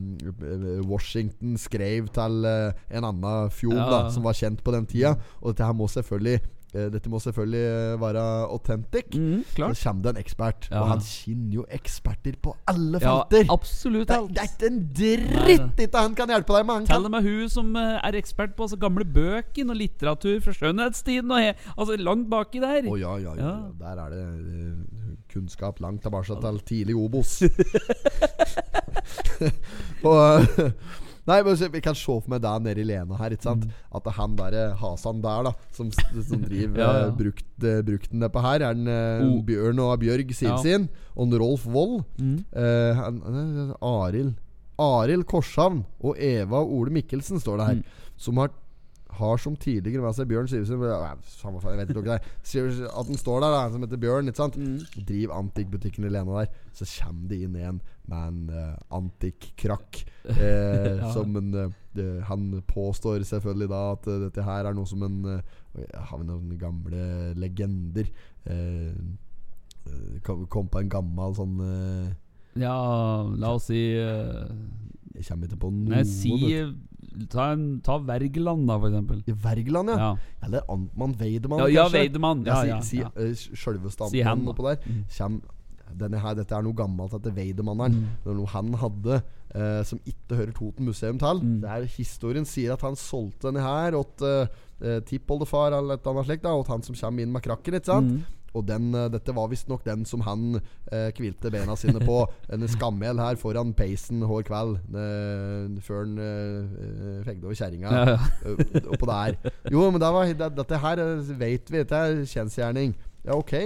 Speaker 1: eh, Washington skrev til eh, en annen fjord
Speaker 2: Ja.
Speaker 1: da, som var kjent på den tida. Og dette her må selvfølgelig eh, Dette må selvfølgelig eh, være authentic.
Speaker 2: mm, klart.
Speaker 1: Så kommer det en ekspert,
Speaker 2: Ja.
Speaker 1: og han kinner jo eksperter på alle
Speaker 2: Ja,
Speaker 1: felter.
Speaker 2: absolutt
Speaker 1: det, er-
Speaker 2: alt.
Speaker 1: det er ikke en
Speaker 2: Nei,
Speaker 1: dritt ikke han kan hjelpe deg med! Han
Speaker 2: Tell
Speaker 1: kan
Speaker 2: det med hun som eh, er ekspert på altså, gamle bøker og litteratur fra skjønnhetstiden og he, Altså langt baki der.
Speaker 1: Å ja, ja, ja,
Speaker 2: Ja.
Speaker 1: ja. Der er det eh, kunnskap langt tilbake til tidlig Obos. og eh, Nei, men så- Vi kan se for meg deg nede i Lena her. Ikke sant? At han der, eh, Hasan der, da som, som driver
Speaker 2: Mm. Ja, ja.
Speaker 1: eh, brukt, eh, brukten nedpå her, er en eh,
Speaker 2: O-
Speaker 1: Bjørn og Bjørg
Speaker 2: Ja.
Speaker 1: Sivsin og en Rolf Wold.
Speaker 2: Mm.
Speaker 1: Eh, han- han- Arild Arild Korshavn og Eva og Ole Mikkelsen står det her.
Speaker 2: Mm.
Speaker 1: Som har har som tidligere med seg Bjørn Sivesen Nei, Samme faen, jeg vet ikke hva det er. Sivertsen- At den står der, da, han som heter Bjørn. Ikke sant? Driv antikkbutikken i Lena der. Så kommer det inn en med en eh, antikkrakk. Eh,
Speaker 2: Ja.
Speaker 1: Som en eh, det- Han påstår selvfølgelig da at eh, dette her er noe som en eh, Har vi noen gamle legender? Eh, eh, kom, kom på en gammel sånn eh,
Speaker 2: Ja, la oss si eh,
Speaker 1: Jeg kommer ikke på noen.
Speaker 2: Nei, si
Speaker 1: vet
Speaker 2: eh, Ta, en, ta Wergeland, da, for eksempel.
Speaker 1: du. I Wergeland, ja.
Speaker 2: Ja,
Speaker 1: Eller Amtmann Weidemann,
Speaker 2: ja, ja
Speaker 1: kanskje.
Speaker 2: Weidemann. Ja, ja,
Speaker 1: Ja, si,
Speaker 2: ja.
Speaker 1: si eh, Sjølveste
Speaker 2: Si
Speaker 1: Amtmannen
Speaker 2: han, da. Mm.
Speaker 1: oppå der. Kjem, denne her, dette er noe gammelt etter Weidemann-eren. Det er noe han hadde eh, som ikke hører Toten museum til.
Speaker 2: Mm.
Speaker 1: Det er Historien sier at han solgte denne her åt eh, eh, tippoldefar eller et annet slikt. da, Åt han som kommer inn med krakken. ikke sant?
Speaker 2: Mm.
Speaker 1: Og den, eh, dette var visstnok den som han eh, hvilte bena sine på. En skammel her foran peisen hver kveld. eh, før han eh, eh, fegde over kjerringa.
Speaker 2: Ja, ja.
Speaker 1: Eh, oppå der. Jo, men det var, det, dette her eh, vet vi. Dette er kjensgjerning. Ja, ok.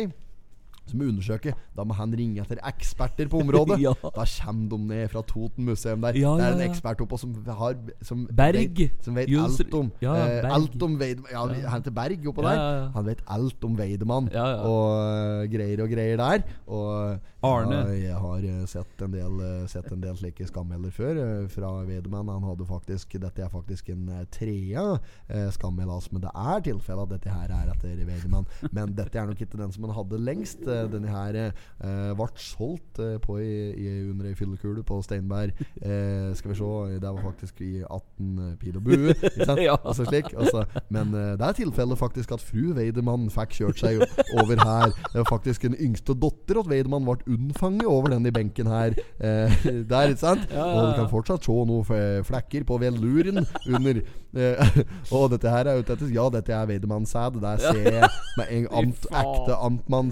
Speaker 1: Så må vi undersøke. Da må han ringe etter eksperter på området.
Speaker 2: Ja.
Speaker 1: Da kommer de ned fra Toten museum der.
Speaker 2: Ja,
Speaker 1: det er
Speaker 2: ja,
Speaker 1: en
Speaker 2: ja.
Speaker 1: ekspert oppå som har som
Speaker 2: Berg.
Speaker 1: Vet, som vet
Speaker 2: Jonsrud-
Speaker 1: alt om
Speaker 2: Ja, ja,
Speaker 1: eh,
Speaker 2: Berg.
Speaker 1: Alt om Veid... Ja, vi- han heter Berg oppå der.
Speaker 2: Ja, ja, ja.
Speaker 1: Han vet alt om Weidemann
Speaker 2: Ja, ja.
Speaker 1: og eh, greier og greier der. Og
Speaker 2: Arne.
Speaker 1: Ja, jeg har eh, sett en del, eh, sett en del slike skammeler før eh, fra Weidemann. Han hadde faktisk Dette er faktisk en eh, trea eh, skammel, altså, men det er tilfelle at dette her er etter Weidemann. Men dette er nok ikke den som han hadde lengst. Eh, Denne her eh, ble solgt eh, på i, i, under ei fyllekule på Steinberg. Eh, skal vi se, det var faktisk i 18 pil og bue. Ikke sant?
Speaker 2: Ja.
Speaker 1: Altså slik. Altså, men eh, det er tilfellet faktisk at fru Weidemann fikk kjørt seg over her. Det var faktisk den yngste datter at Weidemann ble unnfanget over den i benken her. Eh, der, ikke sant?
Speaker 2: Ja, ja,
Speaker 1: Og du
Speaker 2: ja.
Speaker 1: kan fortsatt se noen f- flekker på velluren under eh, Og dette her er ute etter Ja, dette er Weidemann-sæd. Der ser jeg med en amt,
Speaker 2: Fy faen.
Speaker 1: ekte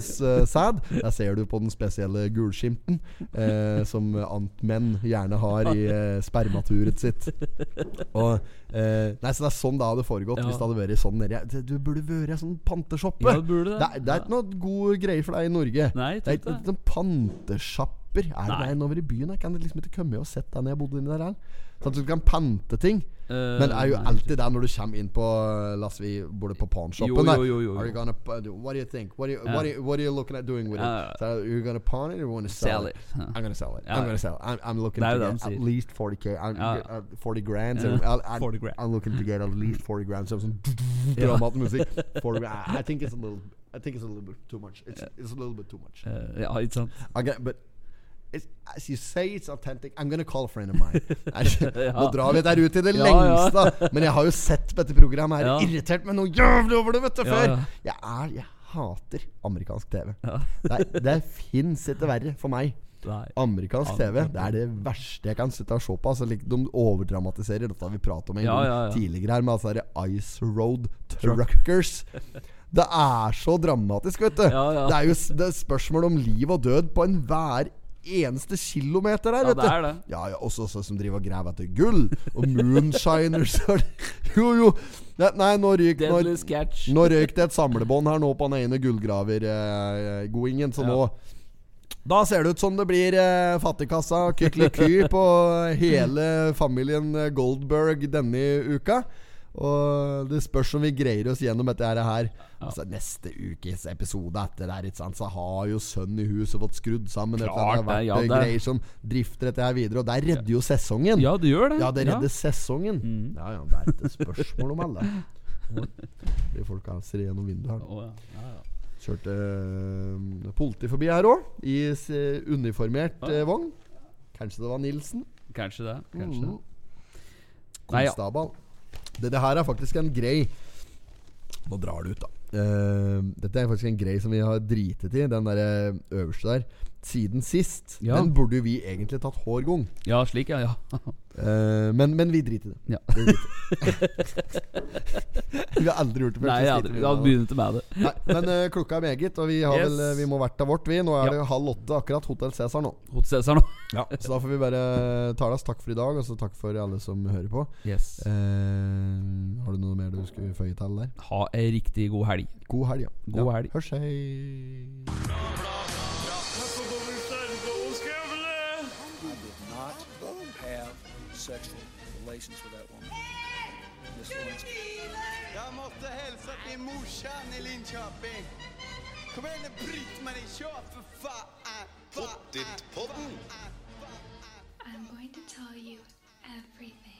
Speaker 1: amtmannssæd. Der ser du på den spesielle gulskimten eh, som amtmenn gjerne har i eh, spermaturet sitt. Og eh, Nei, så det er sånn det hadde foregått
Speaker 2: Ja.
Speaker 1: hvis det hadde vært sånn nedi Det- Du burde vært en sånn panteshoppe.
Speaker 2: Ja, det burde det.
Speaker 1: det, er, det er ikke noe god greie for deg i Norge.
Speaker 2: Nei,
Speaker 1: det er
Speaker 2: jeg tror
Speaker 1: ikke
Speaker 2: ikke det.
Speaker 1: sånn pantesjapper. Er det
Speaker 2: Nei.
Speaker 1: det en over i byen? Jeg kan liksom ikke komme og sett deg når jeg bodde inni der. her. Sånn at du kan pante ting.
Speaker 2: Eh,
Speaker 1: Men det er jo
Speaker 2: nei,
Speaker 1: alltid der når du kommer inn på eh, La oss si bor du på
Speaker 2: Jo,
Speaker 1: pawnshopen
Speaker 2: jo,
Speaker 1: der.
Speaker 2: jo, jo, jo.
Speaker 1: Are you gonna pa- do- What do you think? What do you, what do you, what are you looking at doing with
Speaker 2: Ja.
Speaker 1: it? So are you gonna pawn it or wanna sell,
Speaker 2: Sell
Speaker 1: it?
Speaker 2: it. Ja.
Speaker 1: I'm gonna sell it.
Speaker 2: Ja,
Speaker 1: I'm
Speaker 2: ja.
Speaker 1: gonna sell it. I'm, I'm looking
Speaker 2: Det er jo
Speaker 1: to
Speaker 2: det
Speaker 1: get
Speaker 2: han
Speaker 1: at
Speaker 2: sier.
Speaker 1: least 40k. I'm,
Speaker 2: Ja.
Speaker 1: get, uh, 40 grand. So
Speaker 2: Ja.
Speaker 1: I'll- I'm,
Speaker 2: 40 grand.
Speaker 1: I'm looking to get at least 40 grand. So sånn dramatisk musikk. 40 grand. I think it's a little I think it's a little bit too much. It's, it's a little bit too much.
Speaker 2: Eh, ja, ikke sant?
Speaker 1: I'm gonna, but it's, as you say it's authentic, I'm gonna call a friend of mine. Er, Nå drar vi dette ut i det
Speaker 2: Ja, ja.
Speaker 1: lengste, men jeg har jo sett på dette programmet her
Speaker 2: Ja.
Speaker 1: irritert meg noe jævlig over det, vet du,
Speaker 2: Ja,
Speaker 1: før.
Speaker 2: ja.
Speaker 1: Jeg er Jeg hater amerikansk TV.
Speaker 2: Ja.
Speaker 1: Det, er- det fins ikke verre for meg.
Speaker 2: Nei.
Speaker 1: Amerikansk TV det er det verste jeg kan sitte og se på. Altså, like, de overdramatiserer. Dette har vi pratet om en
Speaker 2: Ja,
Speaker 1: gang
Speaker 2: ja, ja.
Speaker 1: tidligere her, med altså her Ice Road Truckers. Det er så dramatisk, vet du.
Speaker 2: Ja, ja.
Speaker 1: Det er jo s- det er spørsmål om liv og død på enhver eneste kilometer her,
Speaker 2: Ja,
Speaker 1: vet du.
Speaker 2: det er det.
Speaker 1: Ja, ja, også sånn som driver og graver etter gull. Og moonshiners og Jo, jo. Nei, Nei, nå ryker
Speaker 2: Deadly
Speaker 1: nå,
Speaker 2: sketch.
Speaker 1: nå røyk det et samlebånd her nå på den ene gullgravergoingen, så
Speaker 2: Ja.
Speaker 1: nå Da ser det ut som det blir eh, fattigkassa og kykeliky på hele familien eh, Goldberg denne uka. Og det spørs om vi greier oss gjennom dette her. her. Altså Neste ukes episode etter der, ikke sant, så har jo sønnen i huset fått skrudd sammen. etter at det
Speaker 2: Klart det, ja,
Speaker 1: har vært eh,
Speaker 2: det-
Speaker 1: greier som drifter dette her videre, og der redder jo sesongen.
Speaker 2: Ja, det gjør det.
Speaker 1: Ja, det redder sesongen.
Speaker 2: Mm.
Speaker 1: Ja, ja, det er ikke et spørsmål om alle. De folka ser gjennom vinduet her. nå.
Speaker 2: Å, ja. Ja, ja.
Speaker 1: Kjørte eh, politi forbi her òg, i s- uniformert eh, vogn. Kanskje det var Nilsen.
Speaker 2: Kanskje det. Kanskje
Speaker 1: Mm.
Speaker 2: det. Nei, ja.
Speaker 1: Konstabal. Det, det her er faktisk en grei Nå drar det ut, da. Eh, dette er faktisk en grei som vi har dritet i, den der eh, øverste der. Siden sist.
Speaker 2: Ja.
Speaker 1: Den burde jo vi egentlig tatt hver gang.
Speaker 2: ja, slik, ja. ja.
Speaker 1: Eh, men, men vi driter i det.
Speaker 2: Ja.
Speaker 1: Det driter vi. vi har aldri gjort det før.
Speaker 2: Nei,
Speaker 1: så
Speaker 2: jeg
Speaker 1: driter vi
Speaker 2: hadde, jeg
Speaker 1: i
Speaker 2: hadde
Speaker 1: det.
Speaker 2: begynt med det.
Speaker 1: Nei, men eh, klokka er meget, og vi, har
Speaker 2: Yes.
Speaker 1: vel, eh, vi må hvert av vårt, vi. Nå er
Speaker 2: Ja.
Speaker 1: det halv åtte akkurat. Hotell Cæsar nå.
Speaker 2: Hot Cæsar nå.
Speaker 1: Så da får vi bare ta oss. Takk for i dag, og så takk for alle som hører på.
Speaker 2: Yes.
Speaker 1: Eh, har du noe mer du skulle føye til der?
Speaker 2: Ha ei riktig god helg.
Speaker 1: God helg, ja.
Speaker 2: God
Speaker 1: ja.
Speaker 2: helg.
Speaker 1: Hørs, hei.
Speaker 3: He did not have sexual relations with that woman. Miss Lewinsky.
Speaker 4: Jag måste hälsa till morsan i Linköping. Kom igen nu Britt-Marie, kör för fan! Fan!
Speaker 5: I'm going to tell you everything.